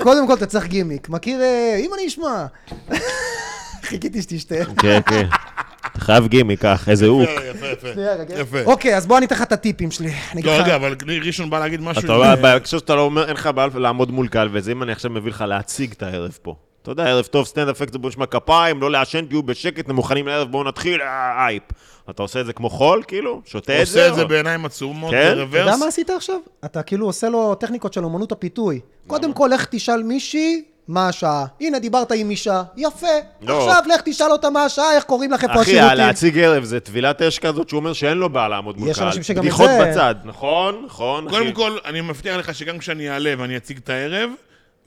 A: קודם כל אתה צריך גימיק. מכיר, אה, אם אני אשמע. חיכיתי שתשתה.
C: כן, כן. אתה חייב גימיק, קח, איזה אוק.
D: יפה, יפה.
A: שנייה, רגע.
D: יפה.
A: אוקיי, אז בוא אני אתן לך את הטיפים שלי. אני
D: לא
A: אגיד לך-
D: יודע, אבל ראשון בא להגיד משהו.
C: אתה רואה, בהקשר שאתה לא אומר, אין לך בעיה לעמוד מול קהל וזה, אם אני עכשיו מביא לך להציג את הערב פה. אתה יודע, ערב טוב, סטנד אפקט, בואו נשמע כפיים, לא לעשן, תהיו בשקט, אתם מוכנים לערב, בואו נתחיל, אה, אייפ. אתה עושה את זה כמו חול, כאילו? שותה את זה?
D: עושה את זה
C: או-
D: בעיניים עצומות,
C: כן?
A: אתה יודע
D: רוורס.
A: מה עשית עכשיו? אתה כאילו עושה לו טכניקות של אומנות הפיתוי. קודם כל, לך תשאל מישהי מה השעה. הנה, דיברת עם אישה. יפה.
C: לא.
A: עכשיו, לך תשאל אותה מה השעה, איך קוראים לך איפה
C: אחי, ה-
A: השירותים.
C: להציג ערב זה טבילת אש כזאת שהוא אומר שאין לו בעיה לעמוד מול קהל.
A: יש אנשים שגם את
C: בדיחות
A: זה-
C: בצד, נכון? נכון, אחי.
D: קודם כל, אני מבטיח לך שגם כשאני אעלה ואני אציג את הערב,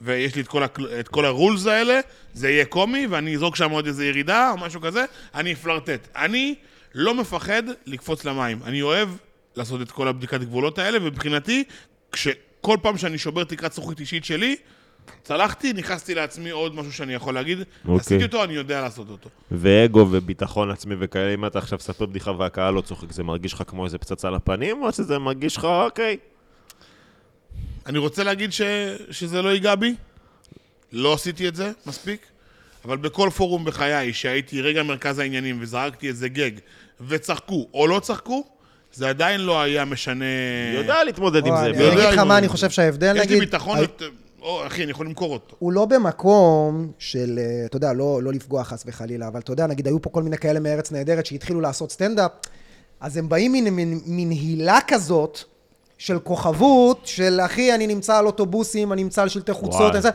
D: ויש לי את כל, הכל- את כל הרולס האלה, זה יהיה קומי, ואני אזרוק שם עוד איזה ירידה או משהו כזה, אני אפלרטט. אני לא מפחד לקפוץ למים. אני אוהב לעשות את כל הבדיקת גבולות האלה, ומבחינתי, כשכל פעם שאני שובר תקרת זכוכית אישית שלי, צלחתי, נכנסתי לעצמי עוד משהו שאני יכול להגיד.
C: אוקיי.
D: עשיתי אותו, אני יודע לעשות אותו.
C: ואגו וביטחון עצמי וכאלה, אם אתה עכשיו מספר בדיחה והקהל לא צוחק, זה מרגיש לך כמו איזה פצצה לפנים, או שזה מרגיש לך, אוקיי.
D: אני רוצה להגיד ש... שזה לא ייגע בי. לא עשיתי את זה מספיק, אבל בכל פורום בחיי שהייתי רגע מרכז העניינים וזרקתי איזה גג וצחקו או לא צחקו, זה עדיין לא היה משנה...
C: יודע להתמודד עם
A: או,
C: זה. לא
A: אני
C: בדיוק.
A: אגיד לך
D: יודע,
A: מה
D: אם-
A: אני חושב שההבדל,
D: יש לי
A: נגיד, אה,
D: ביטחון,
A: ה-
D: את... או, אחי, אני יכול למכור אותו.
A: הוא לא במקום של, אה, אתה יודע, לא, לא לפגוע חס וחלילה, אבל אתה יודע, נגיד, היו פה כל מיני כאלה מארץ נהדרת שהתחילו לעשות סטנדאפ, אז הם באים מן, מן, מן הילה כזאת של כוכבות, של אחי, אני נמצא על אוטובוסים, אני נמצא על שלטי חוצות,
C: וואי,
A: אני זה,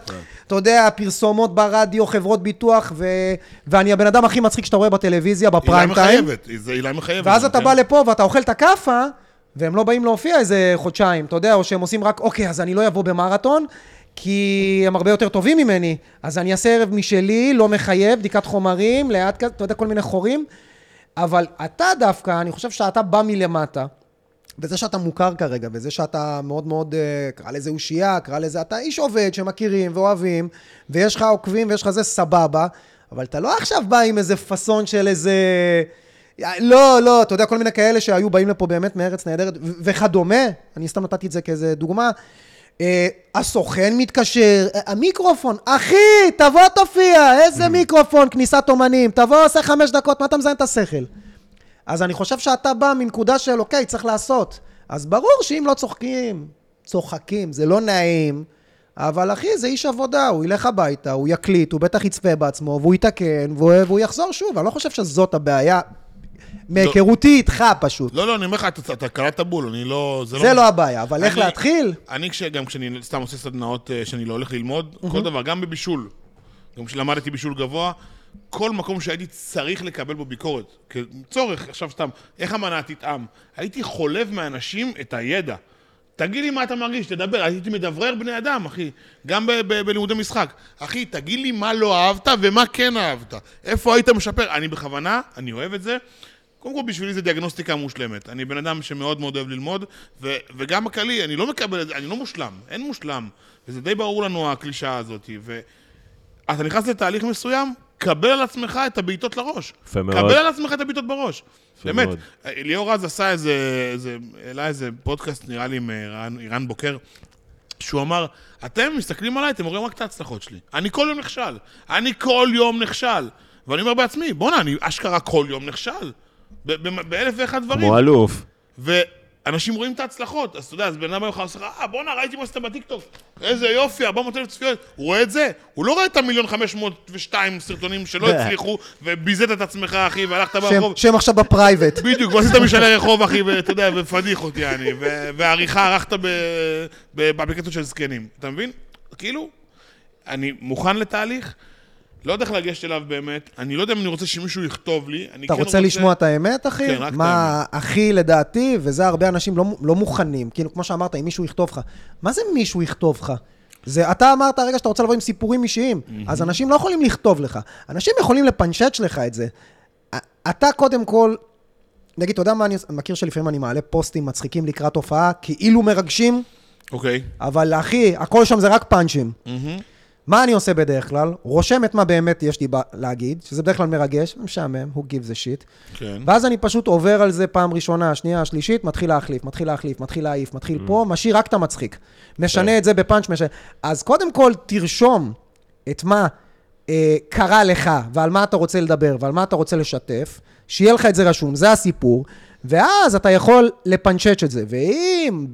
A: אתה יודע, פרסומות ברדיו, חברות ביטוח, ו, ואני הבן אדם הכי מצחיק שאתה רואה בטלוויזיה,
D: עילה
A: בפריים טיים.
D: מחייבת, זה עילה מחייבת.
A: ואז
D: כן?
A: אתה בא לפה ואתה אוכל את הכאפה, והם לא באים להופיע איזה חודשיים, אתה יודע, או שהם עושים רק, אוקיי, אז אני לא אבוא במרתון, כי הם הרבה יותר טובים ממני, אז אני אעשה ערב משלי, לא מחייב, בדיקת חומרים, לאט כזה, אתה יודע, כל מיני חורים. אבל אתה דווקא, אני חושב שאתה בא מלמטה, וזה שאתה מוכר כרגע, וזה שאתה מאוד מאוד, אה, קרא לזה אושייה, קרא לזה, אתה איש עובד שמכירים ואוהבים, ויש לך עוקבים ויש לך זה, סבבה, אבל אתה לא עכשיו בא עם איזה פאסון של איזה... לא, לא, אתה יודע, כל מיני כאלה שהיו באים לפה באמת מארץ נהדרת ו- וכדומה, אני סתם נתתי את זה כאיזה דוגמה. אה, הסוכן מתקשר, אה, המיקרופון, אחי, תבוא תופיע, איזה מיקרופון, כניסת אומנים, תבוא, עושה חמש דקות, מה אתה מזיין את השכל? אז אני חושב שאתה בא מנקודה של, אוקיי, צריך לעשות. אז ברור שאם לא צוחקים, צוחקים, זה לא נעים, אבל אחי, זה איש עבודה, הוא ילך הביתה, הוא יקליט, הוא בטח יצפה בעצמו, והוא יתקן, והוא, והוא יחזור שוב. אני לא חושב שזאת הבעיה, מהיכרותי איתך פשוט.
D: לא, לא, אני אומר לך, אתה- אתה קלעת בול, אני לא... זה,
A: זה לא הבעיה, אבל איך
D: אני- לא,
A: להתחיל?
D: אני כש- גם כשאני סתם עושה סדנאות אה, שאני לא הולך ללמוד, כל דבר, גם בבישול. גם כשלמדתי בישול גבוה, כל מקום שהייתי צריך לקבל בו ביקורת, כצורך, עכשיו סתם, איך המנה תטעם? הייתי חולב מאנשים את הידע. תגיד לי מה אתה מרגיש, תדבר, הייתי מדברר בני אדם, אחי, גם ב- ב- בלימודי משחק. אחי, תגיד לי מה לא אהבת ומה כן אהבת. איפה היית משפר? אני בכוונה, אני אוהב את זה. קודם כל, בשבילי זה דיאגנוסטיקה מושלמת. אני בן אדם שמאוד מאוד אוהב ללמוד, ו- וגם בכללי, אני לא מקבל את זה, אני לא מושלם, אין מושלם. וזה די ברור לנו הקלישאה הזאת. ו- אתה נכנס לתהליך מסוים, קבל על עצמך את הבעיטות לראש.
C: יפה מאוד.
D: קבל על עצמך את הבעיטות בראש.
C: יפה
D: באמת, אה,
C: מאוד.
D: ליאור רז עשה איזה, איזה, העלה איזה פודקאסט, נראה לי, עם אה, רן, רן בוקר, שהוא אמר, אתם מסתכלים עליי, אתם רואים רק את ההצלחות שלי. אני כל יום נכשל. אני כל יום נכשל. ואני אומר בעצמי, בואנה, אני אשכרה כל יום נכשל. ב- ב- באלף ואחד דברים.
C: כמו אלוף.
D: ואנשים רואים את ההצלחות, אז אתה יודע, אז בן אדם יכול לעשות לך, אה, בואנה, ראיתי מה עשית בטיקטוק, איזה יופי, 400 אלף צפיות, הוא רואה את זה, הוא לא רואה את המיליון 502 סרטונים שלא הצליחו, וביזית את עצמך, אחי, והלכת ברחוב.
A: שהם- שהם עכשיו בפרייבט.
D: בדיוק, ועשית משאלי רחוב, אחי, ואתה יודע, ופדיחות, יעני, ו- והעריכה ערכת ב- ב- באפליקציות של זקנים, אתה מבין? כאילו, אני מוכן לתהליך, לא יודע איך לגשת אליו באמת, אני לא יודע אם אני רוצה שמישהו יכתוב לי, אני
A: אתה
D: כן
A: רוצה לשמוע את האמת, אחי?
D: כן, רק את
A: מה, אחי, לדעתי, וזה הרבה אנשים לא, לא מוכנים. כאילו, כמו שאמרת, אם מישהו יכתוב לך. מה זה מישהו יכתוב לך? זה, אתה אמרת הרגע שאתה רוצה לבוא עם סיפורים אישיים, אז אנשים לא יכולים לכתוב לך. אנשים יכולים לפנצ'ץ' לך את זה. א- אתה קודם כל, נגיד, אתה יודע מה אני עושה? מכיר שלפעמים אני מעלה פוסטים מצחיקים לקראת הופעה, כאילו מרגשים,
D: אוקיי.
A: אבל אחי, הכל שם זה רק פאנצ'ים. מה אני עושה בדרך כלל? רושם את מה באמת יש לי ב- להגיד, שזה בדרך כלל מרגש, משעמם, who gives a shit.
D: כן.
A: ואז אני פשוט עובר על זה פעם ראשונה, שנייה, שלישית, מתחיל להחליף, מתחיל להחליף, מתחיל להעיף, מתחיל פה, משאיר רק את המצחיק. משנה את זה בפאנץ', משנה. אז קודם כל, תרשום את מה אה, קרה לך, ועל מה אתה רוצה לדבר, ועל מה אתה רוצה לשתף, שיהיה לך את זה רשום, זה הסיפור, ואז אתה יכול לפנצ'ץ' את זה. ואם...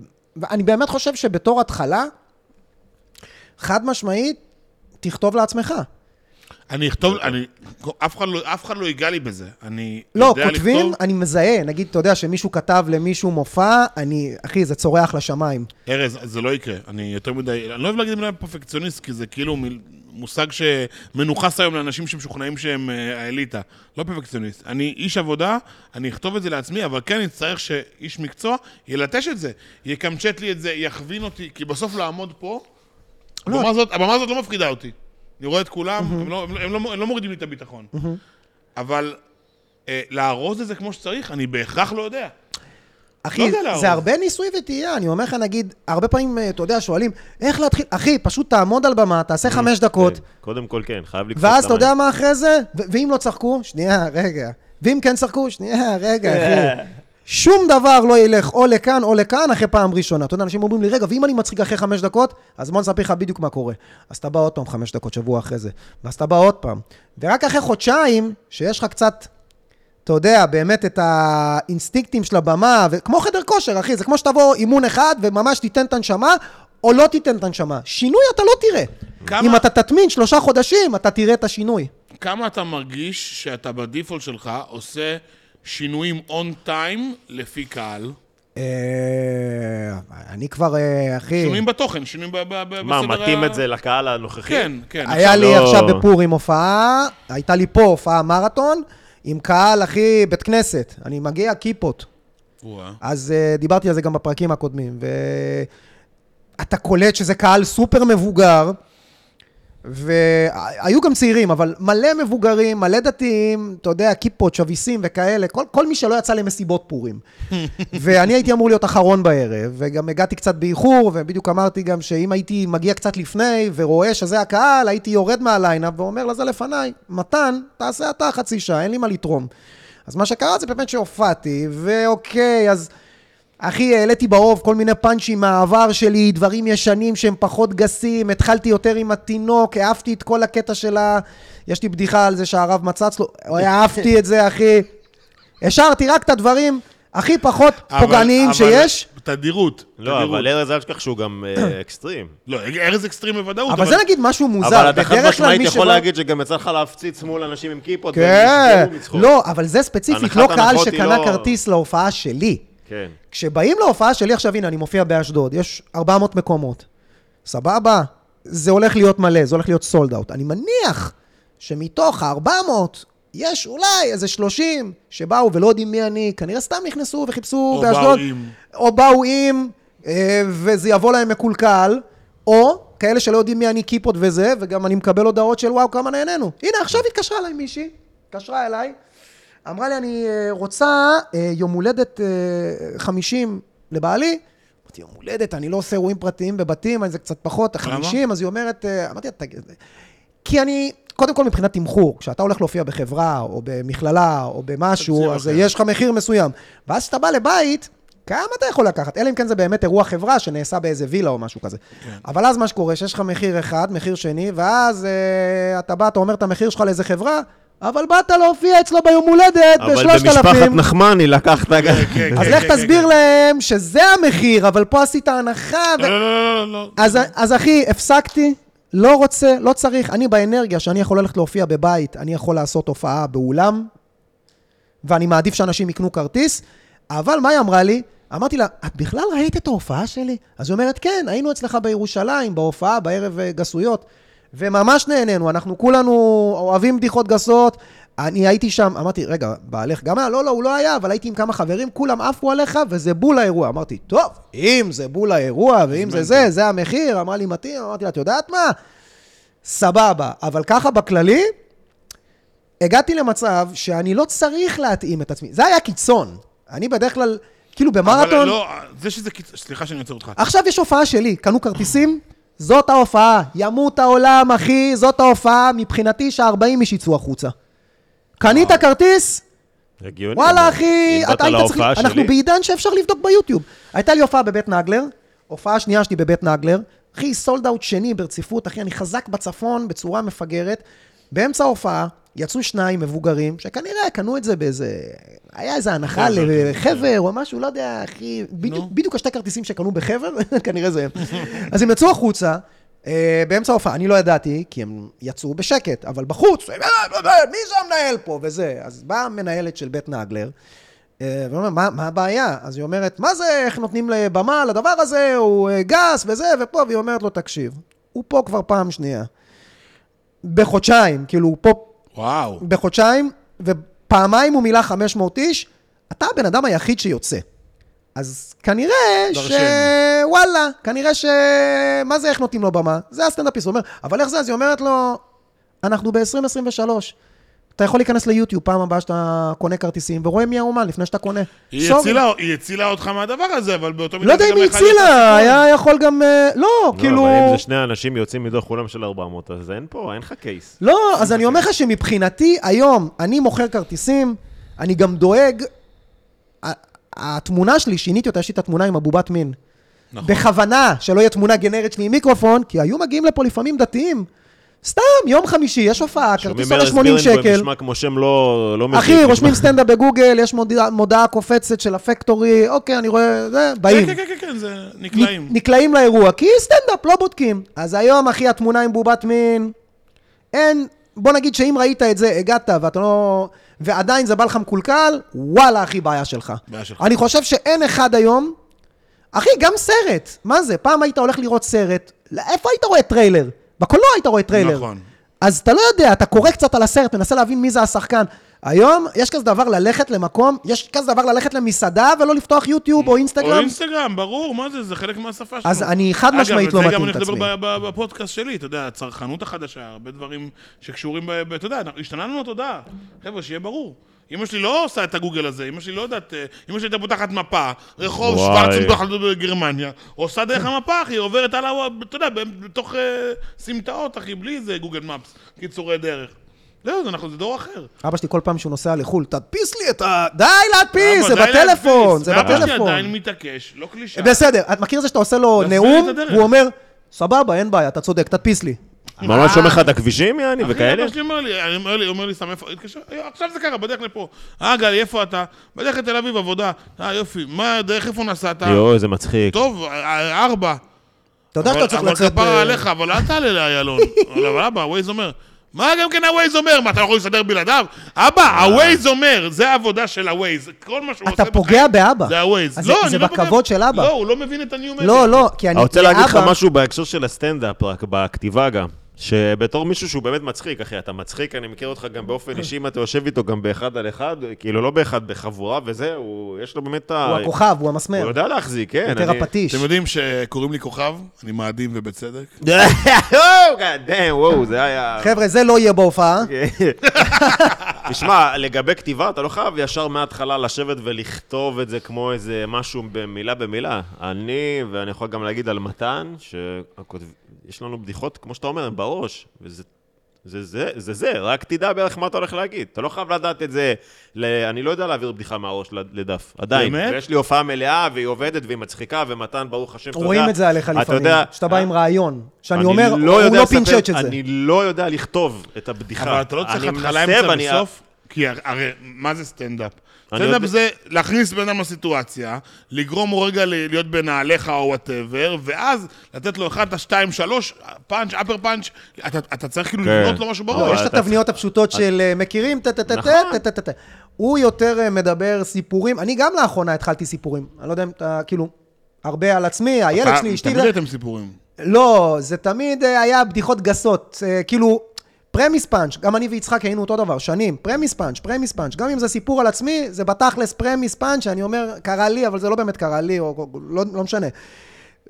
A: אני באמת חושב שבתור התחלה, חד משמעית, תכתוב לעצמך.
D: אני אכתוב, אני, אף אחד לא, אף אחד לא ייגע לי בזה. אני
A: לא,
D: יודע
A: כותבים,
D: לכתוב,
A: אני מזהה, נגיד, אתה יודע שמישהו כתב למישהו מופע, אני, אחי, זה צורח לשמיים.
D: ארז, זה לא יקרה. אני יותר מדי, אני לא אוהב להגיד מילה פרפקציוניסט, כי זה כאילו מיל- מושג שמנוכס היום לאנשים שמשוכנעים שהם אה, האליטה. לא פרפקציוניסט. אני איש עבודה, אני אכתוב את זה לעצמי, אבל כן אני אצטרך שאיש מקצוע ילטש את זה, יקמצ'ט לי את זה, יכווין אותי, כי בסוף לעמוד פה, הבמה הזאת- הבמה הזאת לא מפחידה אותי. אני רואה את כולם, הם לא- הם לא- הם לא- הם לא מורידים לי את הביטחון. אבל אה, לארוז את זה כמו שצריך, אני בהכרח לא יודע. לא
A: אחי,
D: יודע לארוז.
A: זה הרבה ניסוי וטעייה, אני אומר לך, נגיד, הרבה פעמים, אה, אתה יודע, שואלים, איך להתחיל, אחי, פשוט תעמוד על במה, תעשה
D: אה,
A: חמש דקות,
C: כן, קודם כל כן, חייב לקפוץ
A: ואז אתה יודע מה אחרי זה? ו- ואם לא צחקו, שנייה, רגע. ואם כן צחקו, שנייה, רגע, אחי. שום דבר לא ילך או לכאן או לכאן אחרי פעם ראשונה. אתה יודע, אנשים אומרים לי, רגע, ואם אני מצחיק אחרי חמש דקות, אז בוא נספר לך בדיוק מה קורה. אז אתה בא עוד פעם חמש דקות שבוע אחרי זה, ואז אתה בא עוד פעם. ורק אחרי חודשיים, שיש לך קצת אתה יודע, באמת את האינסטינקטים של הבמה, וכמו חדר כושר, אחי, זה כמו שתבוא אימון אחד וממש תיתן את הנשמה, או לא תיתן את הנשמה. שינוי אתה לא תראה.
D: כמה-
A: כמה... אם אתה תטמין שלושה חודשים, אתה תראה את השינוי.
D: כמה אתה מרגיש שאתה בדיפולט שלך עושה שינויים און טיים לפי קהל?
A: אה, אני כבר, אה, אחי,
D: שינויים בתוכן, שינויים ב- ב- ב-
C: מה,
D: בסדר
C: מתאים
D: ה-
C: את זה לקהל הנוכחי?
D: כן, כן.
A: היה לי
C: לא-
A: עכשיו בפורים הופעה, הייתה לי פה הופעה מרתון, עם קהל, אחי, בית כנסת. אני מגיע קיפות.
D: וואה.
A: אז uh, דיברתי על זה גם בפרקים הקודמים, ואתה קולט שזה קהל סופר מבוגר, והיו גם צעירים, אבל מלא מבוגרים, מלא דתיים, אתה יודע, כיפות, שביסים וכאלה, כל, כל מי שלא יצא למסיבות פורים. ואני הייתי אמור להיות אחרון בערב, וגם הגעתי קצת באיחור, ובדיוק אמרתי גם שאם הייתי מגיע קצת לפני ורואה שזה הקהל, הייתי יורד מהליינאפ ואומר לזה לפניי, מתן, תעשה אתה חצי שעה, אין לי מה לתרום. אז מה שקרה זה באמת שהופעתי, ואוקיי, אז... אחי, העליתי ברוב כל מיני פאנצ'ים מהעבר שלי, דברים ישנים שהם פחות גסים, התחלתי יותר עם התינוק, העפתי את כל הקטע של ה... יש לי בדיחה על זה שהרב מצץ לו, העפתי את זה, אחי. השארתי רק את הדברים הכי פחות
D: אבל-
A: פוגעניים
D: אבל-
A: שיש.
D: תדירות.
C: לא,
D: תדירות.
C: אבל ארז, אל תשכח שהוא גם אה, אקסטרים.
D: לא, ארז אקסטרים בוודאות.
A: אבל זה נגיד משהו מוזר.
C: אבל אתה חד
A: בדרך כלל
C: משמעית
A: מי
C: יכול
A: שבא-
C: להגיד שגם יצא לך להפציץ מול אנשים עם כיפות, והם
A: כן.
C: נפגעו מצחוק.
A: לא, אבל זה ספציפית,
C: הנחת
A: לא קהל
C: הנחות היא
A: שקנה
C: לא-
A: כרטיס להופעה שלי.
C: כן.
A: כשבאים להופעה שלי, עכשיו הנה, אני מופיע באשדוד, יש 400 מקומות. סבבה? זה הולך להיות מלא, זה הולך להיות סולד אאוט. אני מניח שמתוך ה-400, יש אולי איזה 30 שבאו ולא יודעים מי אני, כנראה סתם נכנסו וחיפשו
D: או לא באו
A: באשדוד.
D: עם.
A: או באו עם, אה, וזה יבוא להם מקולקל, או כאלה שלא יודעים מי אני קיפות וזה, וגם אני מקבל הודעות של וואו, כמה נהנינו. הנה, עכשיו התקשרה אליי מישהי, התקשרה אליי, אמרה לי, אני אה, רוצה אה, יום הולדת אה, 50 לבעלי. אמרתי, יום הולדת, אני לא עושה אירועים פרטיים בבתים, אני זה קצת פחות,
D: למה?
A: 50, אז היא אומרת, אה, אמרתי, לה, תגיד, כי אני, קודם כל מבחינת תמחור, כשאתה הולך להופיע בחברה, או במכללה, או במשהו,
D: תקציב
A: אז
D: אחר.
A: יש לך מחיר מסוים. ואז כשאתה בא לבית, כמה אתה יכול לקחת? אלא אם כן זה באמת אירוע חברה שנעשה באיזה וילה או משהו כזה.
D: כן.
A: אבל אז מה שקורה, שיש לך מחיר אחד, מחיר שני, ואז אה, אתה בא, אתה אומר את המחיר שלך לאיזה חברה, אבל באת להופיע אצלו ביום הולדת
C: אבל
A: בשלושת
C: במשפחת
A: אלפים.
C: נחמני לקחת גם...
D: כן,
A: אז
D: כן,
A: לך
D: כן,
A: תסביר
D: כן.
A: להם שזה המחיר, אבל פה עשית הנחה, ו...
D: לא, לא, לא, לא, לא.
A: אז, אז אחי, הפסקתי, לא רוצה, לא צריך. אני באנרגיה שאני יכול ללכת להופיע בבית, אני יכול לעשות הופעה באולם, ואני מעדיף שאנשים יקנו כרטיס, אבל מה היא אמרה לי? אמרתי לה, את בכלל ראית את ההופעה שלי? אז היא אומרת, כן, היינו אצלך בירושלים, בהופעה, בערב אה, גסויות. וממש נהנינו, אנחנו כולנו אוהבים בדיחות גסות. אני הייתי שם, אמרתי, רגע, בעלך גם היה? לא, לא, הוא לא היה, אבל הייתי עם כמה חברים, כולם עפו עליך, וזה בול האירוע. אמרתי, טוב, אם זה בול האירוע, ואם זה זה, זה המחיר, אמרה לי מתאים, אמרתי לה, את יודעת מה? סבבה. אבל ככה בכללי, הגעתי למצב שאני לא צריך להתאים את עצמי. זה היה קיצון. אני בדרך כלל, כאילו
D: אבל
A: במרתון,
D: לא, זה שזה קיצ... סליחה שאני עוצר אותך.
A: עכשיו יש הופעה שלי, קנו כרטיסים, זאת ההופעה. ימות העולם, אחי, זאת ההופעה. מבחינתי שה-40 איש יצאו החוצה. קנית כרטיס?
C: הגיוני.
A: וואלה,
C: אבל
A: אחי,
C: אה. אם באת
A: אתה היית צריך...
C: להופעה שלי-
A: אנחנו בעידן שאפשר לבדוק ביוטיוב. הייתה לי הופעה בבית נגלר, הופעה שנייה שלי בבית נגלר. אחי, סולד אאוט שני ברציפות, אחי, אני חזק בצפון בצורה מפגרת. באמצע ההופעה יצאו שניים מבוגרים, שכנראה קנו את זה באיזה... היה איזה הנחה לחבר או משהו, לא יודע, אחי, בדיוק- בדיוק השתי כרטיסים שקנו בחבר, כנראה זה הם. אז הם יצאו החוצה. אה, באמצע ההופעה, אני לא ידעתי, כי הם יצאו בשקט, אבל בחוץ, "אה, אה, אה, מי זה המנהל פה? וזה. אז באה המנהלת של בית נגלר, אה, ואומר, מה, מה הבעיה? אז היא אומרת, מה זה, איך נותנים במה לדבר הזה, הוא אה, גס וזה ופה, והיא אומרת לו, תקשיב, הוא פה כבר פעם שנייה. בחודשיים, כאילו, הוא פה
D: וואו.
A: בחודשיים, ופעמיים הוא מילא 500 איש, אתה הבן אדם היחיד שיוצא. אז כנראה ש...
D: דרשני.
A: וואלה, כנראה ש... מה זה, איך נותנים לו במה? זה הסטנדאפיסט, הוא אומר, אבל איך זה? אז היא אומרת לו, אנחנו ב-2023. אתה יכול להיכנס ליוטיוב פעם הבאה שאתה קונה כרטיסים, ורואה מי האומן לפני שאתה קונה.
D: היא
A: Sorry.
D: הצילה, היא הצילה אותך מהדבר הזה, אבל באותו מידה...
A: לא יודע
D: זה
A: אם
D: גם
A: היא
D: יכול להיות
A: הצילה,
D: הסיכון.
A: היה יכול גם... אה, לא,
C: לא,
A: כאילו...
C: אבל אם זה שני אנשים יוצאים מתוך אולם של 400, אז אין פה, אין לך קייס.
A: לא, אז אני אומר לך שמבחינתי, היום אני מוכר כרטיסים, אני גם דואג... ה- התמונה שלי, שיניתי אותה, יש לי את התמונה עם הבובת מין.
D: נכון.
A: בכוונה, שלא יהיה תמונה גנרית שלי עם מיקרופון, כי היו מגיעים לפה לפעמים דתיים. סתם, יום חמישי, יש הופעה, כרטיס עולה 80 שקל.
C: נשמע כמו שם לא... לא
A: אחי,
C: מזיק,
A: רושמים
C: נשמע-
A: סטנדאפ בגוגל, יש מודעה- מודעה קופצת של הפקטורי, אוקיי, אני רואה, זה, באים.
D: כן, כן, כן, כן, זה
A: נקלעים.
D: נקלעים.
A: נקלעים לאירוע, כי סטנדאפ, לא בודקים. אז היום, אחי, התמונה עם בובת מין, אין, בוא נגיד שאם ראית את זה, הגעת ואתה לא... ועדיין זה בא לך מקולקל, וואלה, אחי, בעיה שלך.
D: בעיה שלך.
A: אני חושב שאין אחד היום... אחי, גם סרט, מה זה? פעם היית הולך לראות סרט, לא- איפה היית רואה טריילר? בקולנוע היית רואה טריילר.
D: נכון.
A: אז אתה לא יודע, אתה קורא קצת על הסרט, מנסה להבין מי זה השחקן. היום יש כזה דבר ללכת למקום, יש כזה דבר ללכת למסעדה ולא לפתוח יוטיוב או
D: או
A: אינסטגרם.
D: אינסטגרם, ברור, מה זה, זה חלק מהשפה שלנו.
A: אז אני חד משמעית לא
D: אגב,
A: מתאים
D: על זה
A: את
D: גם אני
A: עצמי.
D: הולך לדבר ב- ב- בפודקאסט שלי, אתה יודע, הצרכנות החדשה, הרבה דברים שקשורים, ב- ב- אתה יודע, אנחנו- השתנה לנו התודעה. חבר'ה, שיהיה ברור. אמא שלי לא עושה את הגוגל הזה, אמא שלי לא יודעת, אה, אמא שלי הייתה פותחת מפה, רחוב
C: וואי.
D: שוורצנבלך בגרמניה, עושה דרך המפה, אחי, עוברת על ה... אתה יודע, ב- בתוך אה, סמטאות, אחי, בלי איזה גוגל מפס, קיצורי דרך. לא, זה אנחנו, זה דור אחר.
A: אבא שלי כל פעם שהוא נוסע לחו"ל, תדפיס לי את ה... די להדפיס,
D: אבא,
A: זה
D: די
A: בטלפון,
D: להדפיס.
A: זה
D: ואבא שלי
A: בטלפון. אה,
D: עדיין מתעקש, לא קלישה.
A: בסדר, את מכיר זה שאתה עושה לו
D: להסביר לי את
A: נאום,
D: הדרך.
A: הוא אומר, סבבה, אין בעיה, אתה צודק, תדפיס לי.
C: ממש שומע לך את הכבישים, יעני, וכאלה?
D: אבא שלי אומר לי, אני אומר לי, אומר לי, סתם איפה, התקשר, "אה, עכשיו זה קרה, בדרך לפה. אה, גל, איפה אתה? בדרך לתל אביב, עבודה. אה, יופי, מה, דרך איפה נסעת?
C: יואו, איזה מצחיק.
D: טוב, אה, ארבע.
A: אתה יודע שאתה צריך לצאת... אה, ב-
D: אבל כפרה עליך, אבל אל תעלה לאיילון. אבל אבל אבא, הווייז אומר. מה גם כן הווייז אומר? מה, אתה לא יכול להסתדר בלעדיו? אבא, הווייז אומר, זה העבודה של הווייז. כל מה שהוא עושה
A: אתה פוגע באבא.
D: זה הווייז.
A: אז
D: לא,
A: זה-
D: אני
A: זה
D: לא פוגע.
A: בכבוד של אבא.
D: לא, הוא לא מבין את הניו מדיה.
A: לא, לא, כי אני...
C: אני רוצה להגיד לך
A: אבא-
C: משהו בהקשר של הסטנדאפ, רק בכתיבה גם. שבתור מישהו שהוא באמת מצחיק, אחי, אתה מצחיק, אני מכיר אותך גם באופן אישי, אם אתה יושב איתו גם באחד על אחד, כאילו לא באחד, בחבורה וזה, הוא, יש לו באמת את ה...
A: הוא הכוכב, הוא
C: הוא
A: המסמר.
C: יודע להחזיק, כן.
A: יותר
C: אני-
A: הפטיש.
D: אתם יודעים שקוראים לי כוכב? אני מאדים ובצדק.
C: וואו, Oh, God damn, וואו, זה היה...
A: חבר'ה, זה לא יהיה בהופעה.
C: תשמע, לגבי כתיבה, אתה לא חייב ישר מההתחלה לשבת ולכתוב את זה כמו איזה משהו במילה במילה. אני, ואני יכול גם להגיד על מתן, שיש לנו בדיחות, כמו שאתה אומר, הן בראש, וזה... זה זה, זה זה, רק תדע בערך מה אתה הולך להגיד. אתה לא חייב לדעת את זה, ל... אני לא יודע להעביר בדיחה מהראש לד- לדף, עדיין.
D: באמת?
C: ויש לי הופעה מלאה, והיא עובדת, והיא מצחיקה, ומתן, ברוך השם, אתה יודע...
A: רואים את זה עליך
C: אתה
A: לפעמים.
C: יודע-
A: שאתה בא עם רעיון, שאני
C: אני
A: אומר, הוא
C: יודע
A: לא
C: לספר-
A: פינצ'ץ' את זה.
C: אני לא יודע לכתוב את הבדיחה.
D: אבל אתה לא צריך
C: אני
D: התחלה,
C: מנסה
D: אמצע
C: ואני-
D: וסוף, כי הר- הרי מה זה סטנדאפ?
C: אני
D: סטנדאפ
C: יודע-
D: זה להכניס בן אדם לסיטואציה, לגרום לו רגע ל- להיות בנעליך או וואטאבר, ואז לתת לו אחד, שתיים, שלוש, פאנץ', אפר פאנץ', אתה אתה צריך כאילו
C: כן.
D: לבנות לו משהו
C: לא,
A: לא,
D: בראש.
A: יש את
C: אתה-
A: התבניות הפשוטות של אה, מכירים, טה טה טה טה
C: נכון.
A: טה טה טה טה. הוא יותר אה, מדבר סיפורים, אני גם לאחרונה התחלתי סיפורים. אני לא יודע אם אתה, כאילו, הרבה על עצמי, הילד
D: אתה-
A: שלי, אשתי...
D: תמיד הייתם סיפורים.
A: לא, זה תמיד אה, היה בדיחות גסות. אה, כאילו, פרמיס פאנץ', גם אני ויצחק היינו אותו דבר, שנים. פרמיס פאנץ', פרמיס פאנץ'. גם אם זה סיפור על עצמי, זה בתכלס פרמיס פאנץ', אני אומר, קרה לי, אבל זה לא באמת קרה לי, או או- לא, לא משנה.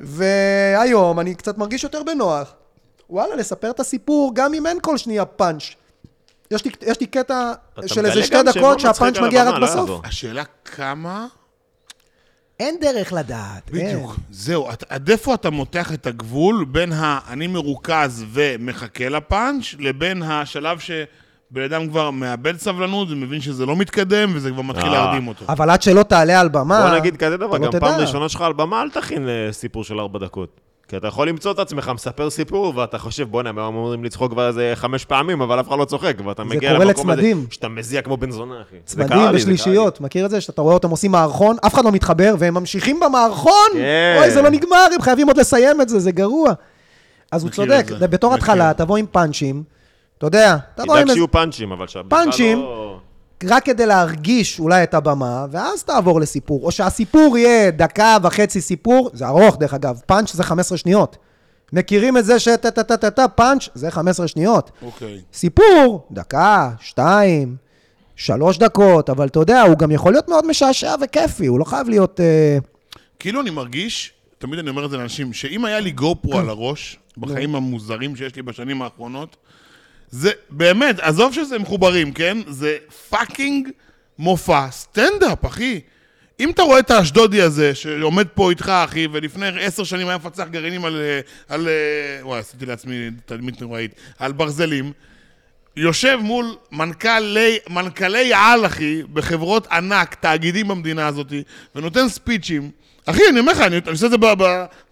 A: והיום אני קצת מרגיש יותר בנוח. וואלה, לספר את הסיפור, גם אם אין כל שנייה פאנץ'. יש לי, יש לי קטע
C: אתה
A: של
C: מגלה
A: איזה
C: גם
A: שתי
C: שהם לא
A: דקות שהפאנץ'
C: מצחיק על
A: מגיע
C: הבמה,
A: רק
C: לא
A: בסוף.
C: יעזור.
D: השאלה כמה...
A: אין דרך לדעת. אין.
D: בדיוק, כן. זהו, את- עד איפה אתה מותח את הגבול בין ה- אני מרוכז ומחכה לפאנץ', לבין השלב שבן אדם כבר מאבד סבלנות ומבין שזה לא מתקדם וזה כבר מתחיל
C: אה.
D: להרדים אותו.
A: אבל עד שלא תעלה על במה,
C: בוא נגיד כזה דבר,
A: אתה לא
C: גם
A: תדע.
C: פעם ראשונה שלך על במה, אל תכין אה, סיפור של ארבע דקות. כי אתה יכול למצוא את עצמך, מספר סיפור, ואתה חושב, בואנה, הם אמורים לצחוק כבר איזה חמש פעמים, אבל אף אחד לא צוחק, ואתה מגיע
A: קורה
C: למקום הזה,
A: לצמדים.
C: שאתה מזיע כמו בן זונה, אחי. זה קרה
A: צמדים
C: לי, זה קרה
A: ושלישיות, מכיר את זה? שאתה רואה אותם עושים מערכון, אף אחד לא מתחבר, והם ממשיכים במערכון!
C: כן.
A: אוי, זה לא נגמר, הם חייבים עוד לסיים את זה, זה גרוע. אז הוא
D: מכיר
A: צודק,
D: את זה,
A: זה בתור
D: מכיר.
A: התחלה, תבוא עם פאנצ'ים, אתה יודע, תבוא
C: לי.
A: עם
C: תדאג
A: איזה...
C: שיהיו פאנצ'ים, אבל שהבדיחה
A: פאנצ'ים.
C: לא-
A: רק כדי להרגיש אולי את הבמה, ואז תעבור לסיפור. או שהסיפור יהיה דקה וחצי סיפור, זה ארוך דרך אגב, פאנץ' זה 15 שניות. מכירים את זה שטה-טה-טה-טה, פאנץ' זה 15 שניות.
D: אוקיי.
A: סיפור, דקה, שתיים, שלוש דקות, אבל אתה יודע, הוא גם יכול להיות מאוד משעשע וכיפי, הוא לא חייב להיות... אה,
D: כאילו אני מרגיש, תמיד אני אומר את זה לאנשים, שאם היה לי גו פרו על הראש, בחיים המוזרים שיש לי בשנים האחרונות, זה באמת, עזוב שזה מחוברים, כן? זה פאקינג מופע סטנדאפ, אחי. אם אתה רואה את האשדודי הזה, שעומד פה איתך, אחי, ולפני עשר שנים היה מפצח גרעינים על... אה, על... אה, וואי, עשיתי לעצמי תדמית נוראית. על ברזלים. יושב מול מנכ"לי, מנכ"לי על, אחי, בחברות ענק, תאגידים במדינה הזאת, ונותן ספיצ'ים. אחי, אני אומר לך, אני, אני עושה את זה ב, ב,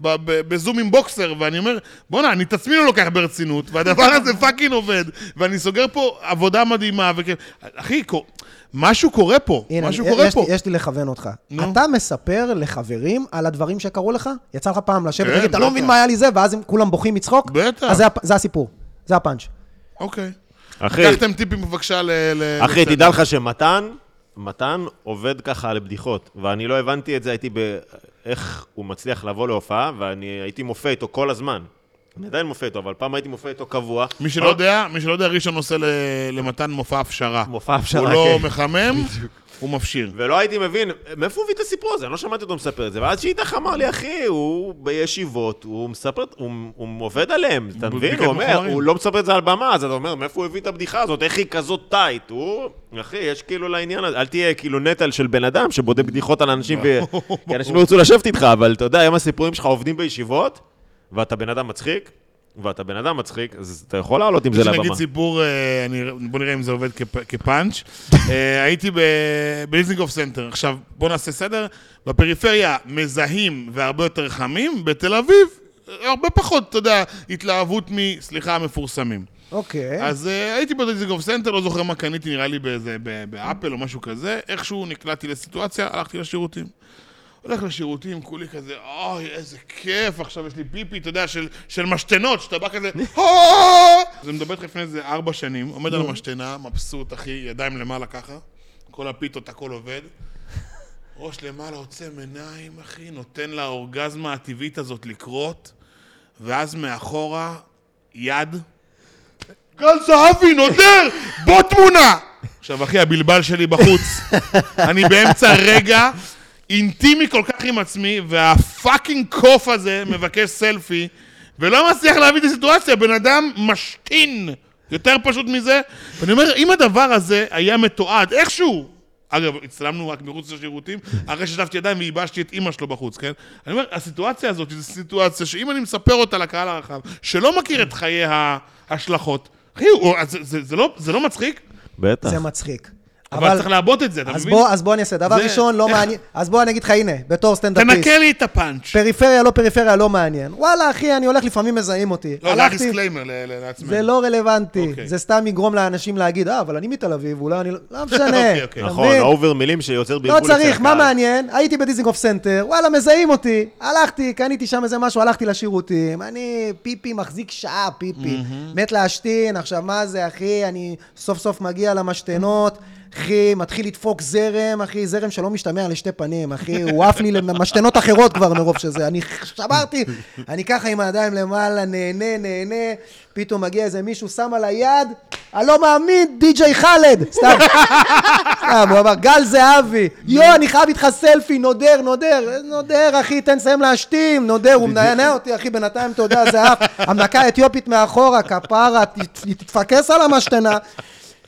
D: ב, ב, בזום עם בוקסר, ואני אומר, בואנה, אני את עצמי לא לוקח ברצינות, והדבר הזה פאקינג עובד, ואני סוגר פה עבודה מדהימה, וכן... אחי, קור... משהו קורה פה,
A: הנה,
D: משהו
A: יש-
D: קורה
A: יש,
D: פה.
A: לי- יש לי לכוון אותך.
D: נו.
A: אתה מספר לחברים על הדברים שקרו לך? יצא לך פעם לשבת
D: כן,
A: ולהגיד, אתה לא
D: בטח.
A: מבין מה היה לי זה, ואז הם כולם בוכים מצחוק?
D: בטח.
A: אז זה, הפ- זה הסיפור, זה הפאנץ'.
D: אוקיי.
C: אחי,
D: לקחתם טיפים בבקשה ל... ל-
C: אחי,
D: לסדר.
C: תדע לך שמתן, מתן עובד ככה על בדיחות, ואני לא הבנתי את זה, הייתי ב... איך הוא מצליח לבוא להופעה, ואני הייתי מופיע איתו כל הזמן. אני עדיין מופיע איתו, אבל פעם הייתי מופיע איתו קבוע.
D: מי שלא יודע, מי שלא יודע, ראשון עושה ל- למתן מופע הפשרה.
C: מופע הפשרה,
D: הוא לא
C: כן.
D: מחמם, הוא מפשיר.
C: ולא הייתי מבין, מאיפה הוא הביא את הסיפור הזה? אני לא שמעתי אותו מספר את זה. ואז שאיתך אמר לי, אחי, הוא בישיבות, הוא מספר, הוא, הוא עובד עליהם, אתה מבין?
D: בבדיקת
C: הוא אומר,
D: מחומרים.
C: הוא לא מספר את זה על במה, אז אתה אומר, מאיפה הוא הביא את הבדיחה הזאת? איך היא כזאת טייט? הוא, אחי, יש כאילו לעניין הזה, אל תהיה כאילו נטל של בן אדם שבודק בדיחות על אנשים, ו... כי אנשים לא ירצו לשבת איתך, אבל אתה יודע, היום הסיפורים שלך עובדים בישיבות, ואתה בן אדם מצחיק, ואתה בן אדם מצחיק, אז אתה יכול לעלות עם זה
D: יש לי נגיד
C: לבמה.
D: סיפור, אה, אני- בוא נראה אם זה עובד כפ- כפאנץ'. אה, הייתי ב- בליזנגוף סנטר. עכשיו, בוא נעשה סדר. בפריפריה מזהים והרבה יותר חמים, בתל אביב אה, הרבה פחות, אתה יודע, התלהבות מ... סליחה, המפורסמים.
A: אוקיי.
D: אז אה, הייתי בדיזינגוף סנטר, לא זוכר מה קניתי, נראה לי באיזה, ב- באפל או משהו כזה, איכשהו נקלעתי לסיטואציה, הלכתי לשירותים. הולך לשירותים, כולי כזה, אוי, איזה כיף, עכשיו יש לי פיפי, אתה יודע, של, של משתנות, שאתה בא כזה, "אה!" זה מדבר איתך לפני איזה ארבע שנים, עומד על המשתנה, מבסוט, אחי, ידיים למעלה ככה, כל הפיתות, הכל עובד. ראש למעלה, עוצם עיניים, אחי, נותן לאורגזמה הטבעית הזאת לקרות, ואז מאחורה, יד, גל זהבי נודר, בוא תמונה! עכשיו, אחי, הבלבל שלי בחוץ. אני באמצע רגע אינטימי כל כך עם עצמי, והפאקינג קוף הזה מבקש סלפי, ולא מצליח להביא את הסיטואציה, בן אדם משתין. יותר פשוט מזה. ואני אומר, אם הדבר הזה היה מתועד איכשהו, אגב, הצטלמנו רק מחוץ לשירותים, אחרי ששטפתי ידיים וייבשתי את אימא שלו בחוץ, כן? אני אומר, הסיטואציה הזאת, זו סיטואציה שאם אני מספר אותה לקהל הרחב, שלא מכיר את חיי ההשלכות, אחי, הוא- אז זה, זה, זה, לא, זה לא מצחיק,
C: בטח.
A: זה מצחיק.
D: אבל, צריך לעבות את זה, אתה
A: אז
D: מבין?
A: בוא, אז בוא אני אעשה, דבר
D: זה-
A: ראשון, לא
D: איך-
A: מעניין, אז בוא אני אגיד לך, הנה, בתור סטנדאפיסט,
D: תנקה לי את הפאנץ'.
A: פריפריה, לא פריפריה, לא מעניין. וואלה, אחי, אני הולך, לפעמים מזהים אותי.
D: לא, זה היה
A: הלכתי-
D: דיסקליימר ל- ל- לעצמנו.
A: זה לא רלוונטי,
D: אוקיי.
A: זה סתם יגרום לאנשים להגיד, אה, אבל אני מתל אביב, אולי אני... לא- לא משנה,
D: אוקיי, אוקיי.
A: אתה
C: נכון,
A: מבין?
C: אובר מילים שיוצר בלבול
A: לא
C: אצל
A: צריך, מה
C: הקהל.
A: מעניין? הייתי בדיזינגוף סנטר, וואלה, מזהים אותי. הלכתי, קניתי שם איזה משהו, הלכתי לשירותים. אני פיפי מחזיק שעה, פיפי. מת להשתין, עכשיו מה זה, אחי? אני סוף סוף מגיע למשתנות. אחי, מתחיל לדפוק זרם, אחי, זרם שלא משתמע לשתי פנים, אחי, הוא עף לי למשתנות אחרות כבר מרוב שזה, אני שברתי, אני ככה עם הידיים למעלה, נהנה, נהנה, פתאום מגיע איזה מישהו, שם על היד, אני לא מאמין, די.ג'יי חאלד, סתם, סתם, הוא אמר, גל זהבי, יו, אני חייב איתך סלפי, נודר, נודר, נודר, אחי, תן לסיים להשתים, נודר, הוא מנענע אותי, אחי, בינתיים, אתה יודע, זה אף, המנקה האתיופית מאחורה, כפרה, ת- תתפקס על המשתנה.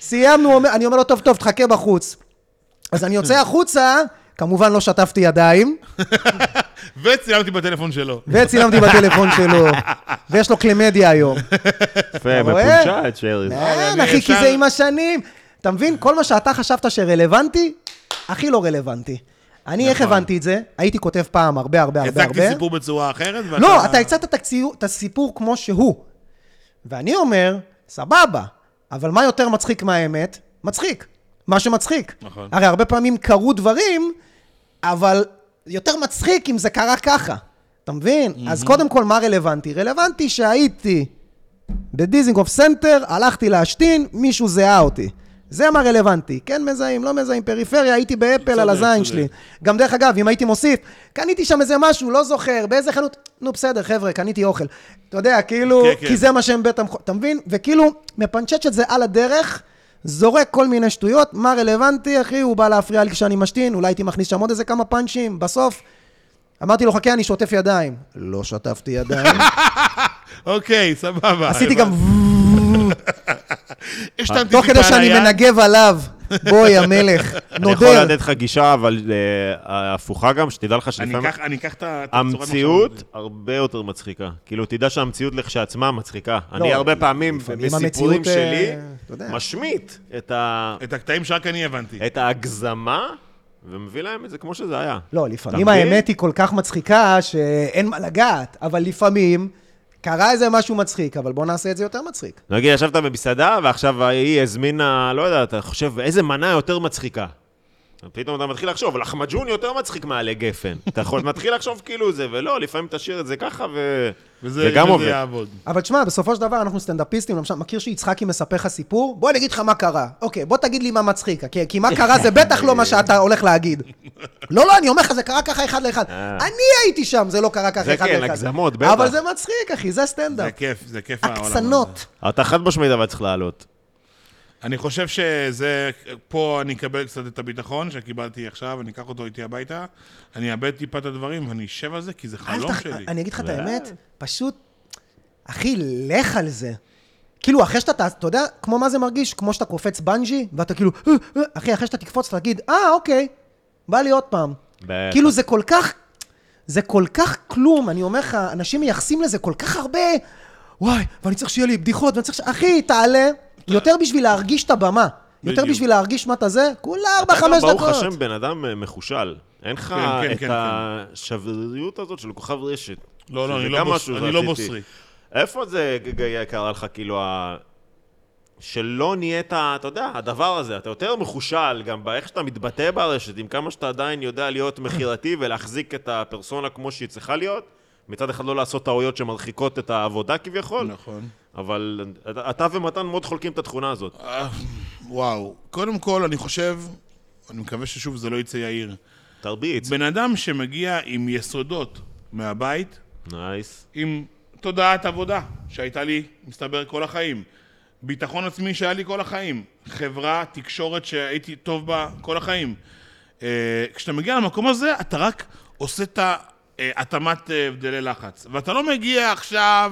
A: סיימנו, הוא אומר- אני אומר לו, טוב, טוב, תחכה בחוץ. אז אני יוצא החוצה, כמובן לא שטפתי ידיים,
D: וצילמתי בטלפון שלו.
A: וצילמתי בטלפון שלו, ויש לו קלמדיה היום.
C: יפה,
A: אתה רואה?
C: מפונצ'ת, שריז.
A: כן,
D: אני
A: אחי, כי
D: ישר-
A: זה עם השנים. אתה מבין? כל מה שאתה חשבת שרלוונטי, הכי לא רלוונטי. אני, איך הבנתי את זה? הייתי כותב פעם הרבה הרבה הרבה הרבה.
D: הצגתי נכון. סיפור בצורה אחרת, ואתה...
A: לא, אתה הצעת את הציור- את הסיפור כמו שהוא. ואני אומר, סבבה, אבל מה יותר מצחיק מהאמת? מצחיק. מה שמצחיק.
D: נכון.
A: הרי הרבה פעמים קרו דברים, אבל יותר מצחיק אם זה קרה ככה. אתה מבין? אז קודם כל, מה רלוונטי? רלוונטי שהייתי בדיזינגוף סנטר, הלכתי להשתין, מישהו זיהה אותי. זה מה רלוונטי. כן מזהים, לא מזהים, פריפריה, הייתי באפל על
D: צודק,
A: הזין
D: צודק.
A: שלי. גם דרך אגב, אם הייתי מוסיף, קניתי שם איזה משהו, לא זוכר, באיזה חנות, נו בסדר, חבר'ה, קניתי אוכל. אתה יודע, כאילו,
D: כן, כן.
A: כי זה מה שהם בית המחו... אתה מבין? וכאילו, מפנצ'ץ' את זה על הדרך, זורק כל מיני שטויות, מה רלוונטי, אחי, הוא בא להפריע לי כשאני משתין, אולי הייתי מכניס שם עוד איזה כמה פאנצ'ים, בסוף. אמרתי לו, חכה, אני שוטף ידיים. לא שטפתי ידיים.
D: אוקיי, סבבה.
A: עשיתי גם
D: השתמתי
A: תוך
D: טיפה
A: כדי
D: על
A: שאני
D: היד.
A: מנגב עליו. בואי, המלך,
C: אני יכול
A: נודר.
C: לתת לך גישה, אבל אה, הפוכה גם, שתדע לך
D: אני
C: שלפעמים...
D: אקח- אני אקח את ה- את הצורת מחשבה הזאת.
C: המציאות הרבה יותר מצחיקה. כאילו, תדע שהמציאות לכשעצמה מצחיקה. אני הרבה פעמים,
A: לא, לפעמים
C: בסיפורים
A: המציאות, אה,
C: שלי,
A: אתה יודע.
C: משמיט את ה-
D: את הקטעים שרק אני הבנתי.
C: את ההגזמה, ומביא להם את זה כמו שזה היה.
A: לא, לפעמים
C: אתה מבין?
A: האמת היא כל כך מצחיקה שאין מה לגעת, אבל לפעמים קרה איזה משהו מצחיק, אבל בוא נעשה את זה יותר מצחיק.
C: נגיד, ישבת במסעדה, ועכשיו היא הזמינה, לא יודע, אתה חושב, איזה מנה יותר מצחיקה. פתאום אתה מתחיל לחשוב, לחמג'ון יותר מצחיק מעלי גפן. אתה יכול, מתחיל לחשוב כאילו זה, ולא, לפעמים תשאיר את זה ככה, ו...
D: וזה
C: זה גם
D: וזה
C: עובד.
D: יעבוד.
A: אבל תשמע, בסופו של דבר אנחנו סטנדאפיסטים, למשל, מכיר שיצחקי מספר לך סיפור? בוא אני אגיד לך מה קרה. אוקיי, בוא תגיד לי מה מצחיק, כי, כי מה קרה זה בטח לא מה שאתה הולך להגיד. לא, לא, אני אומר לך, זה קרה ככה אחד לאחד.
C: אה.
A: אני הייתי שם, זה לא קרה ככה
C: זה
A: אחד
C: כן,
A: לאחד.
C: הגזמות, בטח.
A: אבל זה מצחיק, אחי, זה
D: זה
A: סטנדאפ.
D: כיף, זה כיף העולם הזה.
A: הקצנות.
C: אתה חד משמעית אבל צריך לעלות.
D: אני חושב שזה, פה אני אקבל קצת את הביטחון שקיבלתי עכשיו, אני אקח אותו איתי הביתה, אני אאבד טיפה את הדברים ואני אשב על זה, כי זה
A: אל
D: חלום
A: תח-
D: שלי.
A: אני אגיד לך את
C: לא.
A: האמת, פשוט, אחי, לך על זה. כאילו, אחרי שאתה, אתה יודע, כמו מה זה מרגיש? כמו שאתה קופץ בנג'י, ואתה כאילו, "אה, אה", אחי, אחרי שאתה תקפוץ, אתה תגיד, אה, אוקיי, בא לי עוד פעם.
C: בטח.
A: כאילו, זה כל כך, זה כל כך כלום, אני אומר לך, אנשים מייחסים לזה כל כך הרבה, וואי, ואני צריך שיהיה לי בדיחות, ואני צריך ש... אחי, תעלה, יותר בשביל להרגיש את הבמה. יותר
D: בדיוק.
A: בשביל להרגיש מה אתה זה, כולה ארבע,
C: אתה גם,
A: חמש דקות.
C: ברוך השם, בן אדם אה, מחושל. אין לך
D: כן,
C: את
D: כן,
C: השבריריות הזאת של כוכב רשת.
D: לא, לא,
C: שזה
D: אני לא
C: גם
D: בוס-
C: משהו
D: אני לא
C: שרציתי.
D: בוסרי.
C: איפה זה, גיא, קרה לך, כאילו, ה... שלא נהיית, אתה יודע, הדבר הזה, אתה יותר מחושל גם באיך שאתה מתבטא ברשת, עם כמה שאתה עדיין יודע להיות מכירתי ולהחזיק את הפרסונה כמו שהיא צריכה להיות. מצד אחד לא לעשות טעויות שמרחיקות את העבודה כביכול,
D: נכון.
C: אבל אתה- אתה ומתן מאוד חולקים את התכונה הזאת.
D: אה, וואו. קודם כל, אני חושב, אני מקווה ששוב זה לא יצא יאיר.
C: תרביץ.
D: בן אדם שמגיע עם יסודות מהבית,
C: נייס.
D: עם תודעת עבודה שהייתה לי, מסתבר, כל החיים. ביטחון עצמי שהיה לי כל החיים. חברה, תקשורת שהייתי טוב בה כל החיים. אה, כשאתה מגיע למקום הזה, אתה רק עושה את אה, התאמת הבדלי לחץ. ואתה לא מגיע עכשיו,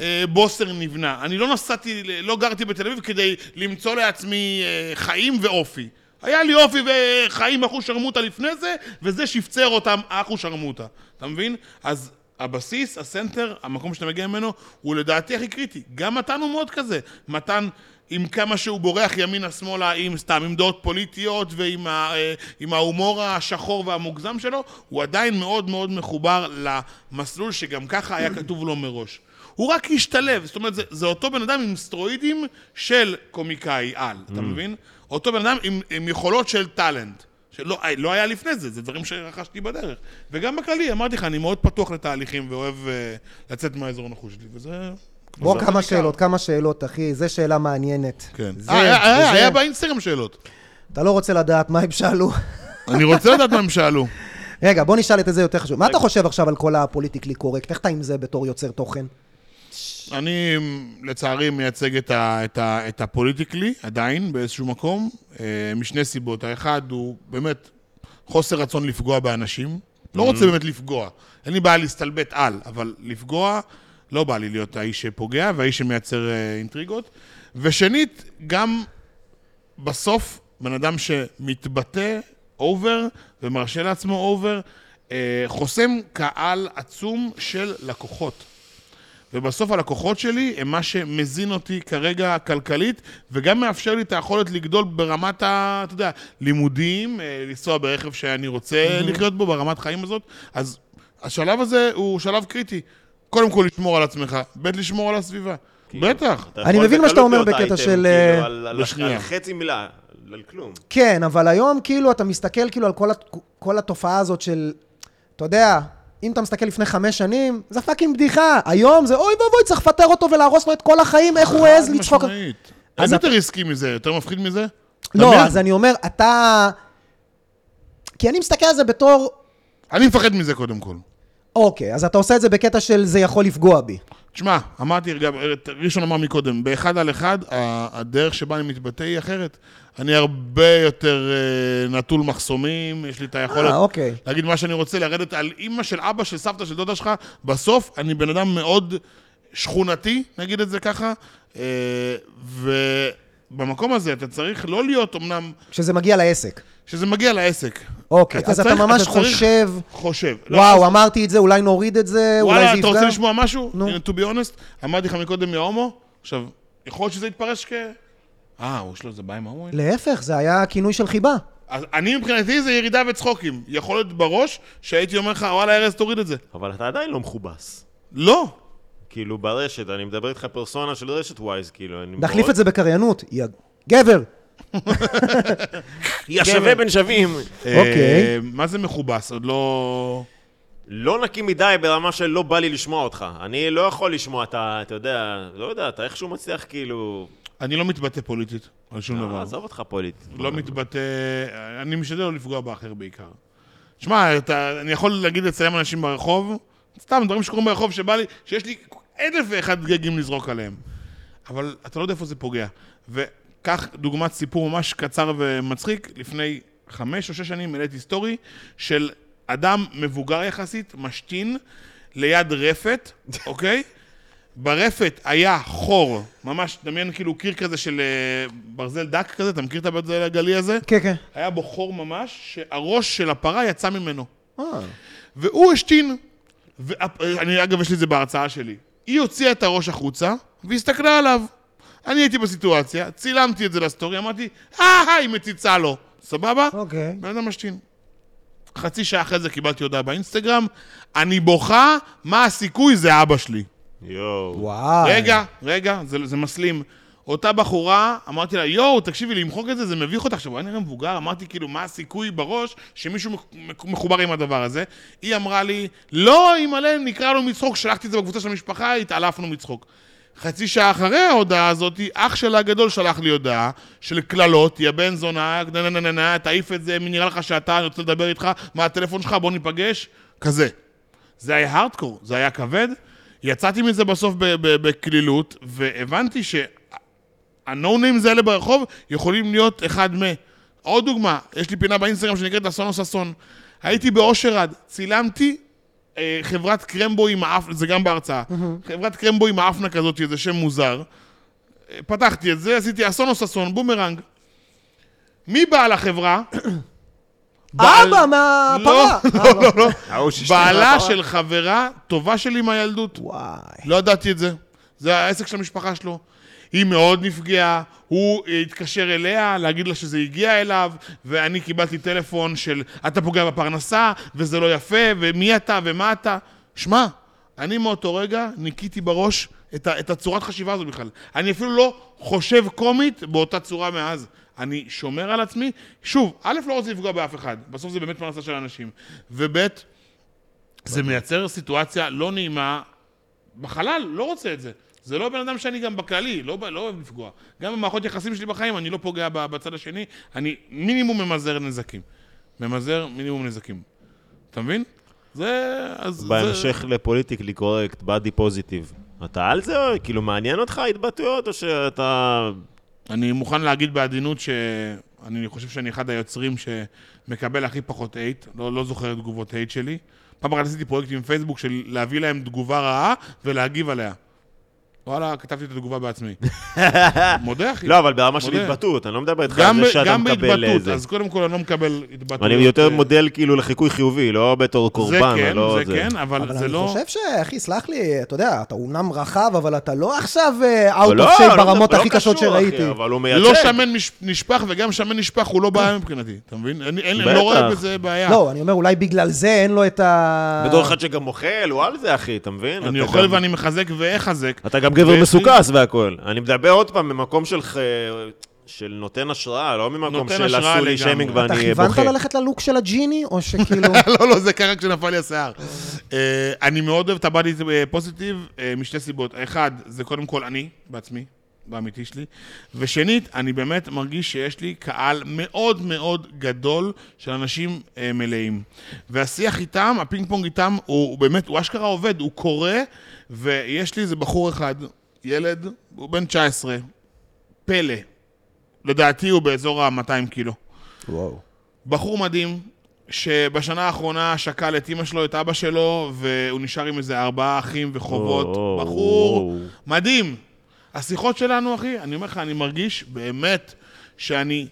D: אה, בוסר נבנה. אני לא נסעתי, ל- לא גרתי בתל אביב כדי למצוא לעצמי אה, חיים ואופי. היה לי אופי וחיים אחושרמוטה לפני זה, וזה שפצר אותם אחושרמוטה. אתה מבין? אז הבסיס, הסנטר, המקום שאתה מגיע ממנו, הוא לדעתי הכי קריטי. גם מתן הוא מאוד כזה. מתן, עם כמה שהוא בורח ימינה-שמאלה, עם סתם, עם דעות פוליטיות ועם ה, אה, עם ההומור השחור והמוגזם שלו, הוא עדיין מאוד מאוד מחובר למסלול שגם ככה היה כתוב לו מראש. הוא רק השתלב, זאת אומרת, זה, זה אותו בן אדם עם סטרואידים של קומיקאי על, אתה מבין? אותו בן אדם עם, עם יכולות של טאלנט. שלא אה, לא היה לפני זה, זה דברים שרכשתי בדרך. וגם בכללי, אמרתי לך, אני מאוד פתוח לתהליכים ואוהב אה, לצאת מהאזור הנוחות שלי, וזה...
A: בוא
D: זה
A: כמה
D: נשאר.
A: שאלות, כמה שאלות, אחי, זו שאלה מעניינת.
D: כן.
A: זה-
D: אה, היה-
A: זה-
D: היה- היה באינסטגרם שאלות.
A: אתה לא רוצה לדעת מה הם שאלו.
D: אני רוצה לדעת מה הם שאלו.
A: רגע, בוא נשאל את זה יותר חשוב. מה אתה חושב עכשיו על כל הפוליטיקלי קורקט? איך אתה עם זה בתור יוצר תוכן?
D: אני, לצערי, מייצג את, ה, את, ה, את הפוליטיקלי, עדיין, באיזשהו מקום, אה, משני סיבות. האחד הוא באמת חוסר רצון לפגוע באנשים. לא רוצה באמת לפגוע. אין לי בעיה להסתלבט על, אבל לפגוע, לא בא לי להיות האיש שפוגע והאיש שמייצר אה, אינטריגות. ושנית, גם בסוף, בן אדם שמתבטא אובר ומרשה לעצמו אובר, אה, חוסם קהל עצום של לקוחות. ובסוף הלקוחות שלי הם מה שמזין אותי כרגע כלכלית, וגם מאפשר לי את היכולת לגדול ברמת ה... אתה יודע, לימודים, אה, לנסוע ברכב שאני רוצה לחיות בו, ברמת חיים הזאת. אז השלב הזה הוא שלב קריטי. קודם כל לשמור על עצמך, ב' לשמור על הסביבה. בטח.
C: אתה
A: אני
C: יכול
A: מבין מה שאתה
C: בקלות
A: אומר
C: להיות
A: בקטע
C: אייטם,
A: של,
C: כאילו,
A: אה,
C: על- על-
D: בשנייה.
C: על חצי מילה, על כלום.
A: כן, אבל היום כאילו אתה מסתכל כאילו על כל, הת... כל התופעה הזאת של, אתה יודע, אם אתה מסתכל לפני חמש שנים, זה פאקינג בדיחה. היום זה אוי ואבוי, צריך לפטר אותו ולהרוס לו את כל החיים, איך הוא העז לצחוק.
D: חד משמעית.
A: אז
D: אין
A: אתה-
D: יותר עסקי מזה, יותר מפחיד מזה?
A: לא,
D: באמת?
A: אז אני אומר, אתה... כי אני מסתכל על זה בתור,
D: אני מפחד מזה קודם כל.
A: אוקיי, אז אתה עושה את זה בקטע של זה יכול לפגוע בי.
D: תשמע, אמרתי, גם אה, ראשון אמר מקודם, באחד על אחד, ה- הדרך שבה אני מתבטא היא אחרת. אני הרבה יותר אה, נטול מחסומים, יש לי את היכולת
A: אה, אוקיי.
D: להגיד מה שאני רוצה, לרדת על אימא של אבא, של סבתא, של דודה שלך. בסוף, אני בן אדם מאוד שכונתי, נגיד את זה ככה, אה, ובמקום הזה אתה צריך לא להיות אמנם,
A: כשזה מגיע לעסק.
D: שזה מגיע לעסק.
A: אוקיי, אז אתה ממש
D: צריך-
A: חושב...
D: חושב. לא,
A: וואו, אמרתי את זה, אולי נוריד את זה, אולי זה יפגע.
D: וואלה, אתה רוצה לשמוע משהו?
A: נו.
D: נו. To be honest, אמרתי לך מקודם יא הומו, עכשיו, יכול להיות שזה יתפרש כ... אה, הוא שלו זה בא עם ההומואים?
A: להפך, זה היה כינוי של חיבה.
D: אז אני מבחינתי זה ירידה וצחוקים. יכול להיות בראש שהייתי אומר לך, וואלה, ארז, תוריד את זה.
C: אבל אתה עדיין לא מכובס.
D: לא.
C: כאילו, ברשת, אני מדבר איתך פרסונה של רשת ווייז, כאילו, אני...
A: נחליף את זה בקריינות. יא גבר!
C: יא שווה בין שווים.
A: אוקיי.
D: אה, מה זה מכובס? עוד לא...
C: לא נקי מדי ברמה של לא בא לי לשמוע אותך. אני לא יכול לשמוע את ה... אתה יודע, לא יודע, אתה איכשהו מצליח, כאילו...
D: אני לא מתבטא פוליטית על שום
C: אה,
D: דבר.
C: עזוב אותך פוליטית.
D: לא מתבטא... אני משתדל לא לפגוע באחר בעיקר. שמע, אתה- אני יכול להגיד לצלם אנשים ברחוב, סתם דברים שקורים ברחוב שבא לי, שיש לי אלף ואחד גגים לזרוק עליהם. אבל אתה לא יודע איפה זה פוגע. וקח דוגמת סיפור ממש קצר ומצחיק, לפני חמש או שש שנים העליתי סטורי של אדם מבוגר יחסית, משתין, ליד רפת, אוקיי? ברפת היה חור, ממש, דמיין כאילו קיר כזה של אה, ברזל דק כזה, אתה מכיר את הברזל הגלי הזה?
A: כן, כן.
D: היה בו חור ממש, שהראש של הפרה יצא ממנו.
A: אה,
D: והוא השתין. ואני, אגב, יש לי את זה בהרצאה שלי. היא הוציאה את הראש החוצה והסתכלה עליו. אני הייתי בסיטואציה, צילמתי את זה לסטורי, אמרתי, אה, היא מציצה לו. סבבה?
A: אוקיי.
D: בן אדם משתין. חצי שעה אחרי זה קיבלתי הודעה באינסטגרם, אני בוכה, מה הסיכוי? זה אבא שלי.
C: יואו.
A: וואו.
D: רגע, רגע, זה, זה מסלים. אותה בחורה, אמרתי לה, יואו, תקשיבי, למחוק את זה, זה מביך אותך. עכשיו, הוא היה נראה מבוגר, אמרתי, כאילו, מה הסיכוי בראש שמישהו מח- מח- מחובר עם הדבר הזה? היא אמרה לי, לא, אימא'לה, נקרענו מצחוק, שלחתי את זה בקבוצה של המשפחה, התעלפנו מצחוק. חצי שעה אחרי ההודעה הזאת, אח שלה הגדול שלח לי הודעה של קללות, יא בן זונה, נה נה נה נה נה, תעיף את זה, מי נראה לך שאתה, אני רוצה לדבר איתך, מה הטלפון שלך, בוא ניפגש, כזה. זה היה הארדקור, זה היה כבד. יצאתי מזה בסוף ב- ב- בקלילות, והבנתי שהנו-ניימס האלה ברחוב יכולים להיות אחד מ... עוד דוגמה, יש לי פינה באינסטגרם שנקראת אסון או ששון. הייתי באושר צילמתי אה, חברת קרמבו עם האפ... זה גם בהרצאה. חברת קרמבו עם האפנה כזאת, זה שם מוזר. אה, פתחתי את זה, עשיתי אסון או ששון, בומרנג. מי בעל החברה? בעל-
A: אבא, מה...
D: לא,
A: פרה. אה,
D: לא, לא, לא.
C: ההוא שהשתין
D: בעלה
C: מהפרה.
D: של חברה טובה שלי מהילדות.
A: וואי.
D: לא ידעתי את זה. זה העסק של המשפחה שלו. היא מאוד נפגעה, הוא אה, התקשר אליה להגיד לה שזה הגיע אליו, ואני קיבלתי טלפון של אתה פוגע בפרנסה, וזה לא יפה, ומי אתה ומה אתה. שמע, אני מאותו רגע ניקיתי בראש את, ה- את הצורת חשיבה הזו בכלל. אני אפילו לא חושב קומית באותה צורה מאז. אני שומר על עצמי. שוב, א', לא רוצה לפגוע באף אחד, בסוף זה באמת פרנסה של אנשים. וב', זה מייצר סיטואציה לא נעימה בחלל, לא רוצה את זה. זה לא בן אדם שאני גם בכללי, לא, ב- לא אוהב לפגוע. גם במערכות יחסים שלי בחיים, אני לא פוגע ב- בצד השני, אני מינימום ממזער נזקים. ממזער מינימום נזקים. אתה מבין? זה... אז... זה-
C: בהמשך לפוליטיקלי קורקט, באדי פוזיטיב. אתה על זה? או- כאילו, מעניין אותך ההתבטאויות, או שאתה...
D: אני מוכן להגיד בעדינות שאני חושב שאני אחד היוצרים שמקבל הכי פחות אייט, לא, לא זוכר את תגובות אייט שלי. פעם אחת עשיתי פרויקט עם פייסבוק של להביא להם תגובה רעה ולהגיב עליה. וואלה, כתבתי את התגובה בעצמי. מודה, אחי.
C: לא, אבל ברמה של
D: מודה.
C: התבטאות, אני לא מדבר איתך על
D: גם,
C: זה
D: ב-
C: שאתה
D: גם
C: מקבל אה,
D: בהתבטאות,
C: איזה.
D: אז קודם כל אני לא מקבל התבטאות.
C: אני יותר
D: אה,
C: מודל כאילו לחיקוי חיובי, לא בתור
D: זה
C: קורבן,
D: כן,
C: לא
D: זה כן, אבל
A: אבל
D: זה
A: אני
D: לא...
A: חושב ש... אחי, סלח לי, אתה יודע, אתה אומנם רחב, אבל אתה לא עכשיו אה, out
C: אבל לא,
A: of shape
C: לא,
A: ברמות
C: לא
A: הכי קשות
C: קשור,
A: שראיתי.
C: אחי, אבל הוא מייצג.
D: לא שמן מש- נשפך וגם שמן נשפך הוא לא בעיה מבחינתי, אתה מבין? אני אין-
C: בטח.
D: לא רואה בזה בעיה.
A: לא, אני אומר, אולי בגלל זה אין לו את ה...
C: בתור אחד שגם אוכל, הוא על זה, אחי, אתה מבין?
D: אני
C: אתה
D: אוכל
C: גם-
D: ואני מחזק ואחזק.
C: אתה גם גבר
D: ויש לי-
C: מסוכס והכול. אני מדבר עוד פעם ממקום של ח- של נותן השראה, לא ממקום
D: נותן
C: של
D: השראה
C: עשו לי
D: לגמרי.
C: שיימינג
A: אתה
C: ואני
A: כיוונת
C: בוכה.
A: ללכת ללוק של הג'יני, או שכאילו...
D: לא, לא, זה קרה כשנפל לי השיער. אה, אני מאוד אוהב את הבאדי פוזיטיב אה, משתי סיבות. אחד, זה קודם כל אני בעצמי, באמיתי שלי. ושנית, אני באמת מרגיש שיש לי קהל מאוד מאוד גדול של אנשים אה, מלאים. והשיח איתם, הפינג פונג איתם, הוא הוא באמת, הוא אשכרה עובד, הוא קורא, ויש לי איזה בחור אחד, ילד, הוא בן 19, פלא. לדעתי הוא באזור ה-200 קילו.
A: וואו.
D: בחור מדהים, שבשנה האחרונה שכל את אימא שלו, את אבא שלו, והוא נשאר עם איזה ארבעה אחים וחובות.
C: וואו.
D: בחור מדהים. השיחות שלנו, אחי, אני אומר לך, אני מרגיש באמת שאני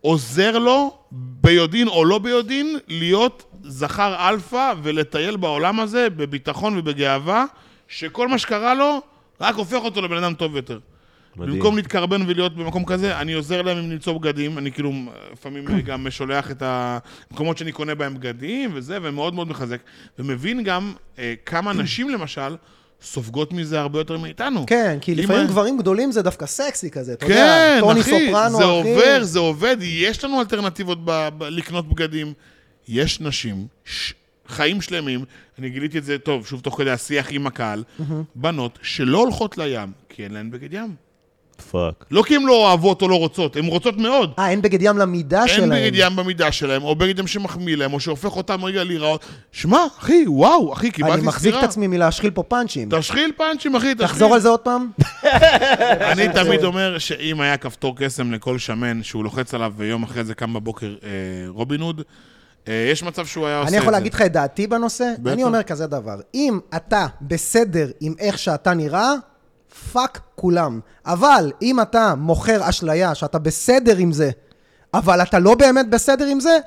D: עוזר לו, ביודעין או לא ביודעין, להיות זכר אלפא ולטייל בעולם הזה בביטחון ובגאווה, שכל מה שקרה לו רק הופך אותו לבן אדם טוב יותר.
C: מדהים.
D: מדהים. במקום להתקרבן ולהיות במקום כזה, אני עוזר להם עם למצוא בגדים, אני כאילו לפעמים גם שולח את המקומות שאני קונה בהם בגדים וזה, ומאוד מאוד מחזק. ומבין גם אה, כמה נשים למשל סופגות מזה הרבה יותר מאיתנו.
A: כן, כי
D: אם
A: לפעמים
D: ה-
A: גברים גדולים זה דווקא סקסי כזה, אתה יודע,
D: כן,
A: טוני
D: אחי,
A: סופרנו,
D: זה
A: אחי.
D: עובר, זה עובד, יש לנו אלטרנטיבות ב- ב- לקנות בגדים. יש נשים, ש- חיים שלמים, אני גיליתי את זה טוב, שוב, תוך כדי השיח עם הקהל, בנות שלא הולכות לים, כי אין להן בגד ים.
C: פאק.
D: לא כי הן לא אוהבות או לא רוצות, הן רוצות מאוד.
A: אה, אין בגד ים למידה
D: אין
A: שלהם.
D: בגד ים במידה שלהם, או בגד ים שמחמיא להם, או שהופך אותם רגע להיראות. שמע, אחי, וואו, אחי, קיבלתי סטירה.
A: אני מחזיק את עצמי מלהשחיל פה פאנצ'ים.
D: תשחיל פאנצ'ים, אחי, תשחיל.
A: תחזור על זה עוד פעם?
D: אני תמיד אומר שאם היה כפתור קסם לכל שמן שהוא לוחץ עליו ויום אחרי זה קם בבוקר אה, רובין הוד, אה, יש מצב שהוא היה עושה את
A: אני
D: זה.
A: יכול להגיד לך את דעתי בנושא?
D: בטח.
A: אני אומר כזה דבר, אם אתה בסדר עם איך שאתה נראה, פאק כולם. אבל אם אתה מוכר אשליה שאתה בסדר עם זה, אבל אתה לא באמת בסדר עם זה,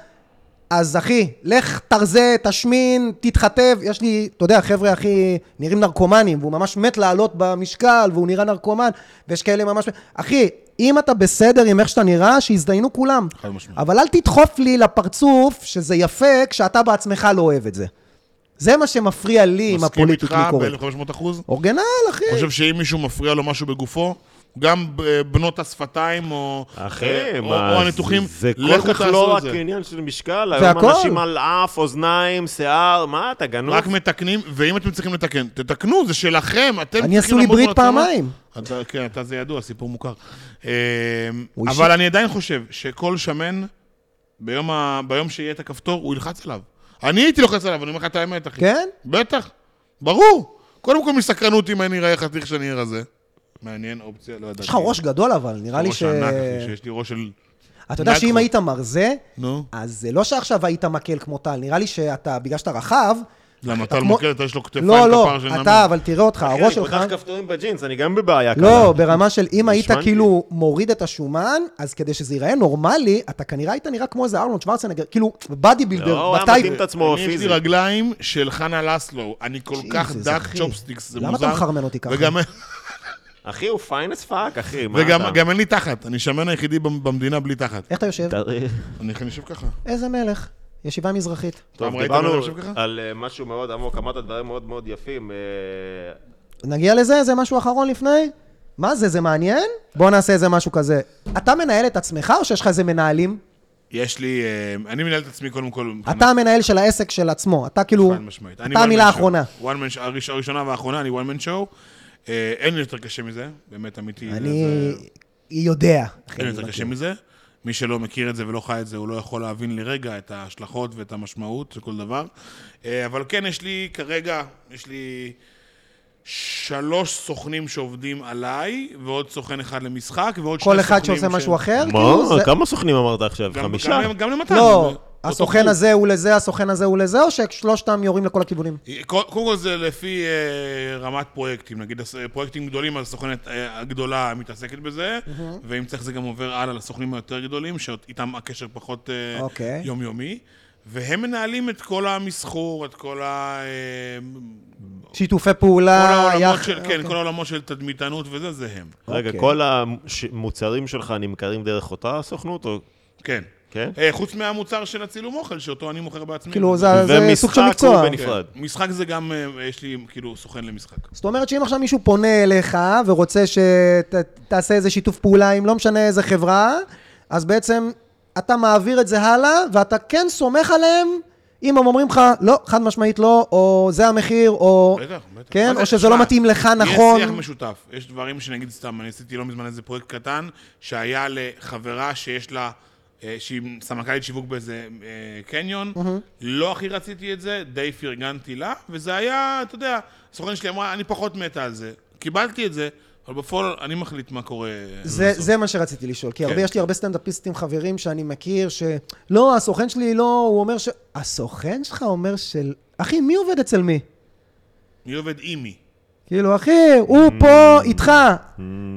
A: אז אחי, לך תרזה, תשמין, תתחטב. יש לי, אתה יודע, חבר'ה הכי נראים נרקומנים, והוא ממש מת לעלות במשקל, והוא נראה נרקומן, ויש כאלה ממש... אחי, אם אתה בסדר עם איך שאתה נראה, שיזדיינו כולם.
D: חד משמעית.
A: אבל אל תדחוף לי לפרצוף שזה יפה, כשאתה בעצמך לא אוהב את זה. זה מה שמפריע לי עם
D: מסכים
A: הפוליטיקלי
D: איתך
A: קורקט.
D: ב-1500 אחוז.
A: אורגנל, אחי.
D: חושב שאם מישהו מפריע לו משהו בגופו, גם ב- בנות השפתיים או...
C: אחי,
D: אה, או-
C: מה,
D: או הניתוחים,
C: זה
D: לכו
C: כל כך
D: תעשו את
C: לא רק
D: זה.
C: עניין של משקל, היום
A: והכל.
C: אנשים על אף, אוזניים, שיער, מה אתה גנוב?
D: רק מתקנים, ואם אתם צריכים לתקן, תתקנו, זה שלכם, אתם צריכים
A: אני עשו לי
D: לעמוד
A: ברית
D: בהוצאות.
A: פעמיים.
D: אתה, כן, אתה זה ידוע, סיפור מוכר. אמ,
A: הוא
D: אבל
A: אישי.
D: אני עדיין חושב שכל שמן, ביום, ה... ביום שיהיה את הכפתור, הוא ילחץ עליו. אני הייתי לוחץ עליו, אני אומר לך את האמת, אחי.
A: כן?
D: בטח, ברור. קודם כל מסקרנות אם אני אראה חתיך שאני אראה זה. מעניין, אופציה, לא ידעתי.
A: יש לך ראש גדול אבל, נראה לי
D: ראש
A: ש...
D: ענק, אחי, שיש לי ראש של...
A: אתה יודע שאם
D: נקרו.
A: היית מרזה,
D: נו.
A: אז זה לא שעכשיו היית מקל כמו טל, נראה לי שאתה, בגלל שאתה רחב...
D: למה,
A: אתה
D: טל
A: כמו-
D: מוקלט, יש לו כתפיים
A: לא, לא,
D: כפר של נמל.
A: אתה, אבל תראה אותך,
C: אחי,
A: הראש
C: כן, אני
A: שלך...
C: פותח כפתורים בג'ינס, אני גם בבעיה
A: לא, ברמה של אם היית
C: השמנתי.
A: כאילו מוריד את השומן, אז כדי שזה ייראה נורמלי, אתה כנראה היית נראה כמו איזה ארלון שוורצנגר, כאילו, בדי
C: לא,
A: בילדר,
C: הוא היה מתאים
A: בטייפ.
C: את עצמו
D: אני יש לי
C: פיזית.
D: רגליים של חנה לסלו, אני כל כך
A: ג'יזוס,
D: דק
A: אחי.
D: צ'ופסטיקס, זה
A: למה
D: מוזר.
A: אתה מחרמן אותי ככה?
D: וגם-
C: אחי, הוא פיין אס פאק, אחי, מה
D: וגם
C: אתה?
D: גם אין לי תחת, אני שמן היחידי במ- במדינה בלי תחת.
A: איך אתה יושב?
C: תראי-
D: אני אני יושב ככה.
A: איזה מלך. ישיבה מזרחית.
D: פעם
C: טוב,
D: ראית
C: דיברנו
D: בן אדם יושב ככה?
C: על אה, משהו מאוד עמוק, אמרת דברים מאוד מאוד יפים. אה,
A: נגיע לזה? זה משהו אחרון לפני? מה זה, זה מעניין? בוא נעשה איזה משהו כזה. אתה מנהל את עצמך או שיש לך איזה מנהלים?
D: יש לי, אה, אני מנהל את עצמי קודם כל.
A: אתה המנהל של העסק של עצמו, אתה כאילו,
D: חד משמעית. אני
A: אתה
D: לא one
A: המילה
D: man show.
A: האחרונה.
D: One man show, הראש- הראשונה והאחרונה, אני one man show. אה, אין לי יותר קשה מזה, באמת אמיתי.
A: אני
D: זה-
A: יודע. אחי,
D: אין
A: אני
D: יותר
A: מכיר.
D: קשה מזה. מי שלא מכיר את זה ולא חי את זה, הוא לא יכול להבין לרגע את ההשלכות ואת המשמעות של כל דבר. אה, אבל כן, יש לי כרגע, יש לי שלוש סוכנים שעובדים עליי, ועוד סוכן אחד למשחק, ועוד שני
A: כל
D: סוכנים
A: אחד שעושה משהו אחר? כאילו, זה-
C: מה? כמה סוכנים אמרת עכשיו?
D: גם-
C: חמישה?
D: גם- גם למתן.
A: לא,
D: אותו
A: הסוכן
D: חוג.
A: הזה הוא לזה, הסוכן הזה הוא לזה, או ששלושתם יורים לכל הכיוונים?
D: קודם כל זה לפי אה, רמת פרויקטים, נגיד הס- אה, פרויקטים גדולים, אז הסוכנת אה, הגדולה מתעסקת בזה, ואם צריך זה גם עובר הלאה לסוכנים היותר גדולים, שאיתם הקשר פחות אה,
A: אוקיי.
D: יומיומי, והם מנהלים את כל המסחור, את כל ה... אה,
A: שיתופי
D: כל
A: פעולה,
D: העולמות
A: יח-
D: של, כן,
A: אה, אוקיי.
D: כל העולמות של תדמיתנות וזה, זה הם.
C: רגע,
A: אוקיי.
C: כל המוצרים שלך נמכרים דרך אותה סוכנות? או-
D: כן.
C: כן?
D: אה, חוץ מהמוצר של הצילום אוכל, שאותו אני מוכר בעצמי.
A: כאילו, זה זה סוג
C: ומשחק
A: של
C: הוא
A: מקצוע.
C: בנפרד. נפרד.
D: כן. משחק זה גם, אה, יש לי כאילו סוכן למשחק.
A: זאת אומרת שאם עכשיו מישהו פונה אליך ורוצה שתעשה איזה שיתוף פעולה עם לא משנה איזה חברה, אז בעצם אתה מעביר את זה הלאה, ואתה כן סומך עליהם אם הם אומרים לך, לא, חד משמעית לא, או זה המחיר, או...
D: בטח, בטח.
A: כן,
D: מה זה,
A: או שזה
D: תשמע,
A: לא מתאים לך, נכון.
D: יש שיח משותף. יש דברים שנגיד סתם, אני עשיתי לא מזמן איזה פרויקט קטן, שהיה לחברה שיש לה, אה, שהיא סמנכ"לית שיווק באיזה אה, קניון, לא הכי רציתי את זה, די פרגנתי לה, וזה היה, אתה יודע, הסוכן שלי אמרה, אני פחות מתה על זה. קיבלתי את זה, אבל בפועל אני מחליט מה קורה.
A: זה,
D: בסוף.
A: זה מה שרציתי לשאול, כי
D: כן,
A: הרבה, יש לי הרבה סטנדאפיסטים חברים שאני מכיר, שלא, הסוכן שלי לא, הוא אומר ש... הסוכן שלך אומר של... אחי, מי עובד אצל מי?
D: מי עובד עם מי?
A: כאילו, אחי, הוא
D: Mm.
A: פה איתך.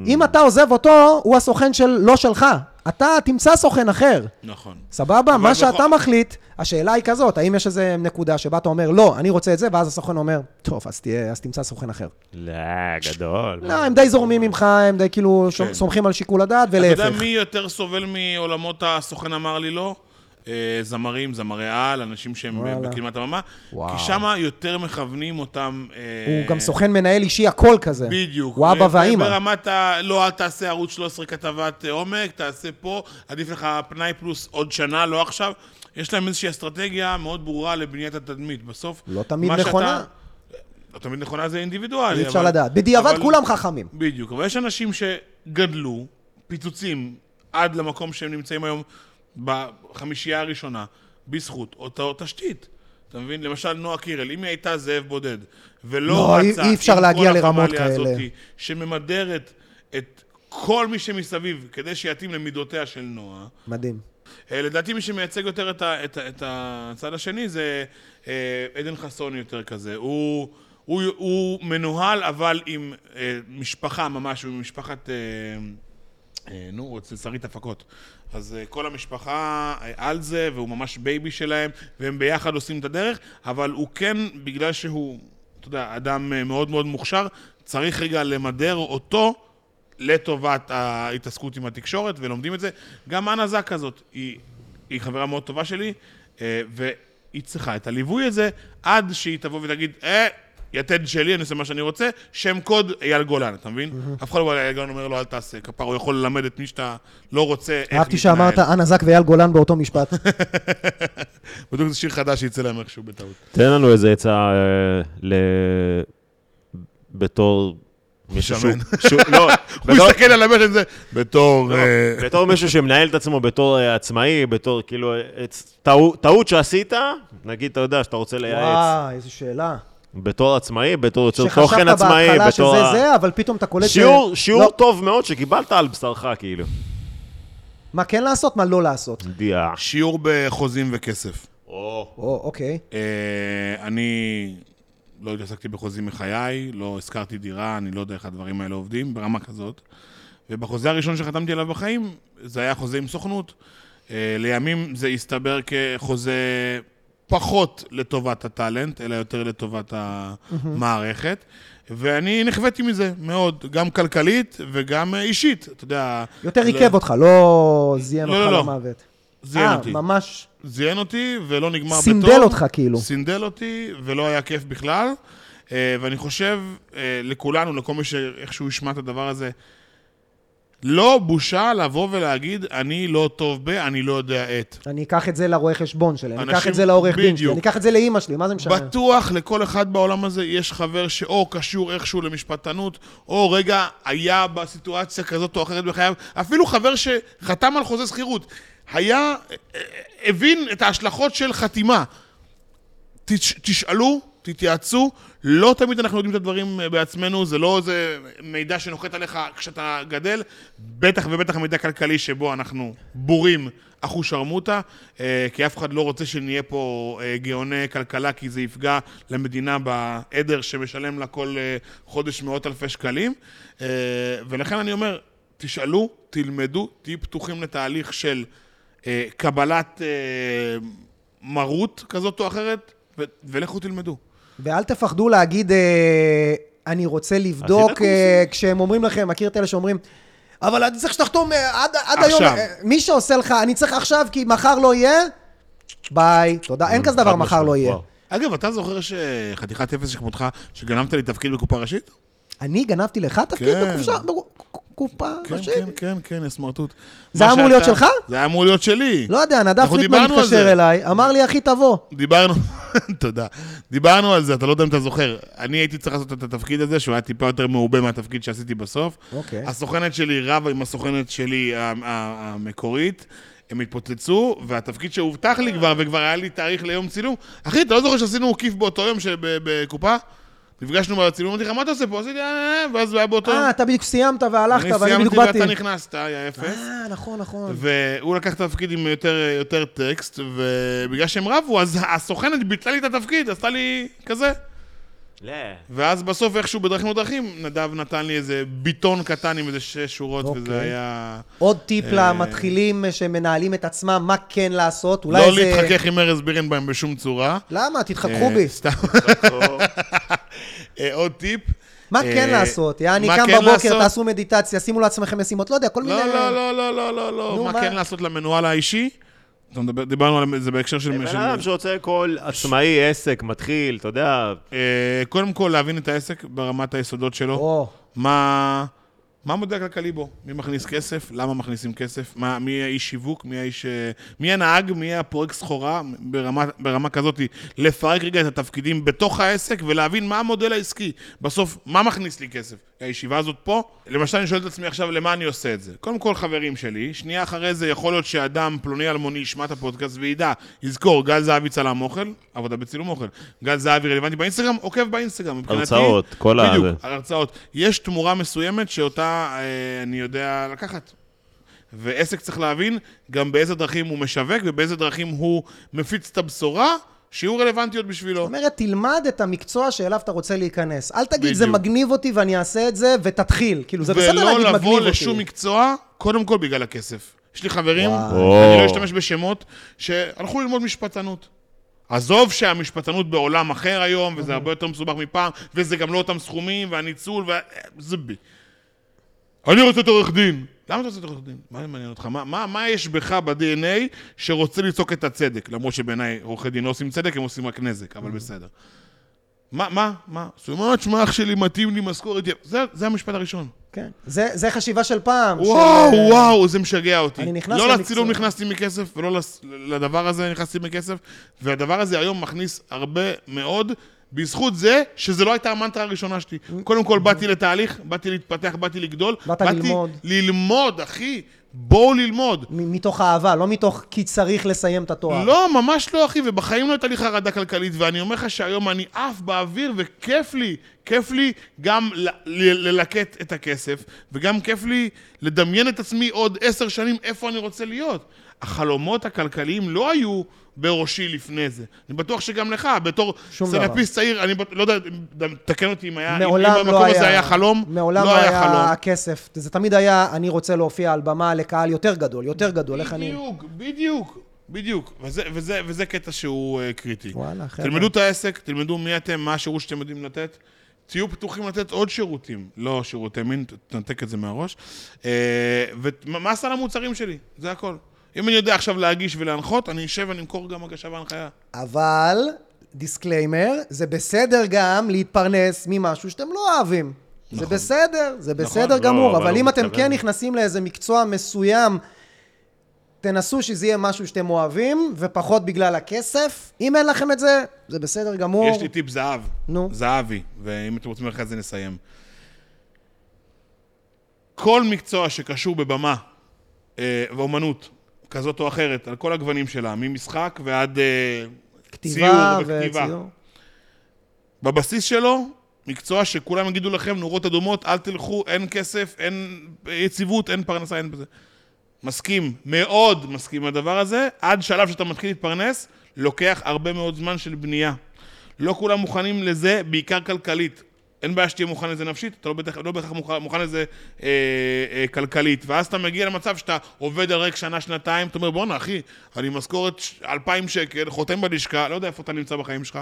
A: אם אתה עוזב אותו, הוא הסוכן של, לא שלך. אתה תמצא סוכן אחר.
D: נכון.
A: סבבה? מה
D: בכל-
A: שאתה מחליט, השאלה היא כזאת, האם יש איזה נקודה שבה אתה אומר, לא, אני רוצה את זה, ואז הסוכן אומר, טוב, אז תהיה, אז תמצא סוכן אחר.
C: לא, גדול.
D: Mm.
A: לא, הם די זורמים ממך, הם די כאילו שום- סומכים על שיקול הדעת,
D: כן. אתה יודע
A: ולהפך.
D: מי יותר סובל מעולמות הסוכן אמר לי לא? אה, זמרים, זמרי על, אנשים שהם
A: וואלה.
D: בקדמת הבמה.
A: וואו.
D: כי שם יותר מכוונים אותם... אה,
A: הוא גם סוכן מנהל אישי הכל כזה.
D: בדיוק.
A: הוא אבא
D: ב-
A: והאימא.
D: ברמת ה... לא, אל תעשה ערוץ 13 כתבת אה, עומק, תעשה פה, עדיף לך פנאי פלוס עוד שנה, לא עכשיו. יש להם איזושהי אסטרטגיה מאוד ברורה לבניית התדמית. בסוף...
A: לא תמיד
D: מה שאתה-
A: נכונה.
D: לא תמיד נכונה זה אינדיבידואלי.
A: אי אפשר
D: אבל-
A: לדעת. בדיעבד
D: אבל-
A: כולם חכמים.
D: בדיוק, אבל יש אנשים שגדלו פיצוצים עד למקום שהם נמצאים היום בחמישייה הראשונה, בזכות אותה תשתית. אתה מבין? למשל, נועה קירל, אם היא הייתה זאב בודד,
A: לא,
D: ולא
A: אי-
D: רצה
A: אי אפשר
D: עם
A: להגיע
D: כל
A: לרמות
D: הפמליה
A: כאלה.
D: הזאתי, שממדרת את כל מי שמסביב כדי שיתאים למידותיה של נועה,
A: מדהים.
D: אה, לדעתי מי שמייצג יותר את, ה, את, ה- את הצד השני זה אה, עדן חסון יותר כזה. הוא, הוא, הוא מנוהל אבל עם אה, משפחה ממש, הוא עם משפחת... אה, אה, נו, אצל שרית הפקות. אז אה, כל המשפחה אה, על זה, והוא ממש בייבי שלהם, והם ביחד עושים את הדרך, אבל הוא כן, בגלל שהוא, אתה יודע, אדם אה, מאוד מאוד מוכשר, צריך רגע למדר אותו לטובת ההתעסקות עם התקשורת, ולומדים את זה. גם אנה זק הזאת, היא, היא חברה מאוד טובה שלי, אה, והיא צריכה את הליווי הזה, עד שהיא תבוא ותגיד, אה, יתד שלי, אני עושה מה שאני רוצה, שם קוד אייל גולן, אתה מבין? אף אחד לא בא לאייל גולן אומר לו, אל תעשה כפר, הוא יכול ללמד את מי שאתה לא רוצה איך
A: אהבתי שאמרת אנה זק ואייל גולן באותו משפט.
D: בדיוק זה שיר חדש שיצא להם איכשהו בטעות.
C: תן לנו איזה עצה אה, ל... בתור... מישהו שהוא-
D: שמן.
C: שהוא... לא,
D: הוא
C: בתור-
D: הסתכל על המכן הזה, בתור... אה,
C: בתור מישהו שמנהל את עצמו בתור אה, עצמאי, בתור כאילו, אה, עצ- טעו- טעות שעשית, נגיד, אתה יודע שאתה רוצה לייעץ,
A: וואי, איזו שאלה.
C: בתור עצמאי, בתור יוצר
A: שחשבת
C: תוכן עצמאי,
A: בהתחלה
C: בתור...
A: שזה
C: ה-
A: זה, אבל פתאום אתה קולט... ש-
C: שיעור, שיעור
A: לא.
C: טוב מאוד שקיבלת על בשרך, כאילו.
A: מה כן לעשות, מה לא לעשות.
C: דיה.
D: שיעור בחוזים וכסף.
A: או, אוקיי.
D: אה, אני לא התעסקתי בחוזים מחיי, לא השכרתי דירה, אני לא יודע איך הדברים האלה עובדים, ברמה כזאת. ובחוזה הראשון שחתמתי עליו בחיים, זה היה חוזה עם סוכנות. אה, לימים זה הסתבר כחוזה פחות לטובת הטאלנט, אלא יותר לטובת המערכת. ואני נכוויתי מזה מאוד, גם כלכלית וגם אה, אישית, אתה יודע...
A: יותר
D: לא-
A: עיכב אותך, לא זיין
D: לא, לא, לא.
A: אותך למוות.
D: זיין
A: אה,
D: אותי.
A: ממש
D: זיין אותי ולא נגמר
A: סינדל
D: בטוב.
A: אותך, כאילו.
D: סינדל אותי ולא היה כיף בכלל. אה, ואני חושב אה, לכולנו, לכל מי שאיכשהו ישמע את הדבר הזה, לא בושה לבוא ולהגיד, אני לא טוב ב, אני לא יודע את.
A: אני אקח את זה לרואה חשבון שלי, אני אקח
D: אנשים-
A: את זה לעורך דין שלי,
D: בדיוק.
A: אני אקח את זה לאימא שלי, מה זה משנה?
D: בטוח לכל אחד בעולם הזה יש חבר שאו קשור איכשהו למשפטנות, או רגע היה בסיטואציה כזאת או אחרת בחייו, אפילו חבר שחתם על חוזה שכירות, היה, אה, הבין את ההשלכות של חתימה. תש, תשאלו, תתייעצו, לא תמיד אנחנו יודעים את הדברים אה, בעצמנו, זה לא איזה מידע שנוחת עליך כשאתה גדל, בטח ובטח מידע כלכלי שבו אנחנו בורים אחושרמוטה, אה, כי אף אחד לא רוצה שנהיה פה אה, גאוני כלכלה, כי זה יפגע למדינה בעדר שמשלם לה כל אה, חודש מאות אלפי שקלים, אה, ולכן אני אומר, תשאלו, תלמדו, תהיו פתוחים לתהליך של אה, קבלת... אה, מרות כזאת או אחרת, ו- ולכו תלמדו.
A: ואל תפחדו להגיד, אה, אני רוצה לבדוק,
C: קורסים.
A: אה, כשהם אומרים לכם, מכיר את אלה שאומרים, אבל אני צריך שתחתום אה, עד, עד
D: עכשיו.
A: היום, אה, מי שעושה לך, אני צריך עכשיו, כי מחר לא יהיה, ביי, תודה, אין כזה דבר,
C: חד
A: מחר לא
C: משמעית,
A: יהיה.
C: וואו.
D: אגב, אתה זוכר שחתיכת אפס שכמותך, שגנבת לי תפקיד בקופה ראשית?
A: אני גנבתי לך תפקיד
D: כן.
A: בקופשה, בקופה
D: כן,
A: ראשית?
D: כן, כן, כן, סמרטוט.
A: זה
D: מה
A: היה אמור להיות
D: שאתה-
A: שלך?
D: זה היה אמור להיות שלי.
A: לא יודע, נדב
D: אנחנו
A: פרידמן
D: דיברנו על
A: התקשר
D: זה.
A: אליי, אמר לי, אחי, תבוא.
D: דיברנו, תודה. דיברנו על זה, אתה לא יודע אם אתה זוכר. אני הייתי צריך לעשות את התפקיד הזה, שהוא היה טיפה יותר מעובה מהתפקיד שעשיתי בסוף.
A: אוקיי.
D: הסוכנת שלי רבה עם הסוכנת שלי ה- ה- המקורית. הם התפוצצו, והתפקיד שהובטח לי כבר, וכבר היה לי תאריך ליום צילום. אחי, אתה לא זוכר שעשינו כיף באותו יום שב- בקופה? נפגשנו בצילום, אמרתי לך, מה אתה עושה פה? עשיתי, "אה, אה, אה", ואז זה היה באותו יום.
A: אה, אתה בדיוק סיימת והלכת,
D: אני
A: ואני
D: סיימתי
A: בדיוק באתי.
D: ואתה נכנסת, היה אפס.
A: אה, נכון, נכון.
D: והוא לקח תפקיד עם יותר, יותר טקסט, ובגלל שהם רבו, אז הסוכנת ביטלה לי את התפקיד, עשתה לי כזה.
C: לא.
D: ואז בסוף, איכשהו בדרכים ודרכים, נדב נתן לי איזה ביטון קטן עם איזה שש שורות,
A: אוקיי.
D: וזה היה...
A: עוד טיפ
D: אה,
A: למתחילים שמנהלים את עצמם, מה כן לעשות, אולי
D: לא
A: זה...
D: להתחכך עם ארז בירנבאום בשום צורה.
A: למה? תתחככו
D: אה,
A: בי.
D: סתם. אה, עוד טיפ.
A: מה כן
D: אה,
A: לעשות? יעני,
D: מה
A: קם
D: כן
A: בבוקר,
D: לעשות?
A: תעשו מדיטציה, שימו לעצמכם משימות, לא יודע, כל מיני...
D: לא, לא, לא, לא, לא, לא,
A: נו,
D: לא.
A: מה?
D: מה כן לעשות למנוהל האישי? אתה מדבר- דיברנו על זה בהקשר של...
C: אה, בן
D: של-
C: אדם שרוצה כל עצמאי, עסק, מתחיל, אתה יודע,
D: אה, קודם כל, להבין את העסק ברמת היסודות שלו.
A: או,
D: מה, מה המודל הכלכלי בו? מי מכניס כסף? למה מכניסים כסף? מה, מי האיש שיווק? מי האיש... אה, מי הנהג? מי הפורק סחורה? ברמה, ברמה כזאת, לפרק רגע את התפקידים בתוך העסק ולהבין מה המודל העסקי. בסוף, מה מכניס לי כסף? הישיבה הזאת פה? למשל, אני שואל את עצמי עכשיו, למה אני עושה את זה? קודם כל, חברים שלי, שנייה אחרי זה יכול להיות שאדם פלוני אלמוני ישמע את הפודקאסט וידע, יזכור, גל זהבי צלם אוכל, עבודה בצילום אוכל. גל זהבי רלוונטי באינסטגרם, עוקב באינסטגרם. מבחינתי-
C: הרצאות, כל ה-
D: בדיוק,
C: זה.
D: הרצאות. יש תמורה מסוימת שאותה אה, אני יודע לקחת. ועסק צריך להבין גם באיזה דרכים הוא משווק ובאיזה דרכים הוא מפיץ את הבשורה שיהיו רלוונטיות בשבילו.
A: זאת אומרת, תלמד את המקצוע שאליו אתה רוצה להיכנס. אל תגיד, זה
D: בדיוק.
A: מגניב אותי ואני אעשה את זה, ותתחיל. כאילו, זה בסדר להגיד מגניב אותי.
D: ולא לבוא לשום מקצוע קודם כל בגלל הכסף. יש לי חברים,
A: וואו.
D: אני לא אשתמש בשמות, שהלכו ללמוד משפטנות. עזוב שהמשפטנות בעולם אחר היום,
A: אוקיי.
D: וזה הרבה יותר מסובך מפעם, וזה גם לא אותם סכומים, והניצול, וה... זה בי. אני רוצה להיות עורך דין. למה אתה רוצה להיות עורך דין? מה זה מעניין אותך? מה, מה, מה יש בך ב-DNA שרוצה לצעוק את הצדק? למרות שבעיניי עורכי דין לא עושים צדק, הם עושים רק נזק,
A: אוקיי.
D: אבל בסדר. מה, מה, מה? זאת אומרת, שמע, אח שלי מתאים לי משכורת. יא-" זה, זה המשפט הראשון.
A: כן. זה זה חשיבה של פעם.
D: וואו,
A: של, אה,
D: וואו, זה משגע אותי.
A: אני נכנס
D: לא
A: למקצוע.
D: לצילום נכנסתי מכסף, ולא לס- לדבר הזה נכנסתי מכסף, והדבר הזה היום מכניס הרבה מאוד, בזכות זה שזה לא הייתה המנטרה הראשונה שלי. קודם כל, באתי לתהליך, באתי להתפתח, באתי לגדול.
A: באת
D: באתי
A: ללמוד.
D: ללמוד, אחי. בואו ללמוד.
A: מ- מתוך אהבה, לא מתוך כי צריך לסיים את התואר.
D: לא, ממש לא, אחי, ובחיים לא הייתה לי חרדה כלכלית, ואני אומר לך שהיום אני עף באוויר, וכיף לי, כיף לי גם ל- ל- ללקט את הכסף, וגם כיף לי לדמיין את עצמי עוד עשר שנים איפה אני רוצה להיות. החלומות הכלכליים לא היו בראשי לפני זה. אני בטוח שגם לך, בתור
A: שום
D: סטנדאפיסט צעיר, אני בט- לא יודע, תקן אותי אם היה, אם-
A: מעולם
D: אם
A: לא
D: במקום
A: היה-
D: הזה היה חלום,
A: מעולם
D: לא היה חלום.
A: הכסף. זה תמיד היה, אני רוצה להופיע על במה לקהל יותר גדול, יותר גדול, איך אני...
D: בדיוק, בדיוק, בדיוק. וזה, וזה, וזה קטע שהוא uh, קריטי.
A: וואלה, חבר'ה.
D: תלמדו את העסק, תלמדו מי אתם, מה השירות שאתם יודעים לתת. תהיו פתוחים לתת עוד שירותים, לא שירותי מין, ת- תנתק את זה מהראש. אה, ומה סל המוצרים שלי? זה הכל. אם אני יודע עכשיו להגיש ולהנחות, אני אשב ואני אמכור גם הגשה והנחיה.
A: אבל, דיסקליימר, זה בסדר גם להתפרנס ממשהו שאתם לא אוהבים. זה בסדר, זה בסדר
D: נכון. לא,
A: גמור,
C: אבל
A: אבל
C: הוא
A: אם אתם
C: מתכוון.
A: כן נכנסים לאיזה מקצוע מסוים, תנסו שזה יהיה משהו שאתם אוהבים, ופחות בגלל הכסף. אם אין לכם את זה, זה בסדר גמור.
D: יש לי טיפ זהב.
A: נו.
D: זהבי, ואם אתם רוצים ללכת על זה נסיים. כל מקצוע שקשור בבמה אה, ואומנות, כזאת או אחרת, על כל הגוונים שלה, ממשחק ועד אה,
A: כתיבה
D: ציור וכתיבה.
A: וציור.
D: בבסיס שלו, מקצוע שכולם יגידו לכם, נורות אדומות, אל תלכו, אין כסף, אין יציבות, אין פרנסה, אין בזה. מסכים, מאוד מסכים לדבר הזה, עד שלב שאתה מתחיל להתפרנס, לוקח הרבה מאוד זמן של בנייה. לא כולם מוכנים לזה, בעיקר כלכלית. אין בעיה שתהיה מוכן לזה נפשית, אתה לא בהכרח לא בהכרח מוכן, מוכן לזה אה, אה, כלכלית. ואז אתה מגיע למצב שאתה עובד על ריק שנה, שנתיים, אתה אומר, בואנה, אחי, אני משכורת ש- 2,000 שקל, חותם בלשכה, לא יודע איפה אתה נמצא בחיים שלך.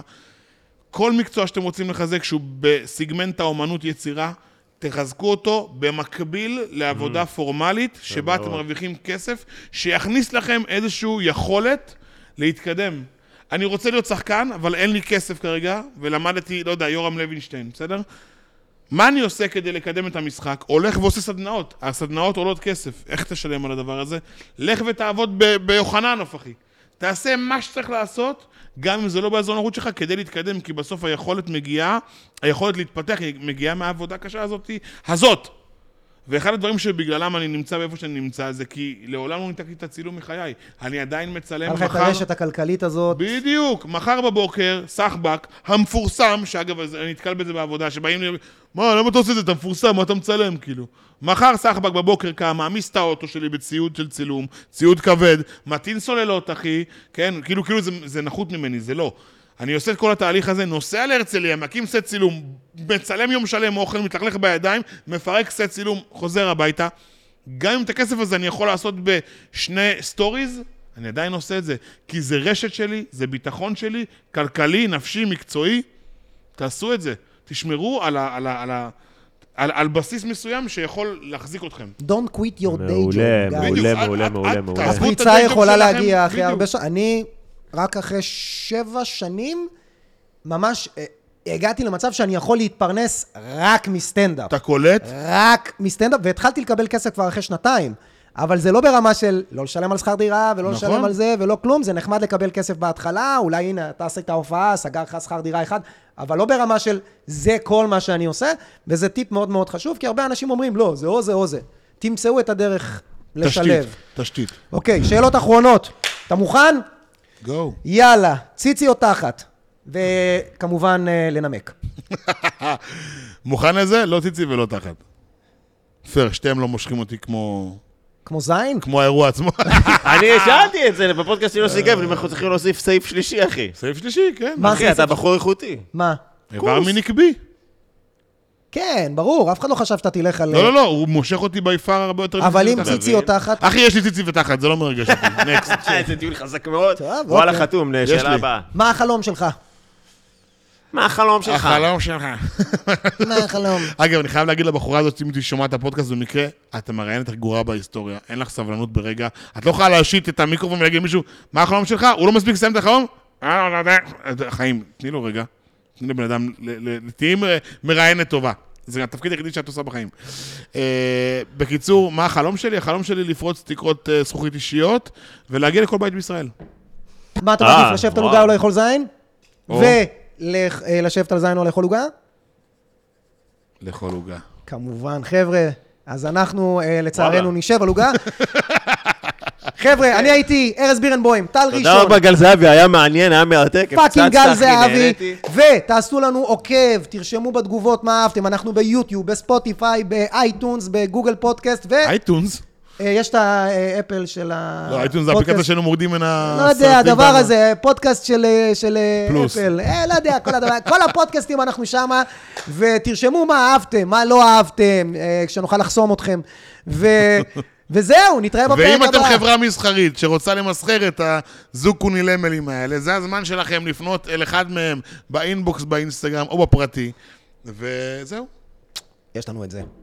D: כל מקצוע שאתם רוצים לחזק שהוא בסגמנט האומנות יצירה, תחזקו אותו במקביל לעבודה פורמלית, שבה אתם מרוויחים כסף, שיכניס לכם איזושהי יכולת להתקדם. אני רוצה להיות שחקן, אבל אין לי כסף כרגע, ולמדתי, לא יודע, יורם לוינשטיין, בסדר? מה אני עושה כדי לקדם את המשחק? הולך ועושה סדנאות. הסדנאות עולות כסף. איך תשלם על הדבר הזה? לך ותעבוד ב- ביוחננוף, אחי. תעשה מה שצריך לעשות, גם אם זה לא באזור הנוחות שלך, כדי להתקדם, כי בסוף היכולת מגיעה, היכולת להתפתח היא מגיעה מהעבודה הקשה הזאת, הזאת. ואחד הדברים שבגללם אני נמצא באיפה שאני נמצא, זה כי לעולם לא ניתקתי את הצילום מחיי. אני עדיין מצלם
A: היה לך את
D: מחר...
A: הרשת הכלכלית הזאת.
D: בדיוק, מחר בבוקר, סחבק, המפורסם, שאגב, אז אני נתקל בזה בעבודה, שבאים לי, מה, למה אתה עושה את זה? אתה מפורסם, מה אתה מצלם, כאילו? מחר סחבק בבוקר קם, מעמיס את האוטו שלי בציוד של צילום, ציוד כבד, מטעין סוללות, אחי, כן? כאילו, כאילו זה, זה נחות ממני, זה לא. אני עושה את כל התהליך הזה, נוסע להרצליה, מקים סט צילום, מצלם יום שלם אוכל, מתלכלך בידיים, מפרק סט צילום, חוזר הביתה. גם אם את הכסף הזה אני יכול לעשות בשני סטוריז, אני עדיין עושה את זה. כי זה רשת שלי, זה ביטחון שלי, כלכלי, נפשי, מקצועי. תעשו את זה. תשמרו על, ה, על, ה, על, ה, על, על בסיס מסוים שיכול להחזיק אתכם.
A: Don't quit your day job.
C: מעולה,
A: guys.
C: מעולה.
D: בדיוק, אל- אל-
C: מעולה,
D: אל-
C: מעולה.
D: תעזבו את
A: הפריצה
D: הדייג'וב
A: יכולה
D: שלכם,
A: להגיע אחרי
D: בדיוק.
A: הרבה שנים. אני, רק אחרי שבע שנים, ממש אה, הגעתי למצב שאני יכול להתפרנס רק מסטנדאפ.
D: אתה קולט?
A: אה, רק מסטנדאפ, והתחלתי לקבל כסף כבר אחרי שנתיים. אבל זה לא ברמה של לא לשלם על שכר דירה, ולא
D: נכון.
A: לשלם על זה, ולא כלום. זה נחמד לקבל כסף בהתחלה, אולי הנה, אתה עשית ההופעה, סגר לך שכר דירה אחד, אבל לא ברמה של זה כל מה שאני עושה, וזה טיפ מאוד מאוד חשוב, כי הרבה אנשים אומרים, לא, זה או זה או זה. תמצאו את הדרך
D: תשתית,
A: לשלב.
D: תשתית.
A: אוקיי, שאלות אחרונות. אתה מוכן?
D: גו.
A: יאללה, ציצי או תחת. וכמובן, אה, לנמק.
D: מוכן לזה? לא ציצי ולא תחת. פייר, שתיהם לא מושכים אותי כמו...
A: כמו זין?
D: כמו האירוע עצמו.
B: אני שאלתי את זה בפודקאסט של יוסי גב, אנחנו צריכים להוסיף סעיף שלישי, אחי.
D: סעיף שלישי, כן.
A: מה
B: אחי,
A: הסעיף?
B: אתה בחור איכותי.
A: מה?
D: איבר מיני קבי.
A: כן, ברור, אף אחד לא חשב שאתה תלך על...
D: לא, לא, לא, הוא מושך אותי ביפר הרבה יותר
A: אבל אם
D: מציציות תחת.
A: ציצי או תחת...
D: אחי, יש לי ציצי ותחת, זה לא מרגש אותי. נקסט.
A: אה,
B: איזה טיול חזק מאוד.
A: טוב,
B: וואלה,
A: אוקיי.
B: חתום,
D: יש
B: שאלה
D: לי.
B: הבאה.
A: מה החלום שלך?
B: מה החלום שלך?
D: החלום שלך.
A: מה החלום?
D: אגב, אני חייב להגיד לבחורה הזאת, אם היא שומעת את הפודקאסט במקרה, את המראיינת הגרועה בהיסטוריה, אין לך סבלנות ברגע. את לא יכולה להשית את המיקרופון ולהגיד למישהו, מה החלום שלך? הוא לא מספיק לסיים את החלום? אה, לא יודע. חיים, תני לו רגע. תני לבן אדם, ל- ל- ל- תהיי מ- מראיינת טובה. זה התפקיד היחידי שאת עושה בחיים. אה, בקיצור, מה החלום שלי? החלום שלי לפרוץ תקרות אה, זכוכית אישיות ולהגיע לכל בית בישראל.
A: מה אתה
C: אה,
A: מעדיף, לשבת על
C: וואו.
A: עוגה או לאכול זין?
D: או.
A: ולשבת על זין או לאכול עוגה?
D: לכל עוגה.
A: כמובן, חבר'ה, אז אנחנו אה, לצערנו נשב על עוגה. חבר'ה, אני הייתי ארז בירנבוים, טל ראשון.
C: תודה רבה, גל זהבי, היה מעניין, היה מרתק.
A: פאקינג
C: הפצצת,
A: גל
C: אחי,
A: זהבי,
C: נהניתי.
A: ותעשו לנו עוקב, תרשמו בתגובות מה אהבתם, אנחנו ביוטיוב, בספוטיפיי, באייטונס, בגוגל פודקאסט,
D: אייטונס?
A: ויש את האפל של ה...
D: לא, אייטונס זה אפליקציה שהיינו מורדים מן הסרטים.
A: אה, אוקיי. לא יודע, הדבר
D: בנו.
A: הזה, פודקאסט של, אה, של אה,
D: פלוס.
A: אפל. אה, לא יודע, כל, הדבר, כל הפודקאסטים אנחנו שמה, ותרשמו מה אהבתם, מה לא אהבתם, אה, כשנוכל לחסום אתכם. ו... וזהו, נתראה בפרק הבא.
D: ואם אתם חברה מסחרית שרוצה למסחר את הזוג קונילמלים האלה, זה הזמן שלכם לפנות אל אחד מהם באינבוקס באינסטגרם או בפרטי, וזהו.
A: יש לנו את זה.